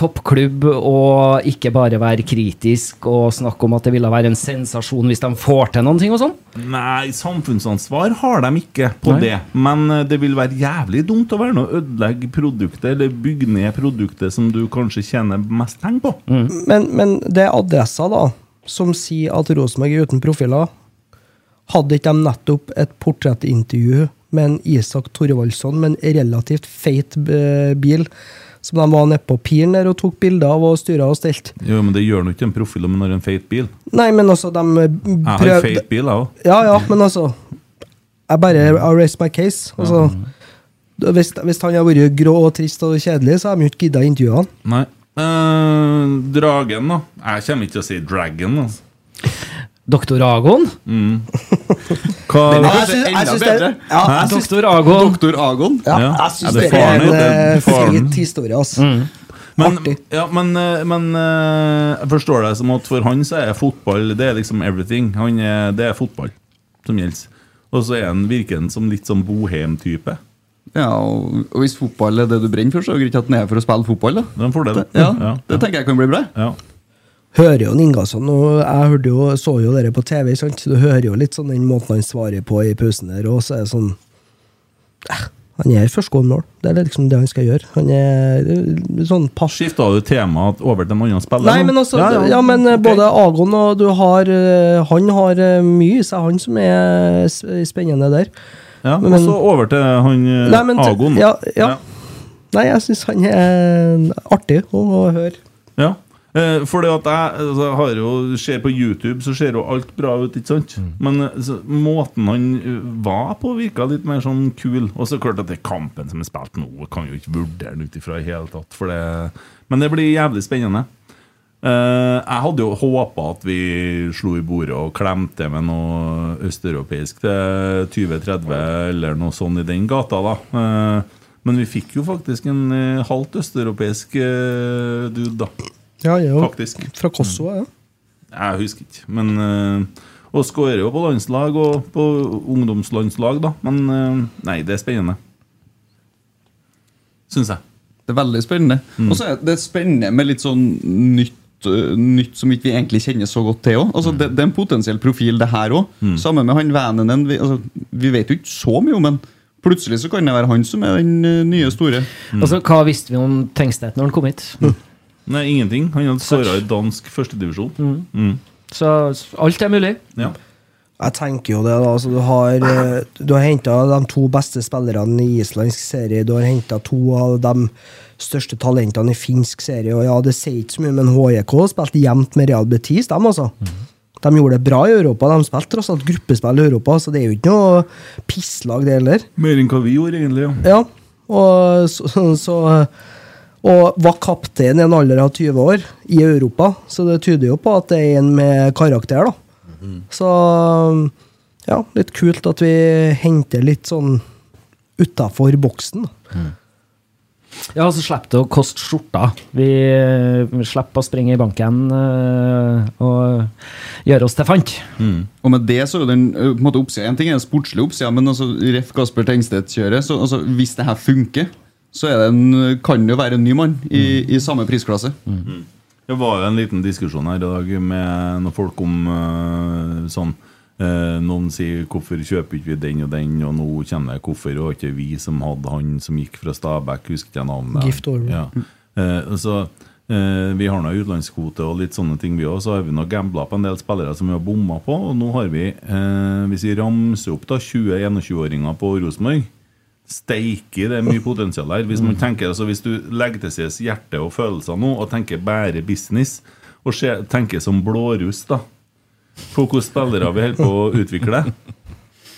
Speaker 5: toppklubb, og ikke bare være kritisk og snakke om at det ville være en sensasjon hvis de får til noen ting og sånn?
Speaker 4: Nei, samfunnsansvar har de ikke på
Speaker 5: Nei.
Speaker 4: det. Men eh, det vil være jævlig dumt å være med å ødelegge produktet, eller bygge ned produktet som du kanskje tjener mest penger på.
Speaker 6: Men, men det er adressa da, som sier at Rosenborg er uten profiler. Hadde ikke de nettopp et portrettintervju med en Isak Thorvaldsson med en relativt feit eh, bil, som de var nede på piren der og tok bilder av og styra og stelt?
Speaker 4: Jo, men det gjør nå ikke en profil om en har en feit bil.
Speaker 6: Nei, men altså, de eh,
Speaker 4: Jeg har
Speaker 6: prøv-
Speaker 4: feit bil, jeg òg.
Speaker 6: Ja, ja, men altså Jeg bare I raise my case. Altså, hvis, hvis han hadde vært grå og trist og kjedelig, så hadde de jo ikke gidda å intervjue han.
Speaker 4: Nei. Eh, dragen, da. Jeg kommer ikke til å si dragon. Altså.
Speaker 5: Doktor Agon?
Speaker 6: [laughs]
Speaker 4: Mm. Hva
Speaker 7: Den er
Speaker 6: Ja, jeg
Speaker 7: kanskje
Speaker 6: syns- jeg
Speaker 7: enda
Speaker 6: syns det-
Speaker 7: bedre.
Speaker 6: ja, jeg
Speaker 4: Hæ?
Speaker 6: syns-
Speaker 5: Doktor Agon?
Speaker 7: Doktor Agon.
Speaker 6: Ja,
Speaker 4: Ja.
Speaker 6: jeg
Speaker 4: Ja,
Speaker 6: syns
Speaker 4: det
Speaker 6: det
Speaker 4: er
Speaker 6: er en
Speaker 4: faren,
Speaker 6: eh,
Speaker 4: det er faren.
Speaker 6: feit historie, altså.
Speaker 7: Mm.
Speaker 4: Men,
Speaker 6: Artig.
Speaker 4: ja, men, eh, men eh, jeg forstår deg som at for han så er fotball Det er liksom everything. Han er, det er fotball som gjelder. Og så er han virker han som litt sånn bohem-type.
Speaker 7: Ja, og og hvis fotball er det du brenner for, så er det greit at den er for å spille fotball. da
Speaker 4: Det er en fordel.
Speaker 7: ja,
Speaker 4: Ja,
Speaker 7: Det tenker jeg kan bli bra.
Speaker 4: ja.
Speaker 6: Hører jo Ingasson, og jeg hørte jo, så jo dere på TV, ikke sant? så du hører jo litt sånn den måten han svarer på i pausen der, og så er det sånn eh, Han er førstegående mål. Det er liksom det han skal gjøre. Han er eh, sånn pass...
Speaker 4: Skifta du temaet over til en annen spiller?
Speaker 6: Nei,
Speaker 4: nå?
Speaker 6: men altså, ja, men eh,
Speaker 4: ok.
Speaker 6: både Agon og du har eh, Han har eh, mye i seg, han som er s- spennende der.
Speaker 4: ja,
Speaker 6: men-
Speaker 4: Og så over til han eh,
Speaker 6: Nei, men-
Speaker 4: Agon.
Speaker 6: ja, ja. Nei, jeg syns han er artig å, å høre.
Speaker 4: Ja. Eh, fordi at jeg altså, jeg har jo, ser på YouTube, så ser jo alt bra ut, ikke sant?
Speaker 6: Mm.
Speaker 4: Men eh, så, måten han eh, var på, virka litt mer sånn kul. Og så klart at det er kampen som er spilt nå, jeg kan jo ikke vurdere den ut ifra i hele tatt. For det, men det blir jævlig spennende. Eh, jeg hadde jo håpa at vi slo i bordet og klemte med noe østeuropeisk til 2030 eller noe sånn i den gata, da. Eh, men vi fikk jo faktisk en eh, halvt østeuropeisk eh, dude, da.
Speaker 6: Ja, han er jo
Speaker 4: Faktisk. Mm.
Speaker 6: fra Kosovo, ja.
Speaker 4: Jeg husker ikke. Men eh, Og skårer jo på landslag og på ungdomslandslag, da. Men eh, nei, det er spennende. Syns jeg. Mm.
Speaker 7: Det er veldig spennende. Og så er det spennende med litt sånn nytt. øh, Nytt som ikke vi egentlig kjenner så godt til òg. Altså,
Speaker 4: Mm.
Speaker 7: det, det er en potensiell profil, det her òg. Sammen med han Vänenen. Vi, altså, vi vet jo ikke så mye om han. Plutselig så kan det være han som er den øh, nye store.
Speaker 4: Mm.
Speaker 5: Altså, hva visste vi om Tengstedt når han kom hit?
Speaker 4: Nei, ingenting. Han hadde skåra i dansk førstedivisjon. Mm.
Speaker 5: Så alt er mulig.
Speaker 4: Ja.
Speaker 6: Jeg tenker jo det, da. Altså, du har, eh, du har henta de to beste spillerne i islandsk serie. Du har henta to av de største talentene i finsk serie. Og ja, det sier ikke så mye, men HJK spilte jevnt med Real Betis, dem, altså. De gjorde det bra i Europa. De spilte tross alt gruppespill i Europa, så det er jo ikke noe pisslag, det heller.
Speaker 4: Mer enn hva vi gjorde, egentlig. Ja.
Speaker 6: Ja, og så, så Og var kaptein i en alder av 20 år i Europa, så det tyder jo på at det er en med karakter, da. Så ja, litt kult at vi henter litt sånn utafor boksen. da.
Speaker 5: Ja, så slipper det å koste skjorta. Vi eh, slipper å springe i banken eh, og gjøre oss til fant.
Speaker 7: Og med det så er jo den ø, på en måte oppsida En ting er den sportslige oppsida, men altså, ref. Kasper Tengstedt-kjøret så, altså, Hvis det her funker, så er det en, kan det jo være en ny mann i, i samme prisklasse.
Speaker 4: Det var jo en liten diskusjon her i dag med noen folk om eh, sånn eh, Noen sier 'hvorfor kjøper ikke vi den og den', og nå kjenner jeg 'hvorfor var ikke vi som hadde han som gikk fra Stabæk', husker ikke jeg navnet.
Speaker 6: Gift Orwell. Mm.
Speaker 4: Ja. Eh, og så, eh, vi har nå utenlandskvote og litt sånne ting, vi òg. Så har vi nå gambla på en del spillere som vi har bomma på. Og nå har vi, eh, hvis vi ramser opp da 20-21-åringer på Rosenborg Steike, det er
Speaker 6: [laughs]
Speaker 4: mye potensial her. Hvis,
Speaker 6: Mm.
Speaker 4: man tenker, altså, hvis du legger til side hjerte og følelser nå, og tenker bare business, og se, tenker som blåruss, da på hvilke spillere vi holder på å utvikle.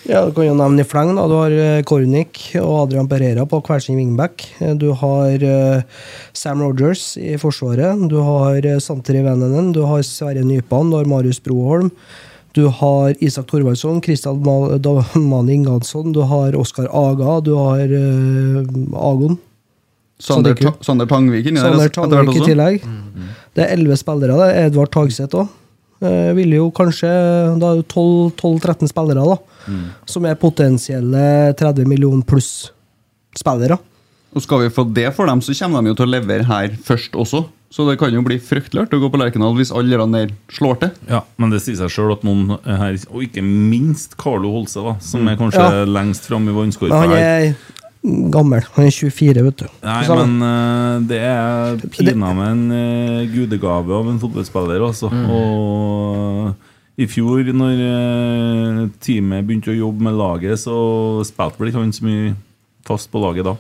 Speaker 6: Ja, Du kan jo nevne i fleng. da, Du har eh, Kornic og Adrian Pereira på hver sin wingback. Eh, Du har eh, Sam Rogers i forsvaret. Du har eh, Santeri Vennenen. Du har Sverre Nypan. Du har Marius Broholm. Du har Isak Thorvaldsson, Kristian Ma- Damani Ingansson, du har Oskar Aga, du har eh, Agon.
Speaker 7: Sander,
Speaker 6: Sadiku.
Speaker 7: Ta- Sander Tangvik inni der.
Speaker 6: Sander
Speaker 7: altså, etter hvert
Speaker 6: Tangvik i
Speaker 7: også.
Speaker 6: tillegg. Det er elleve spillere. Det er Edvard Tagseth òg. Eh, vil jo kanskje Da er det 12-13 spillere da som er potensielle 30 millioner pluss-spillere.
Speaker 7: Og skal vi få det for dem, så kommer de jo til å levere her først også. Så det kan jo bli fryktelig artig å gå på Lerkendal hvis alle de der slår til.
Speaker 4: Ja, men det sier seg sjøl at noen her, og ikke minst Carlo Holse, da, som er kanskje
Speaker 6: Mm. Ja.
Speaker 4: lengst framme i
Speaker 6: Men
Speaker 4: vannskorpa
Speaker 6: han
Speaker 4: her.
Speaker 6: er gammel. Han er 24, vet du.
Speaker 4: Nei,
Speaker 6: Så han-
Speaker 4: men eh, det er pinadø en eh, gudegave av en fotballspiller, altså. Og i fjor, når eh, teamet begynte å jobbe med laget, så spilte vel ikke han så mye fast på laget da.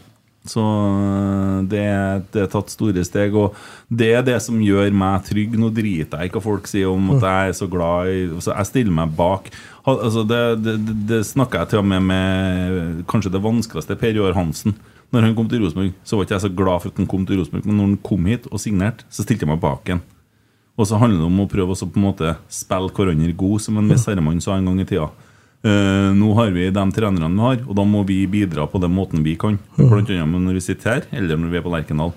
Speaker 4: Så eh, det, er- det er tatt store steg, og det er det som gjør meg trygg. Nå driter jeg i hva folk sier om at jeg er så glad i så Jeg stiller meg bak. Ha- Altså, det det, det, det snakka jeg til og med med kanskje det vanskeligste, Per Joar Hansen. Når han kom til Rosenborg, så var ikke jeg så glad for at han kom til Rosenborg, men når han kom hit og signerte, så stilte jeg meg bak han. Og så handler det om å prøve å så på en måte spille hverandre god, som en viss herremann sa en gang i tida. Eh, nå har vi de trenerne vi har, og da må vi bidra på den måten vi kan. Blant annet når vi sitter her, eller når vi er på Lerkendal.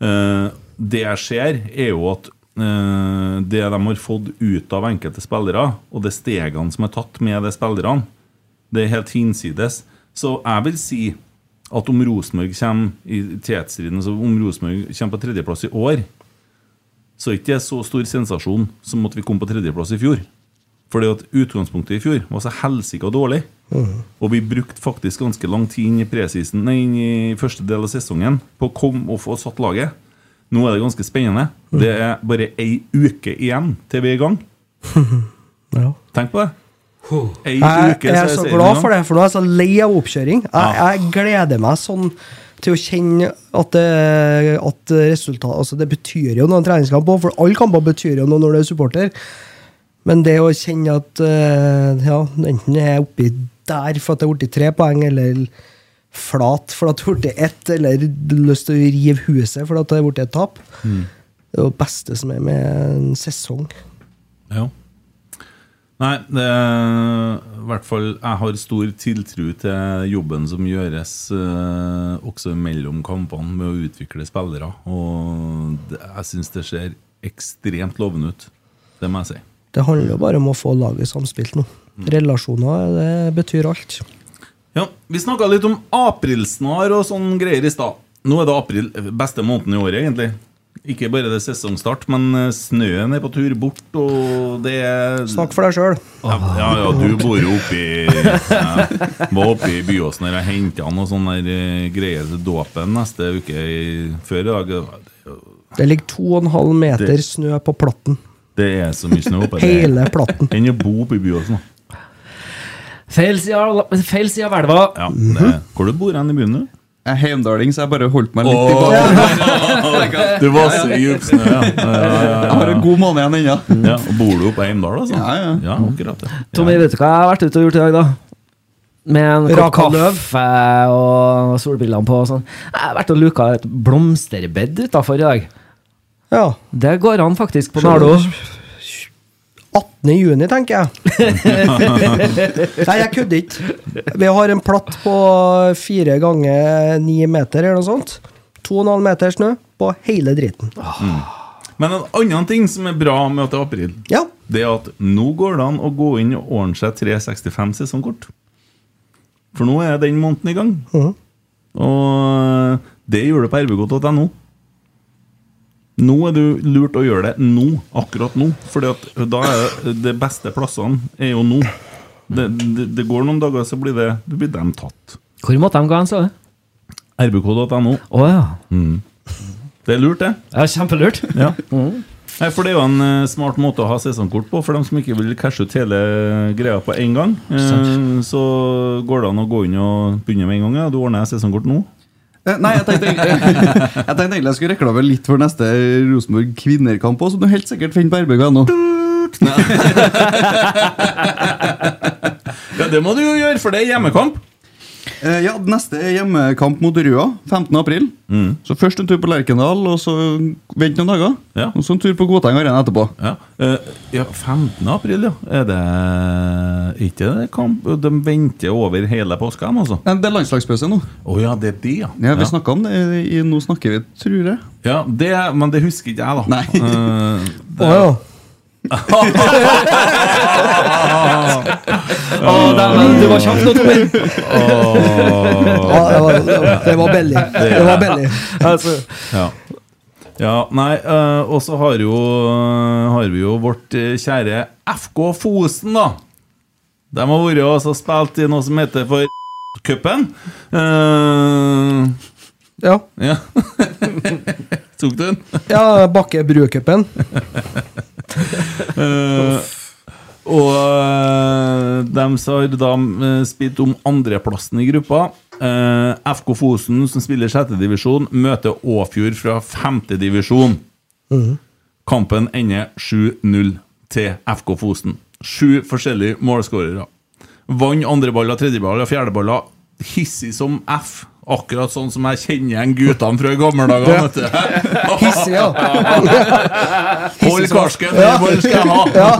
Speaker 4: Eh, det jeg ser, er jo at eh, det de har fått ut av enkelte spillere, og det stegene som er tatt med de spillerne, det er helt hinsides. Så jeg vil si at om Rosenborg kommer i tetstriden, altså om Rosenborg kommer på tredjeplass i år, så er ikke det så stor sensasjon som at vi kom på tredjeplass i fjor. Fordi at utgangspunktet i fjor var så helsika dårlig.
Speaker 6: Mhm.
Speaker 4: Og vi brukte faktisk ganske lang tid inn i presisen Nei, inn i første del av sesongen på å komme og få satt laget. Nå er det ganske spennende.
Speaker 6: Mhm.
Speaker 4: Det er bare ei uke igjen til vi er i gang.
Speaker 6: [laughs] Ja.
Speaker 4: Tenk på det. Ei
Speaker 6: Jeg,
Speaker 4: uke,
Speaker 6: jeg er så
Speaker 4: serien i
Speaker 6: glad
Speaker 4: gang.
Speaker 6: for det, for nå er jeg så lei av oppkjøring. Jeg, jeg gleder meg sånn til å kjenne at det, at resultat, altså det betyr jo noen treningskamper, for alle kamper betyr jo noe når du er supporter. Men det å kjenne at eh, ja, enten jeg er oppi der for at jeg har blitt tre poeng, eller flat for at jeg har blitt ett, eller lyst til å rive huset for at jeg har blitt et tap, det er det beste som er med en sesong.
Speaker 4: Ja. Nei, det er i hvert fall Jeg har stor tiltro til jobben som gjøres eh, også mellom kampene med å utvikle spillere. Og det, jeg syns det ser ekstremt lovende ut. Det må jeg si.
Speaker 6: Det handler jo bare om å få laget samspilt nå. Relasjoner, det betyr alt.
Speaker 4: Ja, Vi snakka litt om aprilsnar og sånn greier i stad. Nå er det april, eh, beste måneden i året, egentlig. Ikke bare det er sesongstart, men eh, snøen er på tur bort, og det er
Speaker 6: Snakk for deg sjøl.
Speaker 4: Ja, ja, ja, du bor jo oppi ja, Var oppe i Byåsen der jeg henta han og sånne der, eh, greier til dåpen neste uke i, før i dag.
Speaker 6: Det ligger to og en halv meter
Speaker 4: Det-
Speaker 6: snø på platten.
Speaker 4: Det er så mye snø oppe der.
Speaker 6: Hele
Speaker 4: [laughs]
Speaker 6: platten.
Speaker 4: Enn å bo oppe i Byåsen. da.
Speaker 5: Feil side av- feil side av elva.
Speaker 4: Ja, det, hvor du bor hen i byen, du?
Speaker 7: Mhm. Jeg er heimdaling, så jeg bare holdt meg litt
Speaker 4: Åh.
Speaker 7: i
Speaker 4: [laughs]
Speaker 7: bak. [laughs]
Speaker 4: Du var så i dyp snø, ja. ja, ja,
Speaker 7: Jeg har en god måned igjen ennå.
Speaker 4: ja. og Bor du oppe i Heimdal, altså?
Speaker 7: Ja, ja.
Speaker 4: ja akkurat det.
Speaker 5: Tommy,
Speaker 4: Ja.
Speaker 5: vet du hva jeg har vært ute og gjort i dag, da? Med en kopp
Speaker 6: Raka løv.
Speaker 5: kaffe og solbrillene på og sånn. Jeg har vært og luka et blomsterbed utafor i dag.
Speaker 6: Ja.
Speaker 5: Det går an faktisk på Nardo.
Speaker 6: 18. juni, tenker
Speaker 5: [laughs]
Speaker 6: jeg. Nei, jeg kødder ikke. Vi har en platt på fire ganger ni meter eller noe sånt. To og en halv meter snø på hele driten.
Speaker 4: Men en annen ting som er bra med at det er april,
Speaker 6: Ja.
Speaker 4: det er at nå går det an å gå inn og ordne seg 365 sesongkort. For nå er den måneden i gang. Og det gjør du på rbk.no. Nå er det jo lurt å gjøre det nå, akkurat nå. For da er det- de beste plassene er jo nå. Det, det, det går noen dager, så blir, det, det blir dem tatt.
Speaker 5: Hvor måtte de gå hen, sa du?
Speaker 4: rbk.no.
Speaker 5: Å ja.
Speaker 4: Det er lurt, det.
Speaker 5: ja. Kjempelurt.
Speaker 4: Ja. Nei, for Det er jo en eh, smart måte å ha sesongkort på for dem som ikke vil cashe ut hele greia på én gang. Eh, så går det an å gå inn og begynne med en gang. Ja. Du ordner sesongkort nå.
Speaker 7: Eh, Nei, jeg tenkte, egentlig- [laughs] jeg tenkte egentlig jeg skulle reklame litt for neste Rosenborg kvinnerkamp òg, som du helt sikkert finner på RBK.no.
Speaker 4: Ja, Det må du jo gjøre, for det er hjemmekamp.
Speaker 7: Eh, ja, neste er hjemmekamp mot Røa 15.4.
Speaker 4: Mm.
Speaker 7: Så først en tur på Lerkendal, og så vent noen dager.
Speaker 4: Ja.
Speaker 7: Og så en tur på Godteng Arena etterpå.
Speaker 4: Ja. Eh, ja, 15. april, ja. Er det ikke det kamp? De venter over hele påska, de, altså?
Speaker 7: Nei, Det er landslagspause nå.
Speaker 4: Å ja, det er de, ja.
Speaker 7: Ja, Vi
Speaker 4: Ja.
Speaker 7: snakket om det. I, i, nå snakker vi, tror jeg.
Speaker 4: Ja, det, men det husker ikke jeg, da.
Speaker 7: Nei.
Speaker 4: Eh,
Speaker 6: Å ja.
Speaker 5: Å, dæven, du var kjapp nå, Tommy!
Speaker 7: [laughs]
Speaker 6: ja det, var, det var- det var billig. [laughs] Det var billig.
Speaker 5: Altså,
Speaker 4: ja. ja, nei, eh, og så har, jo, har vi jo vårt eh, kjære FK Fosen, da. De har vært og altså spilt i noe som heter for cupen. Eh,
Speaker 6: Ja.
Speaker 4: ja. [laughs] Tok du den?
Speaker 6: ja Bakke
Speaker 4: [laughs]
Speaker 6: Brucupen.
Speaker 4: Eh, og eh, de har da eh, spilt om andreplassen i gruppa. Eh, FK Fosen, som spiller sjettedivisjon, møter Åfjord fra femtedivisjon. Kampen ender 7-0 til FK Fosen. Sju forskjellige målskårere. Vant andreballer, tredjeballer, fjerdeballer. Hissig som F. Akkurat sånn som jeg kjenner igjen guttene fra gamle dager. vet du.
Speaker 6: Hissig, ja.
Speaker 4: [laughs] Hold karsken, det bare skal jeg ha!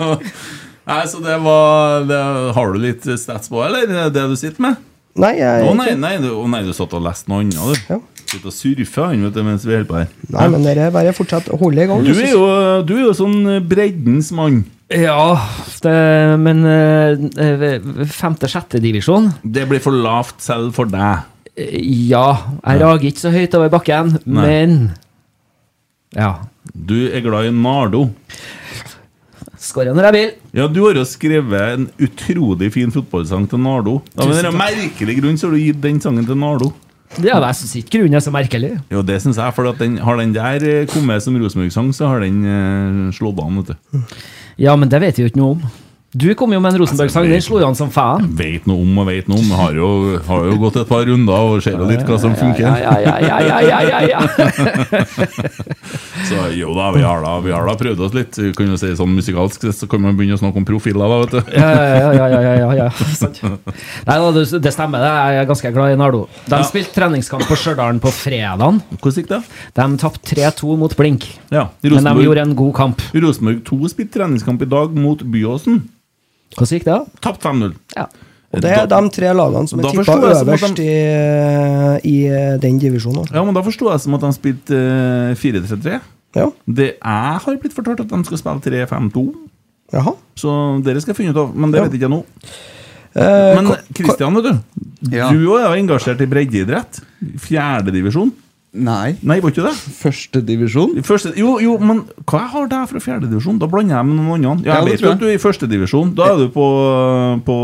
Speaker 4: [laughs] Nei, så det var det, Har du litt stats på, eller? Det, det du sitter med?
Speaker 6: Nei,
Speaker 4: Å
Speaker 6: jeg,
Speaker 4: nei, nei, du, å nei, du satt og leste noe annet, du.
Speaker 6: Ja.
Speaker 4: Sitter og surfer han, vet du, mens vi holder på her.
Speaker 6: nei men dere bare fortsett å holde i gang.
Speaker 4: Du er jo, du er jo sånn breddens mann.
Speaker 5: ja, det, men eh, femte-sjette divisjon
Speaker 4: Det blir for lavt selv for deg.
Speaker 5: eh, Ja, jeg rager ikke så høyt over bakken,
Speaker 4: Nei.
Speaker 5: men Ja.
Speaker 4: Du er glad i Nardo.
Speaker 5: Skårer når jeg vil.
Speaker 4: Ja, Du har jo skrevet en utrolig fin fotballsang til Nardo. Av en eller annen merkelig grunn så har du gitt den sangen til Nardo.
Speaker 5: Ja, jeg syns ikke grunnen er så merkelig.
Speaker 4: Jo, det syns jeg, for at den, har den der eh, kommet som Rosenborg-sang, så har den eh, slått an, vet du.
Speaker 5: Ja, men det vet jeg jo ikke noe om. Du kom jo med en
Speaker 4: Altså,
Speaker 5: Rosenborg-sang, den slo jo an som faen.
Speaker 4: Veit noe om og veit noe om. Har jo, har jo gått et par runder og ser jo litt hva som
Speaker 5: Ja,
Speaker 4: funker.
Speaker 5: ja, ja, ja, ja, ja, ja, ja.
Speaker 4: [laughs] Så jo da, vi har da, vi har da prøvd oss litt. Vi Kan jo si sånn musikalsk sett, så kan man begynne å snakke om profiler, da, vet du.
Speaker 5: Ja, ja, ja, ja, ja, ja, ja. Sant. Nei, da, det det stemmer, det. jeg er ganske glad i Nardo. De spilte treningskamp på Stjørdal på fredagen.
Speaker 4: Hvordan gikk det?
Speaker 5: De tapte 3-2 mot Blink,
Speaker 4: Ja,
Speaker 5: men de
Speaker 4: Rosenborg,
Speaker 5: gjorde en god kamp.
Speaker 4: Rosenborg 2 spilte treningskamp i dag mot Byåsen.
Speaker 5: Hvordan gikk det? da?
Speaker 4: Tapt 5-0.
Speaker 5: Ja.
Speaker 6: Og det er de tre lagene som
Speaker 4: Da
Speaker 6: er tippa
Speaker 4: forstår jeg som at
Speaker 6: øverst
Speaker 4: de-
Speaker 6: i, i den divisjonen.
Speaker 4: Ja, men da forsto jeg som at de spilte eh, 4-3-3.
Speaker 6: Ja,
Speaker 4: Det jeg har blitt fortalt, at de skal spille 3-5-2.
Speaker 6: jaha.
Speaker 4: Så dere skal finne ut av, men det
Speaker 6: Ja.
Speaker 4: vet ikke jeg nå.
Speaker 6: Eh,
Speaker 4: Men
Speaker 6: ko- ko-
Speaker 4: Kristian, vet du.
Speaker 7: Ja.
Speaker 4: Du òg er jo engasjert i breddeidrett. Fjerdedivisjon.
Speaker 7: Nei.
Speaker 4: Nei, var ikke det?
Speaker 7: Førstedivisjon?
Speaker 4: I Første, jo, jo, men hva jeg har der fra fjerdedivisjon? Da blander jeg med noen andre. Ja,
Speaker 7: Ja,
Speaker 4: jeg
Speaker 7: det
Speaker 4: vet
Speaker 7: tror
Speaker 4: jo at du er i førstedivisjon. Da er du på, på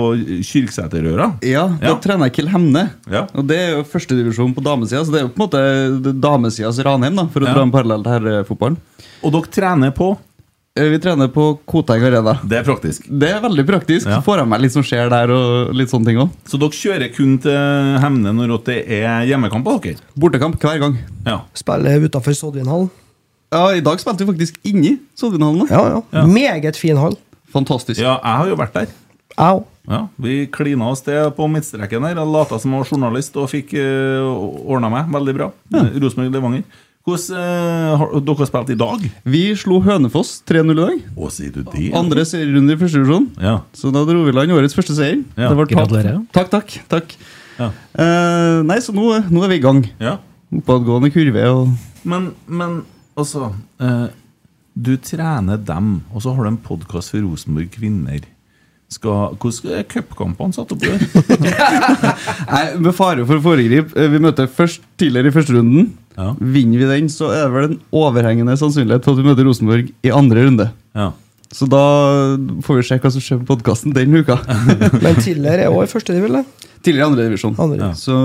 Speaker 4: Kyrksæterøra.
Speaker 7: Ja, da
Speaker 4: Ja.
Speaker 7: trener jeg Kill Hemne.
Speaker 4: Ja.
Speaker 7: Og det er jo førstedivisjon på damesida, så det er jo på en måte det- damesidas Ranheim, da, for å
Speaker 4: Ja.
Speaker 7: dra en parallell til herrefotballen.
Speaker 4: Og dere trener på
Speaker 7: Eh, Vi trener på Koteng Arena.
Speaker 4: Det er praktisk.
Speaker 7: Det er veldig praktisk.
Speaker 4: Ja.
Speaker 7: Får jeg meg litt som skjer der, og litt sånne ting òg.
Speaker 4: Så dere kjører kun til Hemne når at det er hjemmekamp på dere?
Speaker 7: Bortekamp hver gang.
Speaker 4: Ja.
Speaker 6: Spiller utafor Sodvinhallen.
Speaker 7: Ja, I dag spilte vi faktisk inni Sodvinhallen. da.
Speaker 6: Ja, ja. Meget fin hall.
Speaker 7: Fantastisk.
Speaker 4: ja, jeg har jo vært der.
Speaker 6: Au.
Speaker 4: Ja, Vi klina oss til på midtstreken der. Jeg lata som jeg var journalist og fikk uh, ordna meg veldig bra. Rosenborg-Levanger. Hvordan eh, har Dere har spilt i dag?
Speaker 7: Vi slo Hønefoss 3-0 i dag.
Speaker 4: Å, sier du det?
Speaker 7: Andre serierunde i første divisjon.
Speaker 4: Ja.
Speaker 7: Så da dro vi i land årets første seier.
Speaker 4: Ja.
Speaker 7: Det var tap.
Speaker 5: Gratulerer.
Speaker 7: Takk, takk. takk.
Speaker 4: Ja.
Speaker 7: Eh, nei, så nå, nå er vi i gang.
Speaker 4: ja.
Speaker 7: Oppadgående kurve og
Speaker 4: Men, men altså eh, Du trener dem, og så har du en podkast for Rosenborg kvinner. Skal, hvordan er cupkampene satt opp
Speaker 7: [laughs]
Speaker 4: i år?
Speaker 7: Nei, Med fare for å foregripe, eh, vi møter først tidligere i første runden.
Speaker 4: Ja.
Speaker 7: Vinner vi den, så er det vel en overhengende sannsynlighet for at vi møter Rosenborg i andre runde.
Speaker 4: Ja.
Speaker 7: Så da får vi se hva som skjer på podkasten den uka.
Speaker 6: [laughs] Men tidligere er [laughs] òg i første divisjon. det.
Speaker 7: Tidligere i andre divisjon.
Speaker 6: Andre.
Speaker 7: Så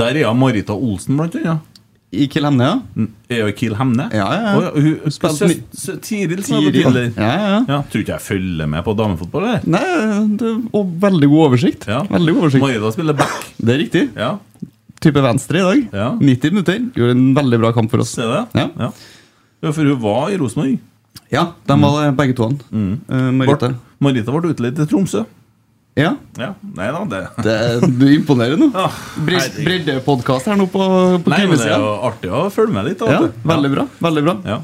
Speaker 4: Der er hun Marita Olsen, blant annet. Mm.
Speaker 7: i Kilhemne,
Speaker 4: Er hun Kiel Hemne?
Speaker 7: Ja, ja, ja.
Speaker 4: Å, hun, hun,
Speaker 7: Spilte
Speaker 4: søs-
Speaker 7: mi-
Speaker 4: sø- Tiril,
Speaker 7: ja.
Speaker 4: sa du tidligere.
Speaker 7: Ja, ja, ja.
Speaker 4: Ja, Tror ikke jeg følger med på damefotball. Eller?
Speaker 7: Nei, det er og veldig god oversikt.
Speaker 4: Ja.
Speaker 7: Veldig god oversikt.
Speaker 4: Marita spiller back.
Speaker 7: Det er riktig.
Speaker 4: Ja,
Speaker 7: Type venstre i dag.
Speaker 4: Ja.
Speaker 7: 90 minutter. Gjorde en veldig bra kamp for oss.
Speaker 4: ser du det?
Speaker 7: Ja.
Speaker 4: Ja. Ja, For hun var i Rosenborg. Mm.
Speaker 7: Ja, de var det, begge to. Mm. Marita.
Speaker 4: Ble- Marita ble utleid til Tromsø.
Speaker 7: Ja.
Speaker 4: Nei da, det
Speaker 7: Det er, du imponerer nå. Bres-
Speaker 4: herregud.
Speaker 7: Breddepodkast her nå på, på
Speaker 4: Nei, men det er
Speaker 7: timesida.
Speaker 4: jo artig å følge med litt. da,
Speaker 7: Ja,
Speaker 4: vet du.
Speaker 7: veldig bra. veldig bra
Speaker 4: Ja.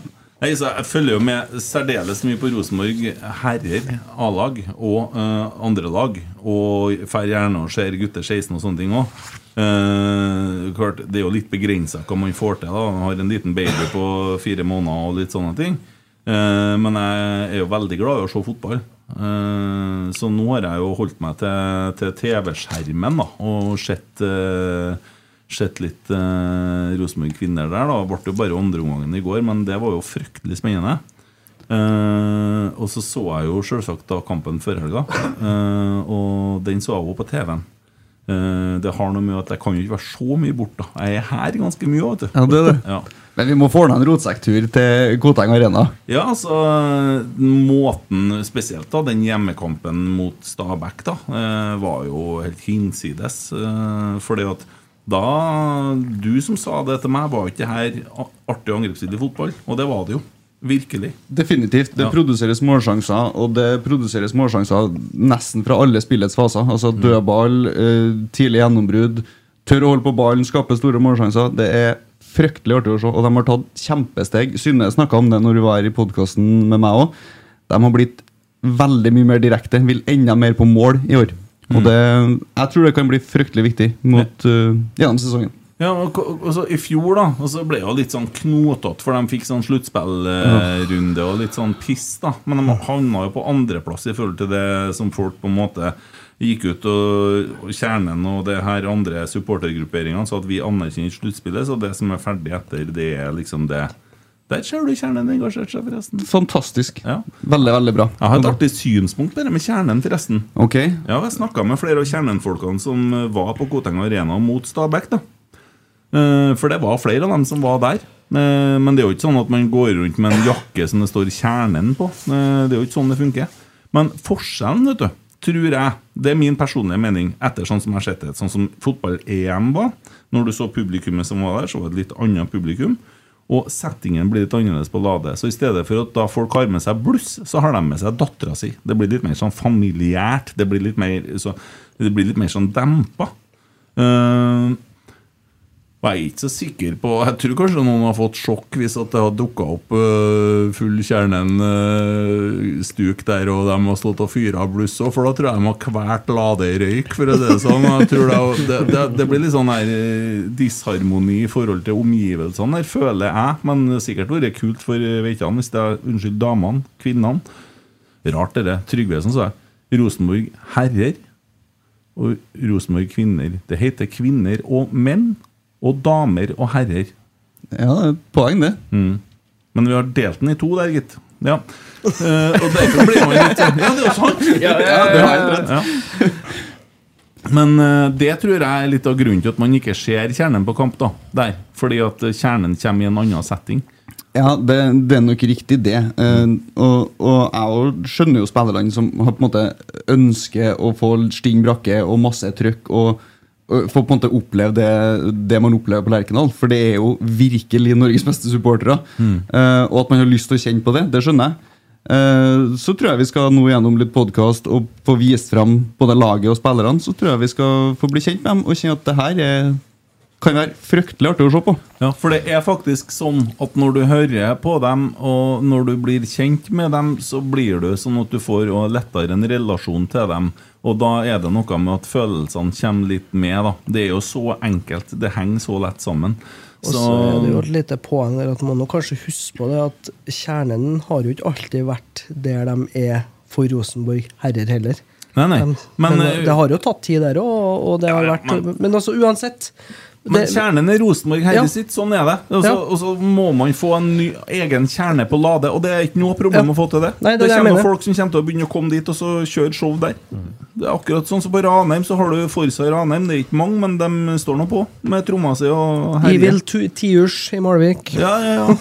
Speaker 4: Nei, så jeg følger jo med særdeles mye på Rosenborg herrer, A-lag og eh, andre lag. Og får gjerne og ser gutter 16 og sånne ting òg. klart, det er jo litt begrensa hva man får til. da Man har en liten baby på fire måneder og litt sånne ting. Eh, men jeg er jo veldig glad i å se fotball. Eh, så nå har jeg jo holdt meg til, til TV-skjermen da og sett eh, sett litt eh, Rosenborg kvinner der. da Ble jo bare andreomgangen i går, men det var jo fryktelig spennende. Eh, og så så jeg jo selvsagt da kampen før helga, eh, og den så jeg jo på TV-en. Eh, det har noe med at jeg kan jo ikke være så mye borte. Jeg er her ganske mye, vet du.
Speaker 7: Ja, det er det.
Speaker 4: Ja.
Speaker 7: Men vi må få ordna en rotsekktur til Koteng Arena.
Speaker 4: Ja, altså Måten spesielt, da. Den hjemmekampen mot Stabæk da, eh, var jo helt hinsides. Eh, fordi at da Du som sa det til meg, var ikke det her a- artig angrepsstilig fotball? Og det var det jo. Virkelig.
Speaker 7: Definitivt. Det
Speaker 4: Ja.
Speaker 7: produseres målsjanser, og det produseres målsjanser nesten fra alle spillets faser. Altså
Speaker 4: Mm.
Speaker 7: dødball, eh, tidlig gjennombrudd, tør å holde på ballen, skape store målsjanser. Det er fryktelig artig å se, og de har tatt kjempesteg. Synne snakka om det når du var i podkasten med meg òg. De har blitt veldig mye mer direkte, vil enda mer på mål i år. Og
Speaker 4: Mm.
Speaker 7: det, jeg tror det kan bli fryktelig viktig mot, eh, gjennom sesongen.
Speaker 4: Ja, og, og, og så I fjor da Og så ble det jo litt sånn knotete, for de fikk sånn sluttspillrunde og litt sånn piss. da Men de havna jo på andreplass i forhold til det som folk på en måte gikk ut og, og Kjernen og det her andre supportergrupperingene sa at vi anerkjenner ikke sluttspillet, så det som er ferdig etter, det er liksom det. Der ser du Kjernen engasjert seg, forresten.
Speaker 7: Fantastisk.
Speaker 4: Ja.
Speaker 7: Veldig, veldig bra.
Speaker 4: Jeg har et artig synspunkt på det med Kjernen, forresten.
Speaker 7: Ok,
Speaker 4: Ja, jeg snakka med flere av kjernefolkene som eh, var på Koteng Arena mot Stabæk. da Eh, For det var flere av dem som var der. Eh, Men det er jo ikke sånn at man går rundt med en jakke som det står 'Kjernen' på. Eh, Det er jo ikke sånn det funker. Men forskjellen, vet du, tror jeg Det er min personlige mening etter sånn som jeg har sett det. Sånn som fotball-EM var. Når du så publikummet som var der, så var det et litt annet publikum. Og settingen blir litt annerledes på Lade. Så i stedet for at da folk har med seg bluss, så har de med seg dattera si. Det blir litt mer sånn familiært. Det blir litt mer, så, det blir litt mer sånn dempa. Eh, og jeg er ikke så sikker på Jeg tror kanskje noen har fått sjokk hvis at det har dukka opp øh, full kjernen-stuk der, og de har stått og fyra av bluss òg, for da tror jeg de har kvalt Lade i røyk, for å si det sånn. Og jeg tror det, det, det, det blir litt sånn her øh, disharmoni i forhold til omgivelsene der, føler jeg. Men det har sikkert vært kult for øh, vet ikke han, hvis det er, Unnskyld, damene, kvinnene. Rart det der. Trygve, som sa jeg. Rosenborg herrer og Rosenborg kvinner. Det heter kvinner og menn, og damer og herrer. Mm.
Speaker 7: ja, det er et poeng, det.
Speaker 4: Men vi har delt den i to der, gitt. Ja. Eh, og derfor blir man
Speaker 7: [laughs]
Speaker 4: litt sånn
Speaker 7: det
Speaker 4: Ja, det er jo sant!
Speaker 7: har jeg rett.
Speaker 4: Ja. Men eh, det tror jeg er litt av grunnen til at man ikke ser kjernen på kamp. da Der, Fordi at eh, kjernen kommer i en annen setting.
Speaker 7: Ja, det, det er nok riktig, det. Eh, og, og jeg også skjønner jo spillerne som har på en måte ønsker å få sting brakke og masse trøkk. og og få på en måte oppleve det, det man opplever på Lerkendal. For det er jo virkelig Norges beste supportere. Eh, og at man har lyst til å kjenne på det, det skjønner jeg. Eh, så tror jeg vi skal nå gjennom litt podkast og få vist fram både laget og spillerne. Så tror jeg vi skal få bli kjent med dem og kjenne at det her er, kan være fryktelig artig å se på.
Speaker 4: Ja, For det er faktisk sånn at når du hører på dem, og når du blir kjent med dem, så blir du sånn at du får jo lettere en relasjon til dem. Og da er det noe med at følelsene kommer litt med. da Det er jo så enkelt. Det henger så lett sammen.
Speaker 6: Og så er det jo et lite poeng der at man må kanskje huske på det at kjernen har jo ikke alltid vært der de er for Rosenborg herrer heller.
Speaker 4: Nei, nei.
Speaker 6: De,
Speaker 4: Men,
Speaker 6: men,
Speaker 4: eh,
Speaker 6: det har jo tatt tid der òg, og det har vært
Speaker 4: men-
Speaker 6: Men, altså, uansett.
Speaker 4: Men
Speaker 6: det-
Speaker 4: kjernen er Rosenborg herre
Speaker 6: Ja.
Speaker 4: sitt, sånn er det. Og så,
Speaker 6: Ja.
Speaker 4: og så må man få en ny, egen kjerne på Lade, og det er ikke noe problem
Speaker 6: Ja.
Speaker 4: å få til det.
Speaker 6: Nei, det er det jeg
Speaker 4: kommer
Speaker 6: mener.
Speaker 4: folk som kommer til å begynne å komme dit og så kjøre show der. Det er akkurat sånn som på Ranheim, så har du Forsa Ranheim. Det er ikke mange, men de står nå på med tromma si og herjer.
Speaker 6: Evil tu- Tiurs i Malvik.
Speaker 4: Ja, ja,
Speaker 6: [laughs]
Speaker 4: ja.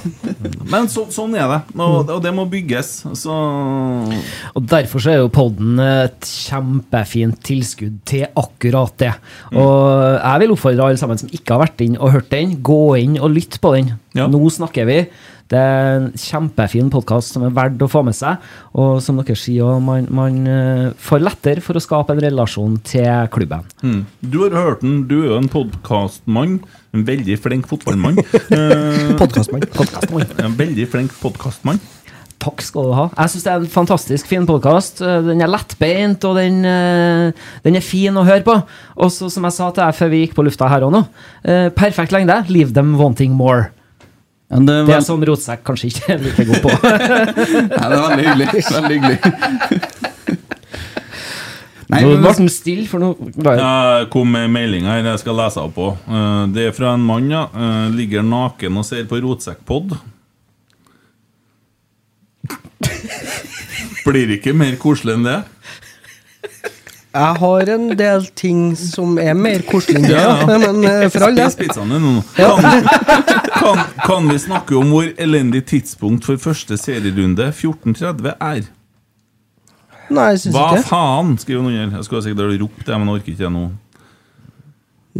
Speaker 4: Men så, sånn er det, og, og det må bygges. Så
Speaker 5: Mm. Og derfor så er jo podden et kjempefint tilskudd til akkurat det.
Speaker 4: Mm.
Speaker 5: Og jeg vil oppfordre alle sammen som ikke har vært inn og hørt den, gå inn og lytt på den.
Speaker 4: Ja.
Speaker 5: Nå snakker vi. Det er en kjempefin podkast som er verdt å få med seg. Og som dere sier, også, man, man eh, får lettere for å skape en relasjon til klubben.
Speaker 4: Mm. Du har hørt den, du er jo en podkastmann. En veldig flink
Speaker 6: [laughs]
Speaker 4: fotballmann. Eh,
Speaker 5: Podcastmann.
Speaker 4: En veldig flink podkastmann.
Speaker 5: Takk skal du ha. Jeg syns det er en fantastisk fin podkast. Den er lettbeint, og den, eh, den er fin å høre på. Og så, som jeg sa til deg før vi gikk på lufta her og nå, eh, perfekt lengde. Leave them wanting more.
Speaker 7: det,
Speaker 5: er som rotsekk kanskje ikke er like
Speaker 7: [laughs]
Speaker 5: god på.
Speaker 7: Nei, det er veldig
Speaker 5: [laughs]
Speaker 7: hyggelig. Veldig hyggelig. Nei,
Speaker 5: nå
Speaker 7: men-
Speaker 5: ble den stille, for nå
Speaker 4: Jeg kom med en melding her jeg skal lese opp på. Eh, Det er fra en mann, ja. Eh, Ligger naken og ser på
Speaker 6: [laughs]
Speaker 4: Rotsekkpod. Blir ikke mer koselig enn det.
Speaker 6: Jeg har en del ting som er mer koselig enn det,
Speaker 4: Ja,
Speaker 6: ja.
Speaker 4: ja.
Speaker 6: men eh, for all
Speaker 4: Spis
Speaker 6: del.
Speaker 4: pizzaen din nå. [laughs] Kan, kan, kan vi snakke om hvor elendig tidspunkt for første serierunde 14.30 er?
Speaker 6: Nei, jeg syns
Speaker 4: Hva
Speaker 6: ikke
Speaker 4: faen? skriver noen her. Jeg skulle sikkert ha ropt det, men jeg orker ikke det nå.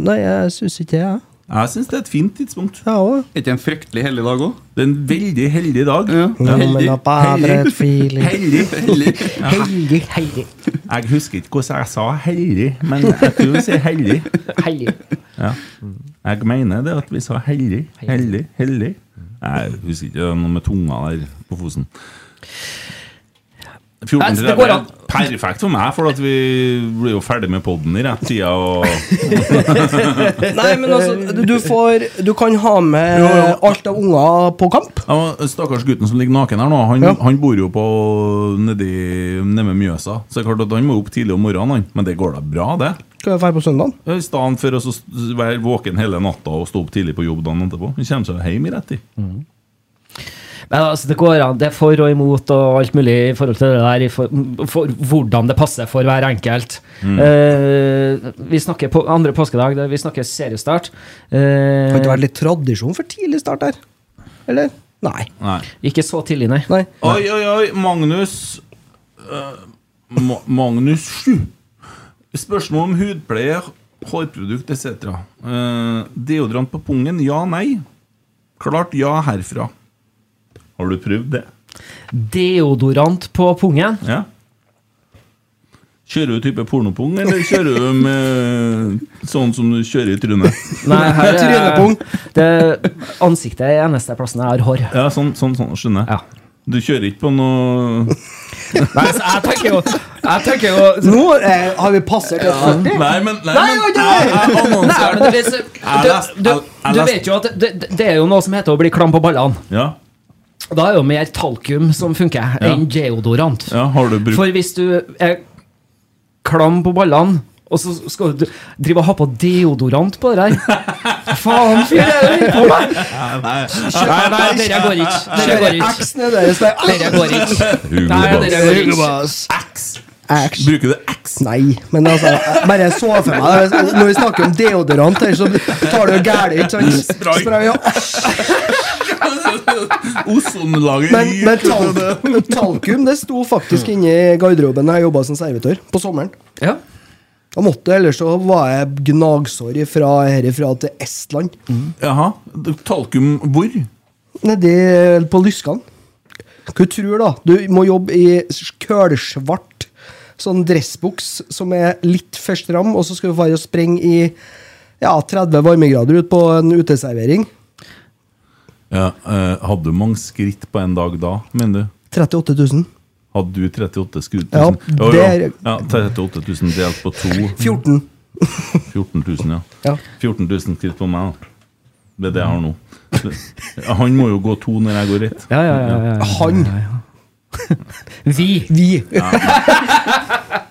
Speaker 6: Nei, jeg synes ikke det, jeg.
Speaker 4: Jeg syns det er et fint tidspunkt.
Speaker 6: Jeg òg.
Speaker 7: Er ikke det en fryktelig hellig dag òg?
Speaker 4: Det er en veldig heldig dag.
Speaker 6: Ja, men
Speaker 4: Heldig.
Speaker 6: da bare et feeling.
Speaker 4: Heldig. heldig.
Speaker 6: [laughs] Heldig, heldig.
Speaker 4: Jeg husker ikke hvordan jeg sa heldig, men jeg tror vi sier heldig.
Speaker 5: Heldig.
Speaker 4: Ja. Jeg mener det at vi sa heldig, heldig, heldig. Jeg husker ikke det er noe med tunga der på fosen.
Speaker 5: Nei, det går
Speaker 4: 14.30
Speaker 5: an.
Speaker 4: er perfekt for meg, for at vi blir jo ferdig med poden i rett tida. Og
Speaker 7: [laughs]
Speaker 6: Nei, men altså, du- du får Du kan ha med
Speaker 4: Jo, jo.
Speaker 6: alt av unger på kamp.
Speaker 4: ja, men stakkars gutten som ligger naken her nå, han,
Speaker 6: Ja.
Speaker 4: han bor jo på nedi nede med Mjøsa. Så det er klart at han må opp tidlig om morgenen, han. Men det går da bra, det?
Speaker 6: Skal jeg dra på søndag?
Speaker 4: I stedet for å så s- være våken hele natta og stå opp tidlig på jobb dagen etterpå. Han kommer seg hjem i rett tid.
Speaker 5: Men altså, det går an. Det er for og imot og alt mulig i forhold til det der, i for, for hvordan det passer for hver enkelt.
Speaker 4: Mm.
Speaker 5: Eh, vi snakker på andre påskedag, det- vi snakker seriestart. Eh,
Speaker 6: Kan det være litt tradisjon for tidlig start der? Eller? Nei.
Speaker 4: Nei.
Speaker 5: ikke så tidlig, nei.
Speaker 6: Nei.
Speaker 4: Oi, oi, oi, Magnus eh, Ma Magnus 7 Spørsmål om hudpleie, hårprodukt etc. Eh, deodorant på pungen, ja, nei? Klart ja herfra. Har du prøvd det?
Speaker 5: Deodorant på
Speaker 6: [laughs]
Speaker 5: pungen.
Speaker 4: Ja? Kjører du type pornopung, eller kjører du med sånn som du kjører i trynet?
Speaker 5: Nei, her er
Speaker 6: [laughs] Trynepung.
Speaker 5: det, Ansiktet er eneste plassen jeg har hår.
Speaker 4: Ja, sånn, sånn, sånn skjønner jeg.
Speaker 5: Ja.
Speaker 4: Du kjører ikke på noe
Speaker 5: Nei,
Speaker 4: altså,
Speaker 5: så jeg tenker jo, jeg tenker jo
Speaker 6: Nå eh, har vi passert et 40.
Speaker 4: Nei, men, nei,
Speaker 5: Nei,
Speaker 4: men
Speaker 5: oi,
Speaker 4: jeg, jeg
Speaker 5: Nei,
Speaker 4: annonserte
Speaker 5: men det, er så-
Speaker 4: leste-
Speaker 5: du, du,
Speaker 4: jeg- jeg
Speaker 5: du
Speaker 4: leste-
Speaker 5: vet jo at det, det- det er jo noe som heter å bli klam på ballene.
Speaker 4: ja,
Speaker 5: Og Da er jo mer talkum som funker, enn deodorant.
Speaker 4: ja, har du brukt
Speaker 5: For hvis du er klam på ballene, og så skal du drive og ha på deodorant på det
Speaker 4: [laughs]
Speaker 5: der Faen, fyr! det er det du holder på med? Nei, nei, dere går ikke. Dere går ikke.
Speaker 6: X-ene deres der. Ah,
Speaker 5: Dere går ikke.
Speaker 4: Hugo
Speaker 5: Nei,
Speaker 4: Boss.
Speaker 5: dere går ikke.
Speaker 6: X.
Speaker 4: Bruker du X?
Speaker 6: Nei, men altså, jeg bare så for meg det. Når vi snakker om deodorant her, så tar det jo gærent, ikke
Speaker 4: Mm.
Speaker 6: sant?
Speaker 4: Spray.
Speaker 6: Spray, ja.
Speaker 4: Ozonlaget
Speaker 6: Men, men
Speaker 4: ryker ut av det.
Speaker 6: tal talkum det sto faktisk inne i garderoben da jeg jobba som servitør på sommeren.
Speaker 5: Ja.
Speaker 6: Da måtte jeg, Ellers så var jeg gnagsår fra herifra til Estland.
Speaker 4: Jaha. du- Talkum hvor?
Speaker 6: Nedi på Lyskan. Hva du tror da? Du må jobbe i s- kølsvart sånn dressbuks som er litt for stram, og så skal du være og sprenge i ja, 30 varmegrader ut på en uteservering.
Speaker 4: Ja, eh, hadde du mange skritt på en dag da, mener du?
Speaker 6: 38 000.
Speaker 4: Hadde du 38 skudd? liksom?
Speaker 6: Ja,
Speaker 4: jo,
Speaker 6: det
Speaker 4: jo.
Speaker 6: er-
Speaker 4: ja, 38 000 delt på to. [laughs]
Speaker 6: 14.
Speaker 4: 14 000, ja.
Speaker 6: Ja.
Speaker 4: 14 000 skritt på meg, da. Det er det jeg har nå. Han må jo gå to når jeg går ett.
Speaker 5: Ja, ja, ja, ja.
Speaker 6: Han.
Speaker 5: Vi.
Speaker 6: Vi.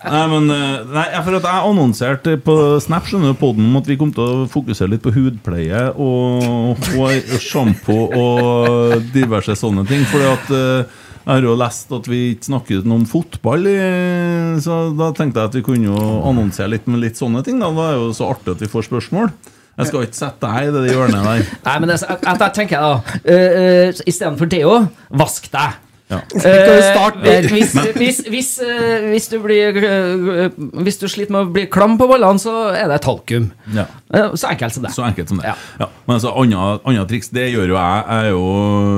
Speaker 4: Nei, men eh, nei, ja, for at jeg annonserte på Snap skjønner du, podden om at vi kom til å fokusere litt på hudpleie og hår, og sjampo og diverse sånne ting. Fordi at eh, jeg har jo lest at vi ikke snakker noe om fotball, eh, så da tenkte jeg at vi kunne jo annonsere litt med litt sånne ting. Da Da er det jo så artig at vi får spørsmål. Jeg skal ikke sette deg i det hjørnet der.
Speaker 5: eh, Nei, men det, er så- at jeg tenker da uh, Istedenfor deo, vask deg.
Speaker 6: Kan vi starte
Speaker 5: Eh,
Speaker 6: der?
Speaker 5: hvis, hvis, hvis, eh, hvis, du blir, eh, hvis du sliter med å bli klam på ballene, så er det talkum.
Speaker 4: Ja.
Speaker 5: Eh, Så enkelt som det.
Speaker 4: Så enkelt som det. Ja. Men altså, andre, andre triks Det gjør jo jeg. Jeg er jo,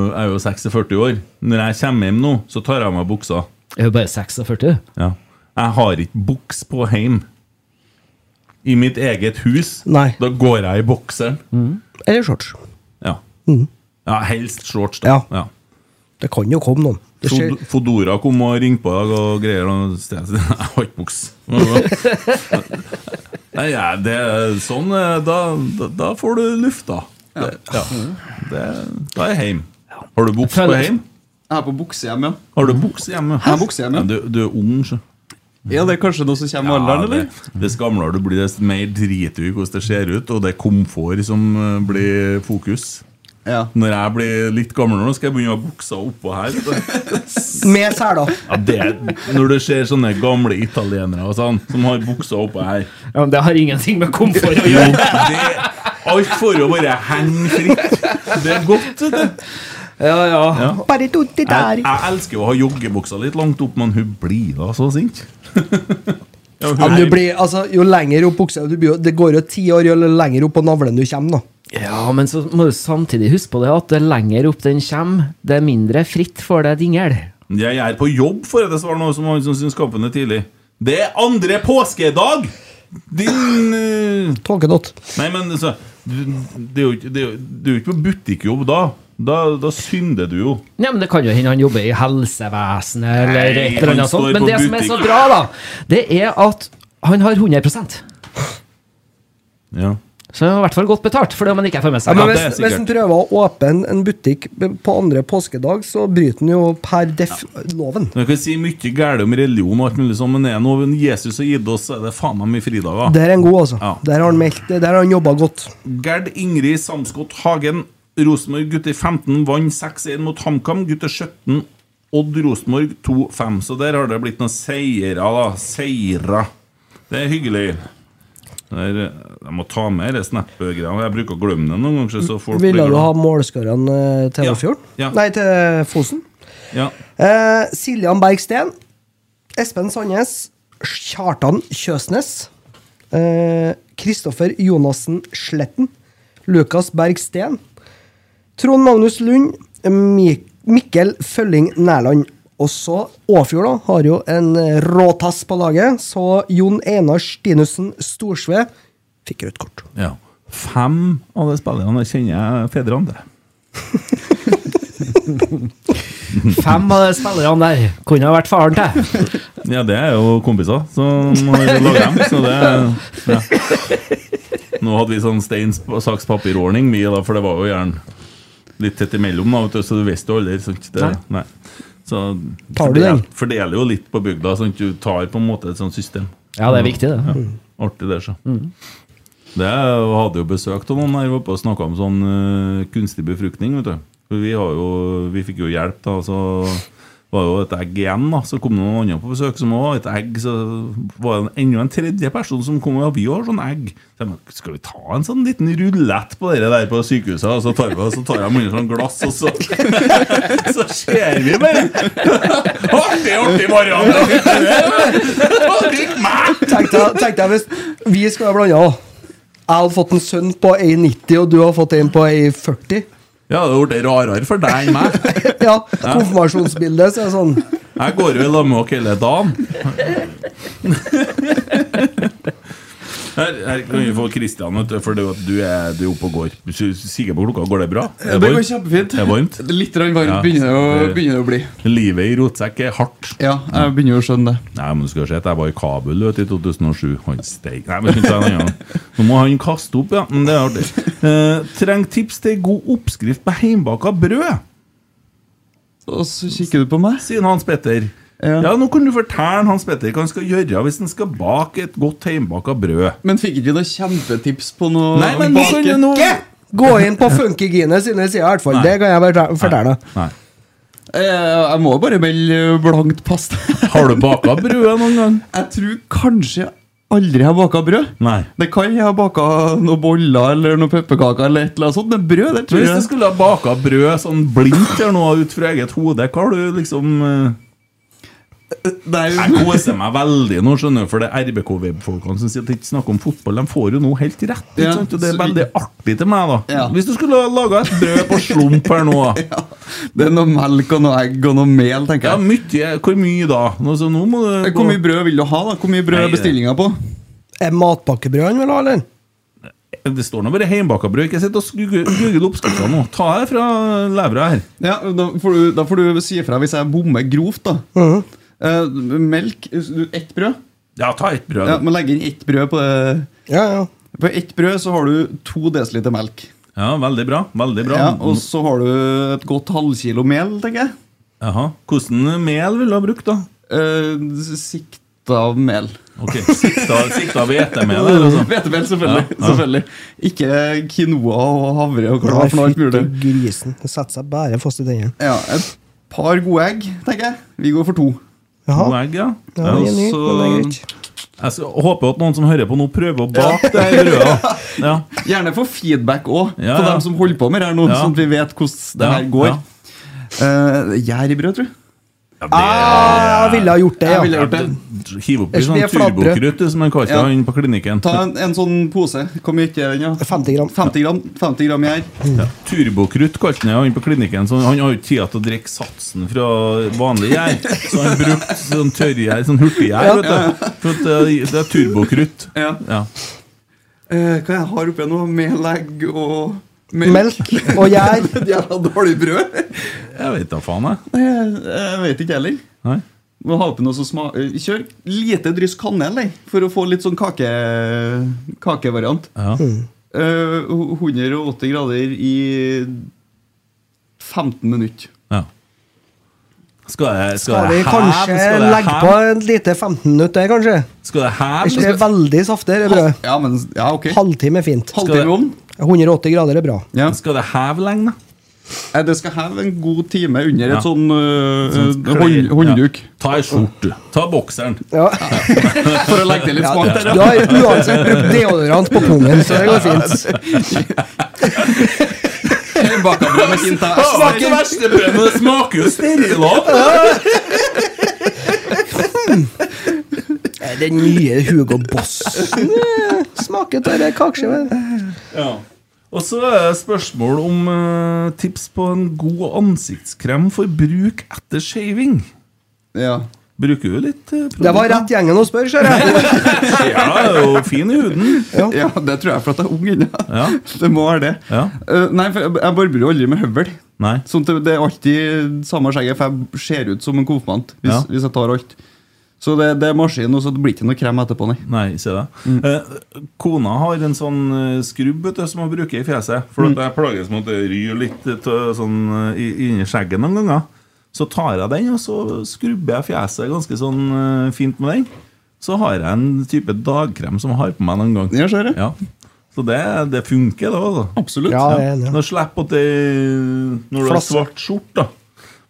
Speaker 4: jeg er jo 46 år. Når jeg kommer hjem nå, så tar jeg av meg buksa.
Speaker 5: Jeg er jo bare 46.
Speaker 4: Ja. Jeg har ikke buks på hjem. I mitt eget hus.
Speaker 6: Nei. Mm.
Speaker 4: Da går jeg i bokseren.
Speaker 6: Eller shorts.
Speaker 4: Ja.
Speaker 6: Mhm.
Speaker 4: ja, helst shorts, da.
Speaker 6: Ja.
Speaker 4: Ja.
Speaker 6: Det kan jo komme noen. Det skjer.
Speaker 4: Fod- Fodora kom og ringte på deg og greier. Og sted. [laughs] Jeg har ikke [laughs] buks. Nei, ja, det er sånn eh, da, da, da får du lufta. Ja. Ja. Det, da er jeg heim. Har du buks på
Speaker 5: Føler-
Speaker 4: heim?
Speaker 7: Jeg er på buksehjem, ja.
Speaker 4: Har du buks hjemme?
Speaker 7: Jeg er buksehjem,
Speaker 4: Ja,
Speaker 7: ja.
Speaker 4: du, du er ung, så.
Speaker 7: Er det kanskje noe som kommer med
Speaker 4: Ja,
Speaker 7: alderen,
Speaker 4: det,
Speaker 7: eller?
Speaker 4: dess gamlere du blir, dess mer driter du i hvordan det ser ut, og det er komfort som eh, blir fokus.
Speaker 7: Ja.
Speaker 4: Når jeg blir litt gammel nå, skal jeg begynne å ha buksa oppå her. vet du.
Speaker 6: Med seler.
Speaker 4: Ja, det er, når du ser sånne gamle italienere og sånn, som har buksa oppå her
Speaker 5: Ja, men det har ingenting med komfort å
Speaker 4: Jo,
Speaker 5: gjøre.
Speaker 4: det, Alt for å bare henge fritt. Det er godt. vet du.
Speaker 5: Ja, ja.
Speaker 6: Bare tutti
Speaker 4: Jeg,
Speaker 6: der.
Speaker 4: jeg elsker å ha joggebuksa litt langt opp, men hun blir da så sint. [laughs] Ja,
Speaker 6: Ja, men
Speaker 4: hun
Speaker 6: du blir, altså, jo lenger opp buksa du blir, jo- Det går jo ti år jo lenger opp på navlen du kommer. da
Speaker 5: Ja, men så må du samtidig huske på det at det lenger opp den kommer, det er mindre fritt for deg dingel.
Speaker 4: Jeg er på jobb, for det svar noe som han som syns kampene tidlig. Det er andre påskedag! Din eh,
Speaker 6: Tåkedott.
Speaker 4: Nei, men altså du, det er jo ikke- det er jo- det er jo ikke på butikkjobb da. Da, da synder du jo.
Speaker 5: Ja, men Det kan jo hende han jobber i helsevesenet eller
Speaker 4: Nei,
Speaker 5: et eller
Speaker 4: han
Speaker 5: annet sånt.
Speaker 4: står
Speaker 5: Men
Speaker 4: på
Speaker 5: det som er så
Speaker 4: butikk.
Speaker 5: bra, da, det er at han har 100
Speaker 4: Ja.
Speaker 5: Så han har i hvert fall godt betalt for det om han ikke får med
Speaker 6: Ja,
Speaker 5: seg.
Speaker 6: men
Speaker 4: Ja, det er
Speaker 6: hvis, hvis
Speaker 4: sikkert.
Speaker 6: en prøver å åpne en butikk b- på andre påskedag, så bryter en jo per def loven.
Speaker 4: Man kan si mye galt om religion, og alt mulig sånn, men det er noe Jesus har gitt oss, så er det faen meg mye fridager.
Speaker 6: Der er en god, altså.
Speaker 4: Ja.
Speaker 6: Der har han meldt det. Der har han jobba godt.
Speaker 4: Gerd Ingrid Samskott Hagen. Rosenborg gutter 15 vant 6-1 mot HamKam. Gutter 17 Odd Rosenborg 2-5. Så der har det blitt noen seire, da. Seire. Det er hyggelig. Der, eh, jeg må ta med de snap-greiene. Jeg bruker å glemme det noen ganger. Så folk
Speaker 6: Mm. Ville
Speaker 4: blir
Speaker 6: du ha
Speaker 4: glad.
Speaker 6: målskårene eh, til
Speaker 4: Ja,
Speaker 6: Åfjorden?
Speaker 4: ja.
Speaker 6: Nei, til Fosen.
Speaker 4: Ja.
Speaker 6: Eh, Siljan Bergsten. Espen Sandnes. Kjartan Kjøsnes. eh, Kristoffer Jonassen Sletten. Lukas Bergsten. Trond Magnus Lund. Mik Mikkel Følling Nærland. Og så Åfjord, da, har jo en eh, råtass på laget. Så Jon Einar Stinussen Storsve fikk rødt kort.
Speaker 4: ja. Fem av de spillerne kjenner jeg fedrene til.
Speaker 5: Fem av de spillerne der kunne ha vært faren til.
Speaker 4: Ja, det er jo kompiser som har laget dem, så det ja. Nå hadde vi sånn stein, saks, papir-ordning mye, da, for det var jo gjerne litt tett imellom, da, vet du, så du visste jo aldri. Sant? Det, nei. Så
Speaker 6: Tar du den?
Speaker 4: fordel- Fordeler jo litt på bygda, sånn at du tar på en måte et sånt system.
Speaker 5: Ja, det er viktig, det.
Speaker 6: Mm.
Speaker 4: Artig, det, så. Det jeg hadde jo besøkt av noen her oppe og snakka om sånn eh, kunstig befruktning, vet du. For vi, har jo, vi fikk jo hjelp, da, så var jo et egg igjen, da. Så kom det noen andre på besøk som òg et egg. Så var det enda en tredje person som kom og vi har sånn egg. Så jeg, men, skal vi ta en sånn liten rullett på det der på sykehuset? Og så tar vi så tar jeg munnen sånn glass, og så Så [laughs] ser vi bare. Artig, artig variant! Drikk meg!
Speaker 6: Tenk deg, tenk deg hvis vi skulle ha blanda òg. Jeg hadde fått en sønn på 1,90, og du har fått en på 1,40.
Speaker 4: Ja, det ble rarere for deg enn meg.
Speaker 6: Ja, Konfirmasjonsbildet, så er det sånn.
Speaker 4: Jeg går jo i lag med dere hele dagen. Her, her kan vi få Kristian, for det, er jo at du er, du er oppe og går. Hvis du kikker på klokka, går det bra? Er
Speaker 7: Det går
Speaker 4: varmt?
Speaker 7: kjempefint.
Speaker 4: Er det varmt?
Speaker 7: Litt rann varmt
Speaker 4: Ja.
Speaker 7: begynner, det å,
Speaker 4: Det-
Speaker 7: begynner det å bli.
Speaker 4: Livet i rotsekk er hardt.
Speaker 7: Ja, jeg begynner å skjønne det.
Speaker 4: Nei, men du skal se at jeg var i Kabul vet, du, i 2007. Han steik Nei, men ikke han, ja. Nå må han kaste opp, ja. Men det er artig. Eh, Trenger tips til god oppskrift på heimbaka brød,
Speaker 7: Og så kikker du på meg.
Speaker 4: sier Hans Petter. Ja.
Speaker 7: Ja.
Speaker 4: Nå kan du fortelle Hans Petter hva han skal gjøre hvis han skal bake et godt heimbaka brød.
Speaker 7: Men fikk ikke vi noen kjempetips på noe
Speaker 4: Nei, men nå
Speaker 7: bak-
Speaker 4: kan du nå
Speaker 6: Ikke gå inn på Funkygine sine sider, i hvert fall.
Speaker 4: Nei.
Speaker 6: Det kan jeg bare fortelle.
Speaker 4: Nei.
Speaker 7: Eh, Jeg må bare melde eh, blankt pass. [laughs]
Speaker 4: Har du baka brød noen gang?
Speaker 7: Jeg tror kanskje aldri har baka brød.
Speaker 4: Nei.
Speaker 7: Det kan jeg ha baka noen boller eller noen pepperkaker eller et eller annet sånt. Men brød, det
Speaker 4: Men
Speaker 7: tror
Speaker 4: hvis du
Speaker 7: jeg
Speaker 4: skulle ha baka brød sånn blindt eller noe ut fra eget hode, hva har du liksom eh, Jeg koser meg veldig nå, skjønner du, for det er RBK-folkene som sier at det ikke snakker om fotball. De får jo nå helt rett. Ikke
Speaker 7: Ja,
Speaker 4: sant? Og det er
Speaker 7: så vi-
Speaker 4: veldig artig til meg, da.
Speaker 7: Ja.
Speaker 4: Hvis du skulle ha laga et brød på slump her nå
Speaker 7: [laughs] Det er noe melk og noe egg og noe mel, tenker
Speaker 4: Ja,
Speaker 7: jeg.
Speaker 4: mye, Hvor mye da? Nå, så nå må du
Speaker 7: Hvor mye brød vil du ha? da? Hvor mye brød
Speaker 4: Nei,
Speaker 7: er bestillinga på?
Speaker 6: Er matpakkebrød han vil ha, eller?
Speaker 4: Det står nå bare heimbaka brød. Ikke sitt og google google oppskrifter nå. Ta det fra levra her.
Speaker 7: Ja, da får, du, da får du si ifra hvis jeg bommer grovt, da. Eh, melk du- Ett brød.
Speaker 4: Ja, ta ett brød.
Speaker 7: Ja,
Speaker 4: Ja,
Speaker 7: men legg inn ett brød på det.
Speaker 6: Ja, ja.
Speaker 7: På ett brød så har du to desiliter melk.
Speaker 4: veldig bra. Veldig bra.
Speaker 7: Ja, og så har du et godt halvkilo mel, tenker jeg.
Speaker 4: Jaha. Hvordan mel ville du ha brukt, da?
Speaker 7: Eh, sikta mel.
Speaker 4: Ok, Sikta, sikta hvetemel her, altså.
Speaker 7: Hvetemel, selvfølgelig.
Speaker 4: Ja, ja.
Speaker 7: selvfølgelig. Ikke quinoa og havre og hva for noe alt mulig.
Speaker 6: Fytti grisen. Det setter seg bare fast i tennene.
Speaker 7: Ja, et par gode egg, tenker jeg. Vi går for to.
Speaker 4: To
Speaker 6: Jaha.
Speaker 4: egg, ja. Ja,
Speaker 6: Ja, det er ny, men det er
Speaker 4: så-
Speaker 6: greit.
Speaker 4: Jeg skal- håper at noen som hører på nå, prøver å bake det her brødet.
Speaker 7: [laughs]
Speaker 4: Ja.
Speaker 7: Gjerne for feedback òg,
Speaker 4: Ja,
Speaker 7: på
Speaker 4: ja.
Speaker 7: dem som holder på med det her nå,
Speaker 4: Ja.
Speaker 7: sånn at vi vet hvordan det
Speaker 4: Ja,
Speaker 7: her går.
Speaker 4: ja.
Speaker 7: Eh, Gjær i brød, tror jeg.
Speaker 6: Ah, Jeg ville ha gjort det,
Speaker 7: Jeg ville
Speaker 6: ja.
Speaker 7: gjort det.
Speaker 4: Hiv oppi
Speaker 6: Ellers blir
Speaker 4: sånn
Speaker 6: jeg flatbrød.
Speaker 4: turbokrutt du, som en kalte
Speaker 7: Ja.
Speaker 4: han på klinikken.
Speaker 7: Ta en, en sånn pose. Hvor mye er den, da?
Speaker 6: 50 gram.
Speaker 7: 50 gram, 50 gram gjær.
Speaker 4: Ja. Turbokrutt kalte han han på klinikken, så han har jo ikke tid til å drikke satsen fra vanlig gjær. Så han brukte sånn tørrgjær, sånn hurtiggjær, vet du. For at eh, det, det er turbokrutt.
Speaker 7: Ja.
Speaker 4: Ja.
Speaker 7: Eh, hva jeg har oppi nå? Mel, egg og
Speaker 6: Melk
Speaker 7: [laughs]
Speaker 6: og gjær.
Speaker 7: Jævla dårlig brød.
Speaker 4: Jeg vet da faen, jeg.
Speaker 7: Nei, Jeg, jeg vet ikke heller.
Speaker 4: Nei.
Speaker 7: Må ha oppi noe som sma- eh, Kjør lite dryss kanel jeg, for å få litt sånn kake, kakevariant.
Speaker 4: Ja.
Speaker 7: Eh, 180 grader i 15 minutter.
Speaker 4: Ja. Skal jeg, skal
Speaker 6: Skal vi
Speaker 4: jeg
Speaker 6: kanskje
Speaker 4: skal jeg
Speaker 6: legge på et lite 15 minutter, der, kanskje?
Speaker 4: Skal jeg
Speaker 6: Er
Speaker 4: heve?
Speaker 6: ikke det veldig saftig? det brødet?
Speaker 7: Ja, men Ja, ok.
Speaker 6: Halvtime er fint.
Speaker 7: Halvtime i ovnen?
Speaker 6: 180 grader er bra.
Speaker 7: Ja.
Speaker 4: Skal det heve lenge, da?
Speaker 7: Eh, Det skal heve en god time under
Speaker 4: Ja.
Speaker 7: et sånn eh,
Speaker 4: Sånn
Speaker 7: eh,
Speaker 4: klær.
Speaker 7: hånd, håndduk.
Speaker 4: Ja. Ta ei skjorte. Ta bokseren. [laughs]
Speaker 6: Ja.
Speaker 7: For å legge til litt smak der.
Speaker 6: Du har uansett brukt deodorant på pungen, så det går fint. [laughs]
Speaker 7: Bakkabrød med kinta.
Speaker 4: ikke verste brød, men det smaker jo sterilat!
Speaker 6: Eh, Den nye Hugo Boss eh, smaker til det kakeskivet.
Speaker 4: Ja. Og så er det spørsmål om eh, tips på en god ansiktskrem for bruk etter shaving.
Speaker 7: Ja.
Speaker 4: Bruker jo litt eh,
Speaker 6: Det var rett gjengen å spørre, ser jeg.
Speaker 4: produkter. Ja, det er jo fin i huden.
Speaker 7: ja, [laughs] det tror jeg for at jeg er ung ennå.
Speaker 4: Ja.
Speaker 7: [laughs] Det må være det.
Speaker 4: Ja.
Speaker 7: Eh, nei, for jeg, jeg barberer jo aldri med høvel.
Speaker 4: Nei.
Speaker 7: Sånn at det, det er alltid samme skjegget, for jeg ser ut som en konfirmant hvis,
Speaker 4: Ja.
Speaker 7: hvis jeg tar alt. Så det, det er maskin, og så det blir ikke noe krem etterpå, nei.
Speaker 4: Nei, se det.
Speaker 7: Mm.
Speaker 4: Eh, kona har en sånn eh, skrubb vet du, som hun bruker i fjeset. For
Speaker 7: Mm.
Speaker 4: at jeg plages med at det ryr litt eh, til sånn, eh, i- inni skjegget noen ganger. Så tar jeg den, og så skrubber jeg fjeset ganske sånn eh, fint med den. Så har jeg en type dagkrem som jeg har på meg noen gang.
Speaker 7: Ja, ser jeg.
Speaker 4: Ja. Så det, det funker, det. Altså.
Speaker 7: Absolutt.
Speaker 6: Ja, jeg er enig.
Speaker 4: Nå slipper at det Når du har
Speaker 6: Flass.
Speaker 4: svart skjort, da.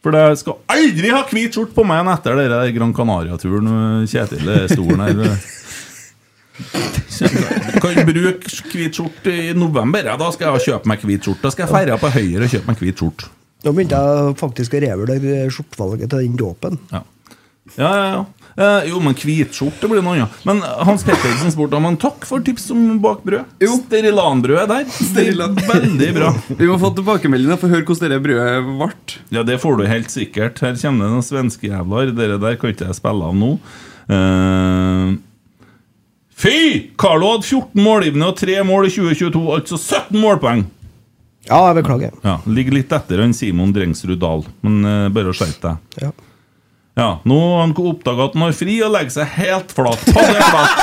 Speaker 4: For jeg skal aldri ha hvit skjort på meg igjen etter den der Gran Canaria-turen med Kjetil i stolen her. Kjempe- Kan bruke hvit skjort i november. Ja, da skal jeg kjøpe meg hvit skjort. Da skal jeg feire på Høyre og kjøpe meg hvit skjort.
Speaker 6: Nå begynte jeg faktisk å revurdere skjortevalget til den dåpen.
Speaker 4: Ja, ja, ja. ja. Eh, jo, men hvit skjorte blir noe annet. Men Hans Pettersen spurte om han takk for tips om bak brød.
Speaker 7: Jo.
Speaker 4: Sterilanbrødet der.
Speaker 7: Sterilan.
Speaker 4: Veldig bra.
Speaker 7: [laughs] Vi må få tilbakemeldinger for å høre hvordan det brødet ble.
Speaker 4: Ja, det får du helt sikkert. Her kommer det noen svenske jævler. Dere der kan ikke jeg spille av nå. Eh, fy! Carlo hadde 14 målgivende og 3 mål i 2022, altså 17 målpoeng!
Speaker 6: Ja, jeg beklager.
Speaker 4: Ja, Ligger litt etter han Simon Drengsrud Dahl, men eh, bare skjerp deg.
Speaker 6: Ja.
Speaker 4: Ja, nå har han oppdaga at han har fri og legger seg helt flat. Paddeflat.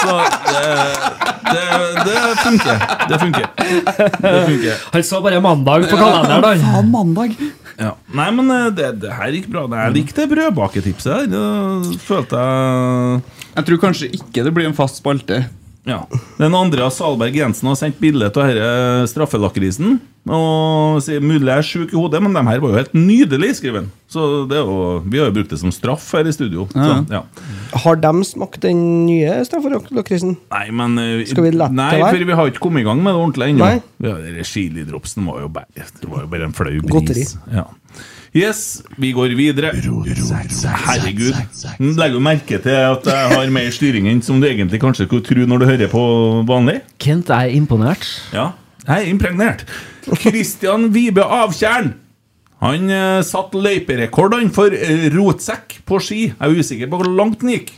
Speaker 4: Så eh, det, det, det funker. Det funker. Det funker.
Speaker 5: [laughs] Han så bare mandag på kalenderen. han.
Speaker 7: mandag.
Speaker 4: Ja. Nei, men eh, det, det her gikk bra. Jeg likte brødbaketipset. der. Det følte jeg
Speaker 7: Jeg tror kanskje ikke det blir en fast spalte.
Speaker 4: Ja. Den andre av Salberg Jensen har sendt bilde av denne straffelakrisen. eh, Og sier mulig jeg er sjuk i hodet, men de her var jo helt nydelige, skriver han. Så det er jo, vi har jo brukt det som straff her i studio. Så, ja.
Speaker 6: Har de smakt den nye, Steffan Lakrisen?
Speaker 4: Nei, men eh,
Speaker 6: Skal vi lette
Speaker 4: Nei,
Speaker 6: det der?
Speaker 4: for vi har ikke kommet i gang med det ordentlig ennå.
Speaker 6: Nei.
Speaker 4: Ja, det der Chilidropsen var jo bare Det var jo bare en flau bris.
Speaker 6: Godteri.
Speaker 4: Ja. Yes, vi går videre. Herregud. Legger du merke til at jeg har mer styring enn som du egentlig kanskje skulle tro når du hører på vanlig?
Speaker 5: Kent er imponert.
Speaker 4: Ja. Jeg er impregnert. Christian Vibe Avtjern. Han eh, satt løyperekordene for eh, rotsekk på ski. Jeg er usikker på hvor langt den gikk.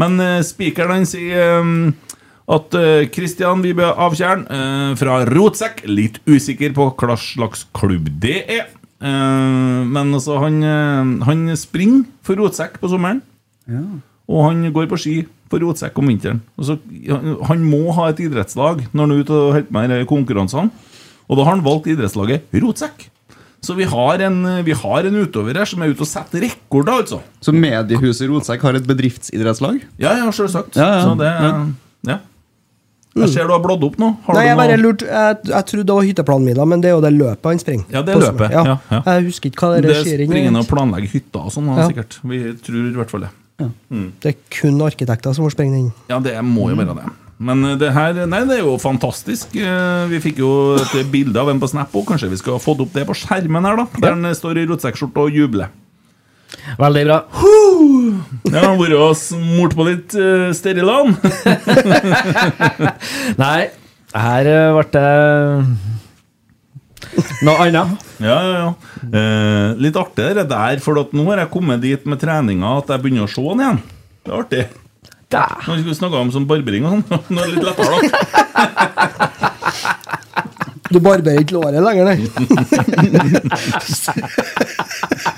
Speaker 4: Men eh, spikeren han sier eh, at eh, Christian Vibe Avtjern eh, fra Rotsekk Litt usikker på hva slags klubb det er. Eh, men altså, han, eh, han springer for Rotsekk på sommeren. Og han går på ski på rotsekk om vinteren. Og så, han- han må ha et idrettslag når han er ute og holder på med disse konkurransene. Og da har han valgt idrettslaget Rotsekk. Så vi har en, eh, vi har en utøver her som er ute og setter rekorder, altså.
Speaker 7: Så mediehuset Rotsekk har et bedriftsidrettslag?
Speaker 4: Ja, ja, selvsagt.
Speaker 7: Ja, ja.
Speaker 4: Så det Ja. Jeg ser du har blådd opp nå. Har
Speaker 6: Nei,
Speaker 4: du
Speaker 6: jeg
Speaker 4: noe-
Speaker 6: bare lurte Jeg, jeg trodde det var hytteplanmiddag, men det er jo det løpet han springer.
Speaker 4: Ja, det er
Speaker 6: På sommeren.
Speaker 4: løpet, ja, ja.
Speaker 6: Jeg husker ikke hva det
Speaker 4: Det
Speaker 6: skjer
Speaker 4: springer han og planlegger hytter og sånn, da,
Speaker 6: Ja.
Speaker 4: sikkert. Vi tror i hvert fall det.
Speaker 6: Det er kun arkitekter som får sprenge den.
Speaker 4: Ja, det må jo være det. Men eh, det her Nei, det er jo fantastisk. Eh, Vi fikk jo et bilde av en på Snap òg. Kanskje vi skal ha fått opp det på skjermen her, da. Der han eh, står i rotsekkskjorte og jubler.
Speaker 5: Veldig bra.
Speaker 4: Ja, han har vært og smurt på litt uh, Sterilan.
Speaker 5: [laughs] Nei, her eh, ble det noe annet.
Speaker 4: Ja, ja, ja. Eh, litt artig det der, for at nå har jeg kommet dit med treninga at jeg begynner å se han igjen. Det er artig.
Speaker 5: Da.
Speaker 4: Nå skal vi snakke om sånn barbering og sånn. [laughs] Nå er det litt lettere, da.
Speaker 6: Du barberer ikke låret
Speaker 4: [laughs]
Speaker 6: lenger, nei.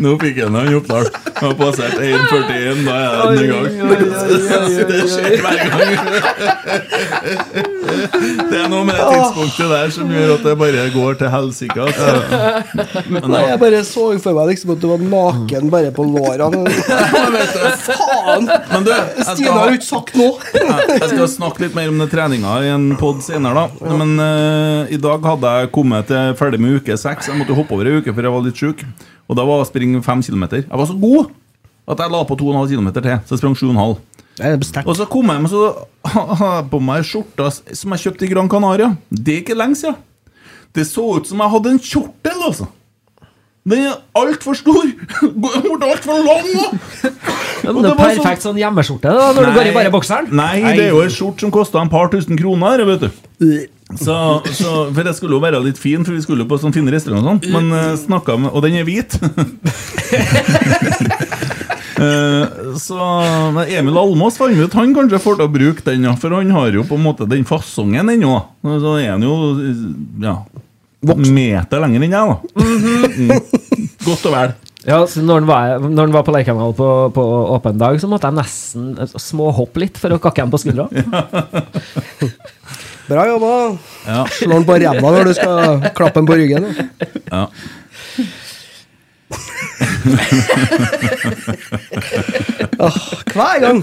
Speaker 4: Nå fikk jeg den i Oppdal. Jeg har passert 1,41, da er det en gang. [laughs] Det skjer hver gang. Det er noe med det tidspunktet der som gjør at det bare går til helsike. altså.
Speaker 6: nei. Jeg bare så for meg liksom at du var naken bare på lårene. Faen!
Speaker 4: Men du, jeg
Speaker 6: [laughs] Stine har
Speaker 4: skal,
Speaker 6: jo ikke sagt
Speaker 4: [laughs]
Speaker 6: noe!
Speaker 4: jeg skal snakke litt mer om den treninga i en pod senere, da. Men eh, i dag hadde jeg kommet til ferdig med uke seks. Jeg måtte hoppe over ei uke, for jeg var litt sjuk. Og da var å springe fem kilometer. Jeg var så god at jeg la på 2,5 km til, så jeg sprang 7,5.
Speaker 6: Det er sterkt.
Speaker 4: Og så kom jeg hjem og så [laughs] hadde jeg på meg skjorta som jeg kjøpte i Gran Canaria. Det er ikke lenge siden. Det så ut som jeg hadde en kjortel, altså. Den er altfor stor. [laughs] Den ble altfor lang nå.
Speaker 5: Ja,
Speaker 4: Og
Speaker 5: men
Speaker 4: det
Speaker 5: det er
Speaker 4: var
Speaker 5: perfekt sånn hjemmeskjorte da, når du går i bare bokseren.
Speaker 4: Nei, det er jo en skjort som kosta en par tusen kroner, vet du. Så, så, for jeg skulle jo være litt fin, for vi skulle jo på sånn fine restaurant og sånn, men eh, snakket med Og den er hvit. [laughs] Eh, så men Emil Almås fant ut han kanskje får til å bruke den, ja, for han har jo på en måte den fasongen ennå. Så er han jo ja, meter lenger enn jeg, da. Mm. Godt og vel.
Speaker 5: Ja, så når han var, når han var på Leikanal på, på åpen dag, så måtte jeg nesten eh, småhoppe litt for å kakke ham på skuldra.
Speaker 4: [laughs]
Speaker 6: Bra jobba.
Speaker 4: Ja.
Speaker 6: Slår den på ræva når du skal klappe den på ryggen. Åh, hver gang!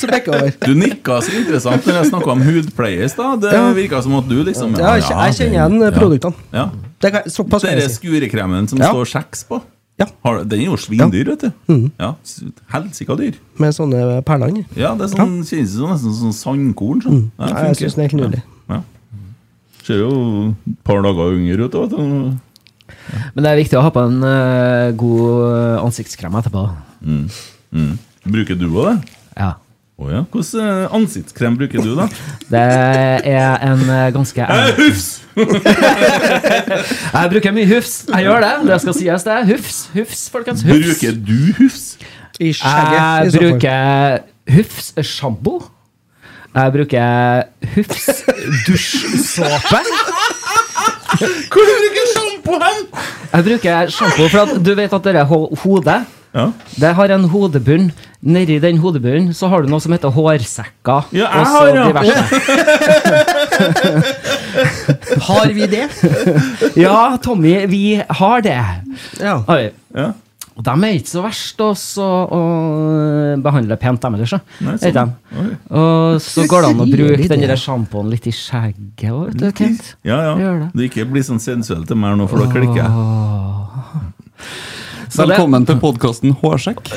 Speaker 6: Så bekker jeg over.
Speaker 4: Du nikka så interessant når jeg snakka om hudpleie i stad. Det
Speaker 6: Ja.
Speaker 4: virka som at du liksom
Speaker 6: Ja, jeg kjenner- jeg kjenner igjen
Speaker 4: den-
Speaker 6: produktene.
Speaker 4: Ja.
Speaker 6: Det kan, såpass kan
Speaker 4: Den
Speaker 6: jeg si.
Speaker 4: skurekremen som
Speaker 6: Ja.
Speaker 4: står kjeks på,
Speaker 6: Ja. Mm.
Speaker 4: har, den er jo svindyr, vet du. Ja, s- Helsika dyr.
Speaker 6: Med sånne perler inni.
Speaker 4: Ja, det er sånn, kjennes som nesten sånn sandkorn. Sånn. Ja,
Speaker 6: Nei, Mm. jeg
Speaker 4: funker.
Speaker 6: syns den er helt nydelig.
Speaker 4: Ja. Ser jo et par dager yngre ut. da, Vet du.
Speaker 5: Men det er viktig å ha på en eh, god ansiktskrem etterpå.
Speaker 4: Mm. Bruker du òg det?
Speaker 5: Ja.
Speaker 4: Å ja. Hvordan eh, ansiktskrem bruker du, da?
Speaker 5: [laughs] Det er en eh, ganske
Speaker 4: Eh, Hufs!
Speaker 5: [laughs] Jeg bruker mye hufs. Jeg gjør det. Det skal sies, det. Hufs, hufs, folkens. Hufs.
Speaker 4: Bruker du hufs?
Speaker 6: I skjegget, i
Speaker 5: Jeg
Speaker 6: så fall.
Speaker 5: bruker hufs sjampo. Jeg bruker hufs [laughs] dusjsåpe.
Speaker 4: Hvor bruker sjampo hen?!
Speaker 5: Jeg bruker sjampo, for at du vet at det er ho- hodet.
Speaker 4: Ja.
Speaker 5: Det har en hodebunn. Nedi den hodebunnen så har du noe som heter hårsekker.
Speaker 4: Ja, jeg
Speaker 5: og så
Speaker 4: har, ja.
Speaker 5: diverse.
Speaker 6: Har vi det?
Speaker 5: [laughs] Ja, Tommy, vi har det.
Speaker 6: Ja.
Speaker 5: Oi.
Speaker 4: Ja.
Speaker 5: Og de er ikke så verst også, å behandle pent, dem ellers.
Speaker 4: Nei,
Speaker 5: Nei,
Speaker 4: sånn.
Speaker 5: Og så går det an å
Speaker 4: Sier de
Speaker 5: bruke den
Speaker 4: det?
Speaker 5: der sjampoen litt i skjegget òg, vet du, Kent.
Speaker 4: Ja, ja.
Speaker 5: Gjør det.
Speaker 4: Det ikke blir sånn sensuelt til meg nå, for da klikker jeg.
Speaker 5: Så
Speaker 7: Ah.
Speaker 5: det-
Speaker 7: Velkommen til podkasten Hårsjekk.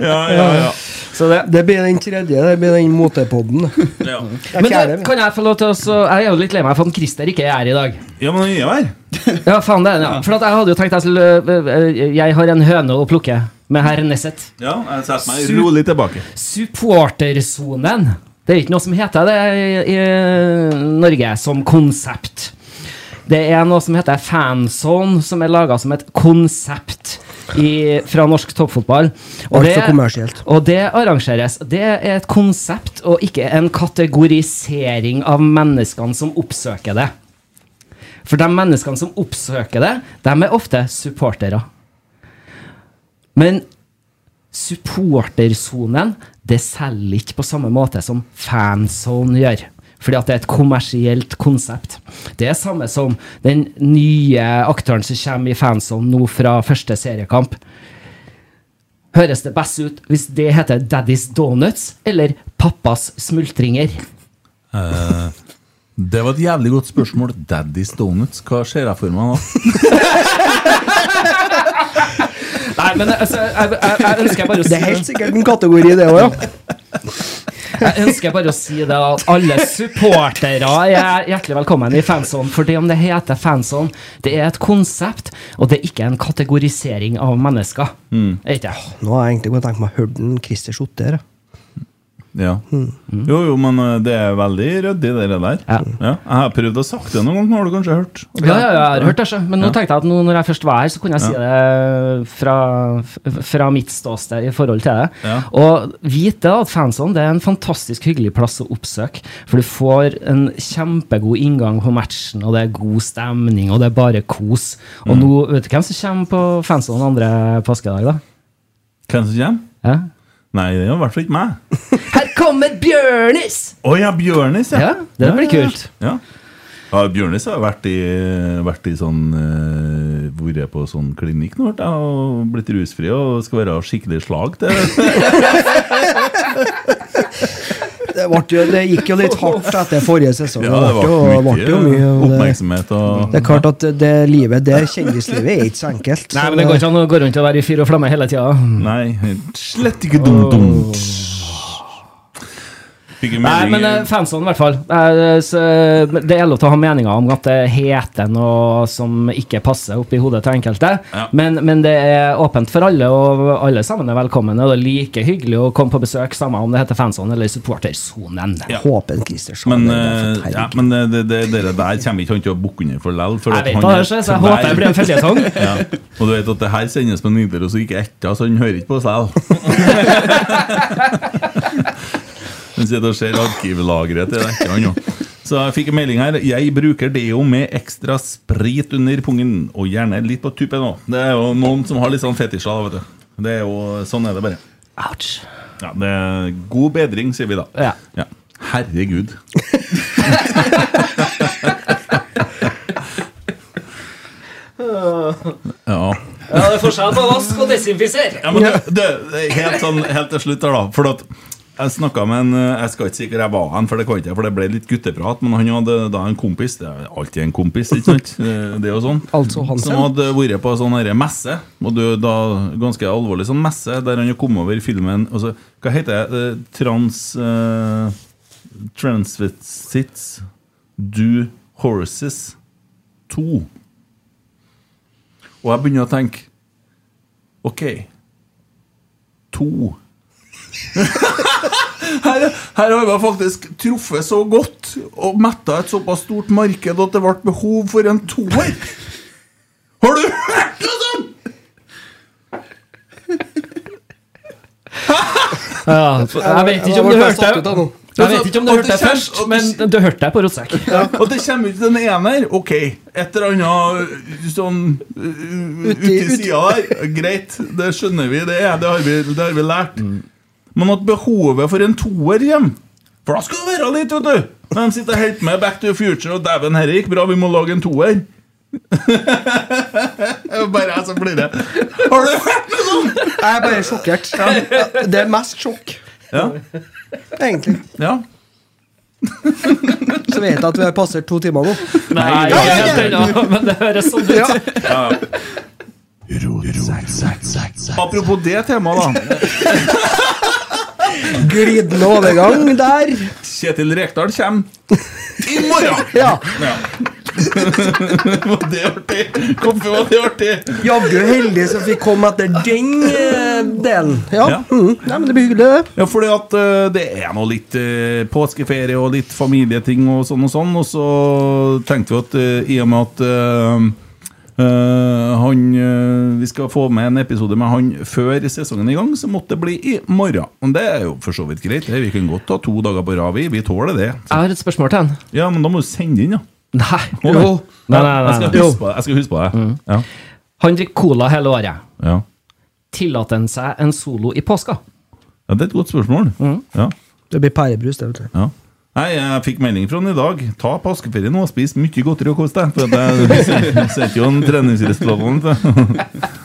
Speaker 4: Ja, ja, ja.
Speaker 5: Så det
Speaker 6: Det blir den tredje. Det blir den motepodden. [laughs]
Speaker 4: Ja,
Speaker 6: Det er
Speaker 5: Men
Speaker 6: fjerde,
Speaker 5: du,
Speaker 6: vi.
Speaker 5: kan jeg få lov til å så- Jeg er jo litt lei meg for at Christer ikke er her i dag.
Speaker 4: ja men jeg er her.
Speaker 5: Ja, faen det er den, ja. For at jeg hadde jo tenkt jeg skulle øh, Jeg har en høne å plukke med herr Nesset.
Speaker 4: Ja, jeg setter meg rolig tilbake.
Speaker 5: Supportersonen. Det er ikke noe som heter det i, i Norge som konsept. Det er noe som heter fanzone, som er laga som et konsept i, fra norsk toppfotball. Og
Speaker 6: Alt for kommersielt.
Speaker 5: og det arrangeres. Det er et konsept og ikke en kategorisering av menneskene som oppsøker det. For de menneskene som oppsøker det, de er ofte supportere. Men supportersonen, det selger ikke på samme måte som fanzone gjør. Fordi at det er et kommersielt konsept. Det er samme som den nye aktøren som kommer i fanzone nå fra første seriekamp. Høres det best ut hvis det heter Daddy's Donuts eller Pappas smultringer?
Speaker 4: Eh, Det var et jævlig godt spørsmål. Daddy's Donuts, hva ser jeg for meg nå?
Speaker 5: Nei, men altså, jeg, jeg, jeg ønsker bare å si
Speaker 6: Det er helt sikkert en kategori, det òg, ja.
Speaker 5: Jeg ønsker bare å si det at alle supportere er hjertelig velkommen i fanzone. For det om det heter fanzone, det er et konsept, og det er ikke en kategorisering av mennesker. Er ikke det?
Speaker 6: Nå har jeg egentlig godt tenkt meg å høre den Christer Sotter. jeg.
Speaker 4: Ja. Jo, jo, men eh, det er veldig ryddig, det der.
Speaker 5: Hmm. Ja.
Speaker 4: Jeg har prøvd å sagt det noen ganger, har du kanskje hørt?
Speaker 5: Ja, ja, ja, jeg har hørt det, sjø. men nå tenkte jeg at nå, når jeg først var her, så kunne jeg si det fra, f- fra mitt ståsted i forhold til det.
Speaker 4: Ja.
Speaker 5: Og vit det at fanzone det er en fantastisk hyggelig plass å oppsøke, for du får en kjempegod inngang på matchen, og det er god stemning, og det er bare kos. Og
Speaker 4: Mm.
Speaker 5: nå, vet du hvem som kommer på fanzone andre påskedag, da?
Speaker 4: Hvem som kommer?
Speaker 5: Ja.
Speaker 4: Nei, det er i hvert fall ikke meg.
Speaker 5: Her kommer Bjørnis!
Speaker 4: Å ja, Bjørnis,
Speaker 5: Ja, det blir kult.
Speaker 4: Ja, ja Bjørnis har vært i, vært i sånn eh, Vært på sånn klinikk nå, hørte jeg, og blitt rusfri og skal være skikkelig slag til
Speaker 6: Det, ble jo, det gikk jo litt hardt etter forrige sesong.
Speaker 4: Ja, det
Speaker 6: ble jo,
Speaker 4: ble
Speaker 6: ble jo mye. og det-
Speaker 4: oppmerksomhet og
Speaker 6: Det er klart at det livet der, kjendislivet, er ikke så enkelt.
Speaker 5: Nei, men det går ikke an å gå rundt og være i fyr og flamme hele tida.
Speaker 4: Nei, slett ikke dum-dum. Fikk en
Speaker 5: Nei, men eh,
Speaker 4: melding
Speaker 5: fansonen i hvert fall. Eh, så, eh, men det er lov til å ha meninger om at det heter noe som ikke passer oppi hodet til enkelte,
Speaker 4: Ja.
Speaker 5: men, men det er åpent for alle, og alle sammen er velkomne. Og det er like hyggelig å komme på besøk, samme om det heter fansonen eller supportersonen.
Speaker 4: Ja.
Speaker 6: Håpen Christer sa
Speaker 4: men,
Speaker 6: det, det er for
Speaker 4: eh, ja,
Speaker 6: terg.
Speaker 4: men det, det, det dere der kommer ikke han til å bukke under for lell. for
Speaker 5: Jeg
Speaker 4: at
Speaker 5: vet
Speaker 4: han
Speaker 5: da,
Speaker 4: er
Speaker 5: så jeg håper det blir en føljetong.
Speaker 4: [laughs] ja. Og du vet at det her sendes på Nidaros og ikke etter, så han hører ikke på oss
Speaker 5: [laughs]
Speaker 4: lell. Han sitter og ser arkivlageret til ekte han nå. Så jeg fikk en melding her. Jeg bruker Deo med ekstra sprit under pungen, og gjerne litt på tuppen òg. Det er jo noen som har litt sånn fetisjer, da, vet du. Det er jo, sånn er det bare.
Speaker 5: Ouch.
Speaker 4: Ja, det er God bedring, sier vi da.
Speaker 5: Ja.
Speaker 4: Herregud. ja.
Speaker 5: Ja, det er forskjell på vask og desinfisere.
Speaker 4: ja, men det, det, det er helt, sånn, helt til slutt her, da. For at jeg snakka med en eh, Jeg skal ikke si hvor jeg var hen, for det kan ikke jeg, for det ble litt gutteprat. Men han hadde da en kompis. Det er alltid en kompis, ikke
Speaker 5: [laughs]
Speaker 4: sant? Eh, Det er jo sånn.
Speaker 6: Altså Hansen.
Speaker 4: Som hadde vært på sånn herre messe. Og det er da ganske alvorlig sånn messe, der han jo kom over filmen altså, Hva heter det? Eh, Trans... Uh, Transvestites Do Horses 2. Og jeg begynner å tenke Ok. To. [laughs] her, her har jeg faktisk truffet så godt og metta et såpass stort marked at det ble behov for en toer. Har du hørt noe sånt?!
Speaker 5: Ja, jeg vet ikke om du
Speaker 6: Jeg ble
Speaker 5: hørte
Speaker 6: satt ut av noe.
Speaker 5: Jeg vet ikke om du
Speaker 4: Og det
Speaker 5: hørte det
Speaker 4: kjem-
Speaker 5: først,
Speaker 4: og
Speaker 5: men
Speaker 4: det-
Speaker 5: du hørte det på rotsekk.
Speaker 4: Og det kommer ut en ener. Ok, et eller annet sånn uh, uti
Speaker 6: ut-
Speaker 4: sida der. Greit, det skjønner vi, det, er, det, har, vi, det har vi lært.
Speaker 6: Mm.
Speaker 4: Men at behovet for en toer hjem For da skal det være litt, vet du! Når de sitter og holder med Back to the Future og dæven, herre gikk bra, vi må lage en toer. er bare jeg som blir det. Har du hørt noe sånt?
Speaker 6: Jeg er bare sjokkert. Ja. Det er mest sjokk,
Speaker 4: Ja.
Speaker 6: egentlig.
Speaker 4: ja.
Speaker 6: [laughs] Så vet jeg at vi har passert to timer nå.
Speaker 5: Nei,
Speaker 6: Nei,
Speaker 5: jeg er
Speaker 6: nei,
Speaker 5: helt ennå, men det høres sånn ut.
Speaker 6: Ja.
Speaker 4: Apropos det
Speaker 6: [laughs]
Speaker 4: temaet, da.
Speaker 6: Glidende overgang der.
Speaker 4: Kjetil Rekdal kommer i morgen!
Speaker 6: Ja.
Speaker 4: [laughs] Ja. Var det artig? Hvorfor var det artig?
Speaker 6: Jaggu heldig som fikk komme etter den eh, delen.
Speaker 4: Ja.
Speaker 6: Ja. Mm. Nei, men det blir hyggelig, det.
Speaker 4: Ja, fordi at eh, det er noe litt eh, påskeferie og litt familieting og sånn og sånn, og så tenkte vi at eh, i og med at eh, eh, han eh, Vi skal få med en episode med han før sesongen er i gang, så måtte det bli i morgen. Men det er jo for så vidt greit. det. Vi kan godt ta to dager på rad, vi. Vi tåler det.
Speaker 5: Jeg har et spørsmål til han.
Speaker 4: Ja, men da må du sende inn, ja.
Speaker 5: Nei.
Speaker 4: Å,
Speaker 5: Jo. Nei, nei,
Speaker 4: Jeg
Speaker 5: nei,
Speaker 4: skal
Speaker 5: nei. Mm.
Speaker 4: huske på det. Jeg skal huske på det. Ja.
Speaker 5: Han drikker cola hele året.
Speaker 4: Ja.
Speaker 5: Tillater han seg en solo i påska?
Speaker 4: ja, det er et godt spørsmål.
Speaker 5: Mm.
Speaker 4: Ja.
Speaker 6: Det blir pærebrus, det. vet du.
Speaker 4: Ja. Nei, jeg fikk melding fra han i dag. Ta påskeferie nå og spis mye godteri og kos deg. For at jeg [laughs] setter jo en treningsresultat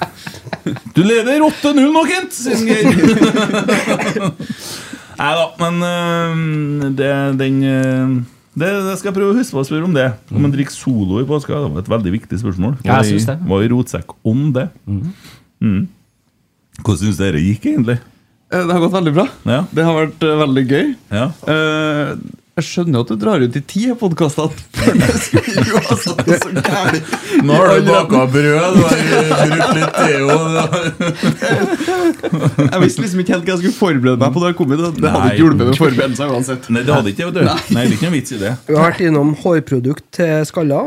Speaker 4: [laughs] Du leder 8-0 nå, Kent! sier Geir. [laughs] Nei da, men øhm, det, den øhm, det, det skal jeg prøve å huske på å spørre om det. Om en drikker solo i påska. Det var et veldig viktig spørsmål.
Speaker 5: Ja, jeg synes det.
Speaker 4: Var i rotsekk om det. Mm. Hvordan syns dere gikk, egentlig?
Speaker 7: Eh, Det har gått veldig bra.
Speaker 4: Ja.
Speaker 7: Det har vært eh, veldig gøy.
Speaker 4: Ja.
Speaker 7: Eh, jeg skjønner at du drar ut i ti av podkastene. [laughs] For det skulle jo ha satt så gærent.
Speaker 4: [laughs] Nå har du baka brød, du har brukt litt teo
Speaker 7: [laughs] Jeg visste liksom ikke helt hva jeg skulle forberede meg på. da jeg kom hit og Det hadde
Speaker 4: Nei.
Speaker 7: ikke hjulpet med å forberede seg uansett.
Speaker 4: Nei, det hadde ikke det, vet du. Nei, det er ikke noen vits i det.
Speaker 6: Vi har vært innom hårprodukt til skalla.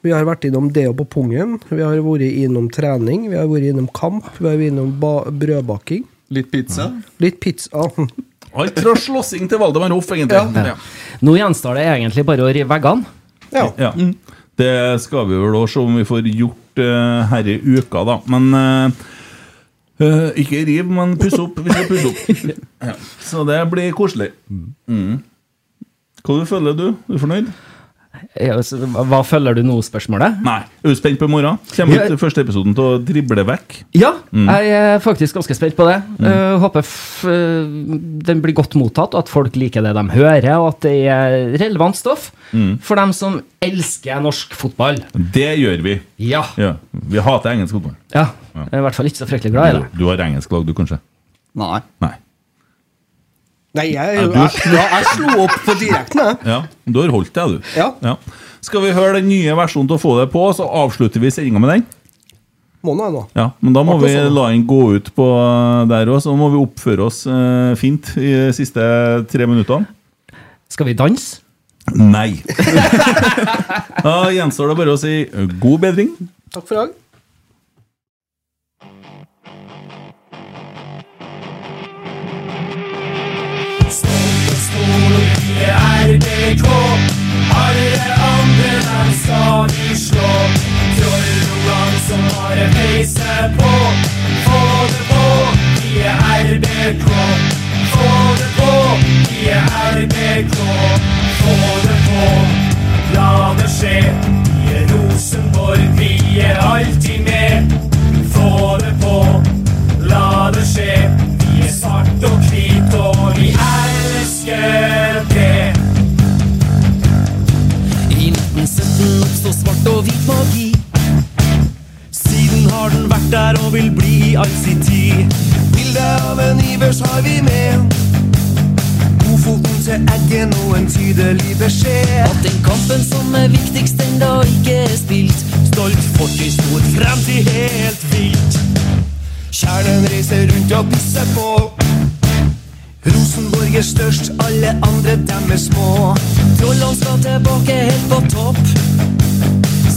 Speaker 6: Vi har vært innom deo på pungen. Vi har vært innom trening. Vi har vært innom kamp. Vi har vært innom ba brødbaking.
Speaker 7: Litt pizza.
Speaker 6: Litt pizza. [laughs]
Speaker 4: Alt fra slåssing til Valdemar Hoff, egentlig. Ja.
Speaker 5: Nå gjenstår det egentlig bare å rive veggene.
Speaker 6: Ja. Mm.
Speaker 4: Ja. Det skal vi vel også se om vi får gjort eh, her i uka, da. Men eh, eh, ikke riv, men puss opp. Vi skal pusse
Speaker 6: [laughs]
Speaker 4: opp. Ja. Så det blir koselig. Mm. Hva du føler du? Er du fornøyd?
Speaker 5: Ja, så Hva følger du nå, spørsmålet?
Speaker 4: Nei. Er du spent på i morgen? Kommer ut første episoden til å drible vekk?
Speaker 5: Ja,
Speaker 4: Mm.
Speaker 5: jeg er faktisk ganske spent på det. Eh, håper f eh, den blir godt mottatt, og at folk liker det de hører, og at det er relevant stoff for dem som elsker norsk fotball.
Speaker 4: Mm. Det gjør vi.
Speaker 5: Ja.
Speaker 4: Ja. Vi hater engelsk fotball.
Speaker 5: ja. Jeg er i hvert fall ikke så fryktelig glad i
Speaker 4: Du,
Speaker 5: det.
Speaker 4: du har engelsk lag, du, kanskje?
Speaker 7: Nei.
Speaker 4: Nei.
Speaker 6: Nei, jeg,
Speaker 4: Ja,
Speaker 6: jeg,
Speaker 4: du-
Speaker 6: jeg, jeg slo opp på direkten, jeg.
Speaker 4: Ja, Du har holdt deg, du.
Speaker 6: Ja.
Speaker 4: Skal vi høre den nye versjonen til å få deg på, så avslutter vi sendinga med den?
Speaker 6: Må nå jeg nå.
Speaker 4: Ja, Men da må
Speaker 6: Akkurat
Speaker 4: vi
Speaker 6: sånn.
Speaker 4: la den gå ut på eh, der òg, så må vi oppføre oss eh, fint i de siste tre minuttene.
Speaker 5: Skal vi danse?
Speaker 4: Nei. [laughs] da gjenstår det bare å si eh, god bedring.
Speaker 6: Takk for i dag.
Speaker 10: I 1917 oppstod svart og hvit magi. Siden har den vært der og vil bli i all sin tid. Bildet av en Ivers har vi med. Godfoten til Eggen og en tydelig beskjed. At den kampen som er viktigst, den da ikke er spilt. Stolt fortid, stor fremtid, helt vilt. Kjernen reiser rundt og pisser på. Rosenborg er størst, alle andre dem er små. Trollene skal tilbake helt på topp.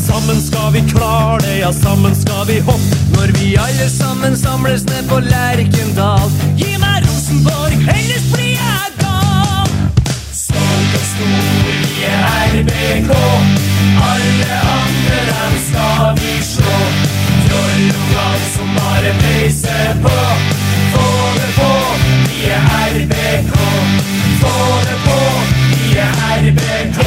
Speaker 10: Sammen skal vi klare det, ja, sammen skal vi hoppe. Når vi alle sammen samles ned på Lerkendal. Gi meg Rosenborg, ellers blir jeg gal! Stolt og stor, vi er RBK. Alle andre, dem skal vi slå. Trollungene som bare peiser på. Få det på, vi er RBK. Få det på, vi er RBK.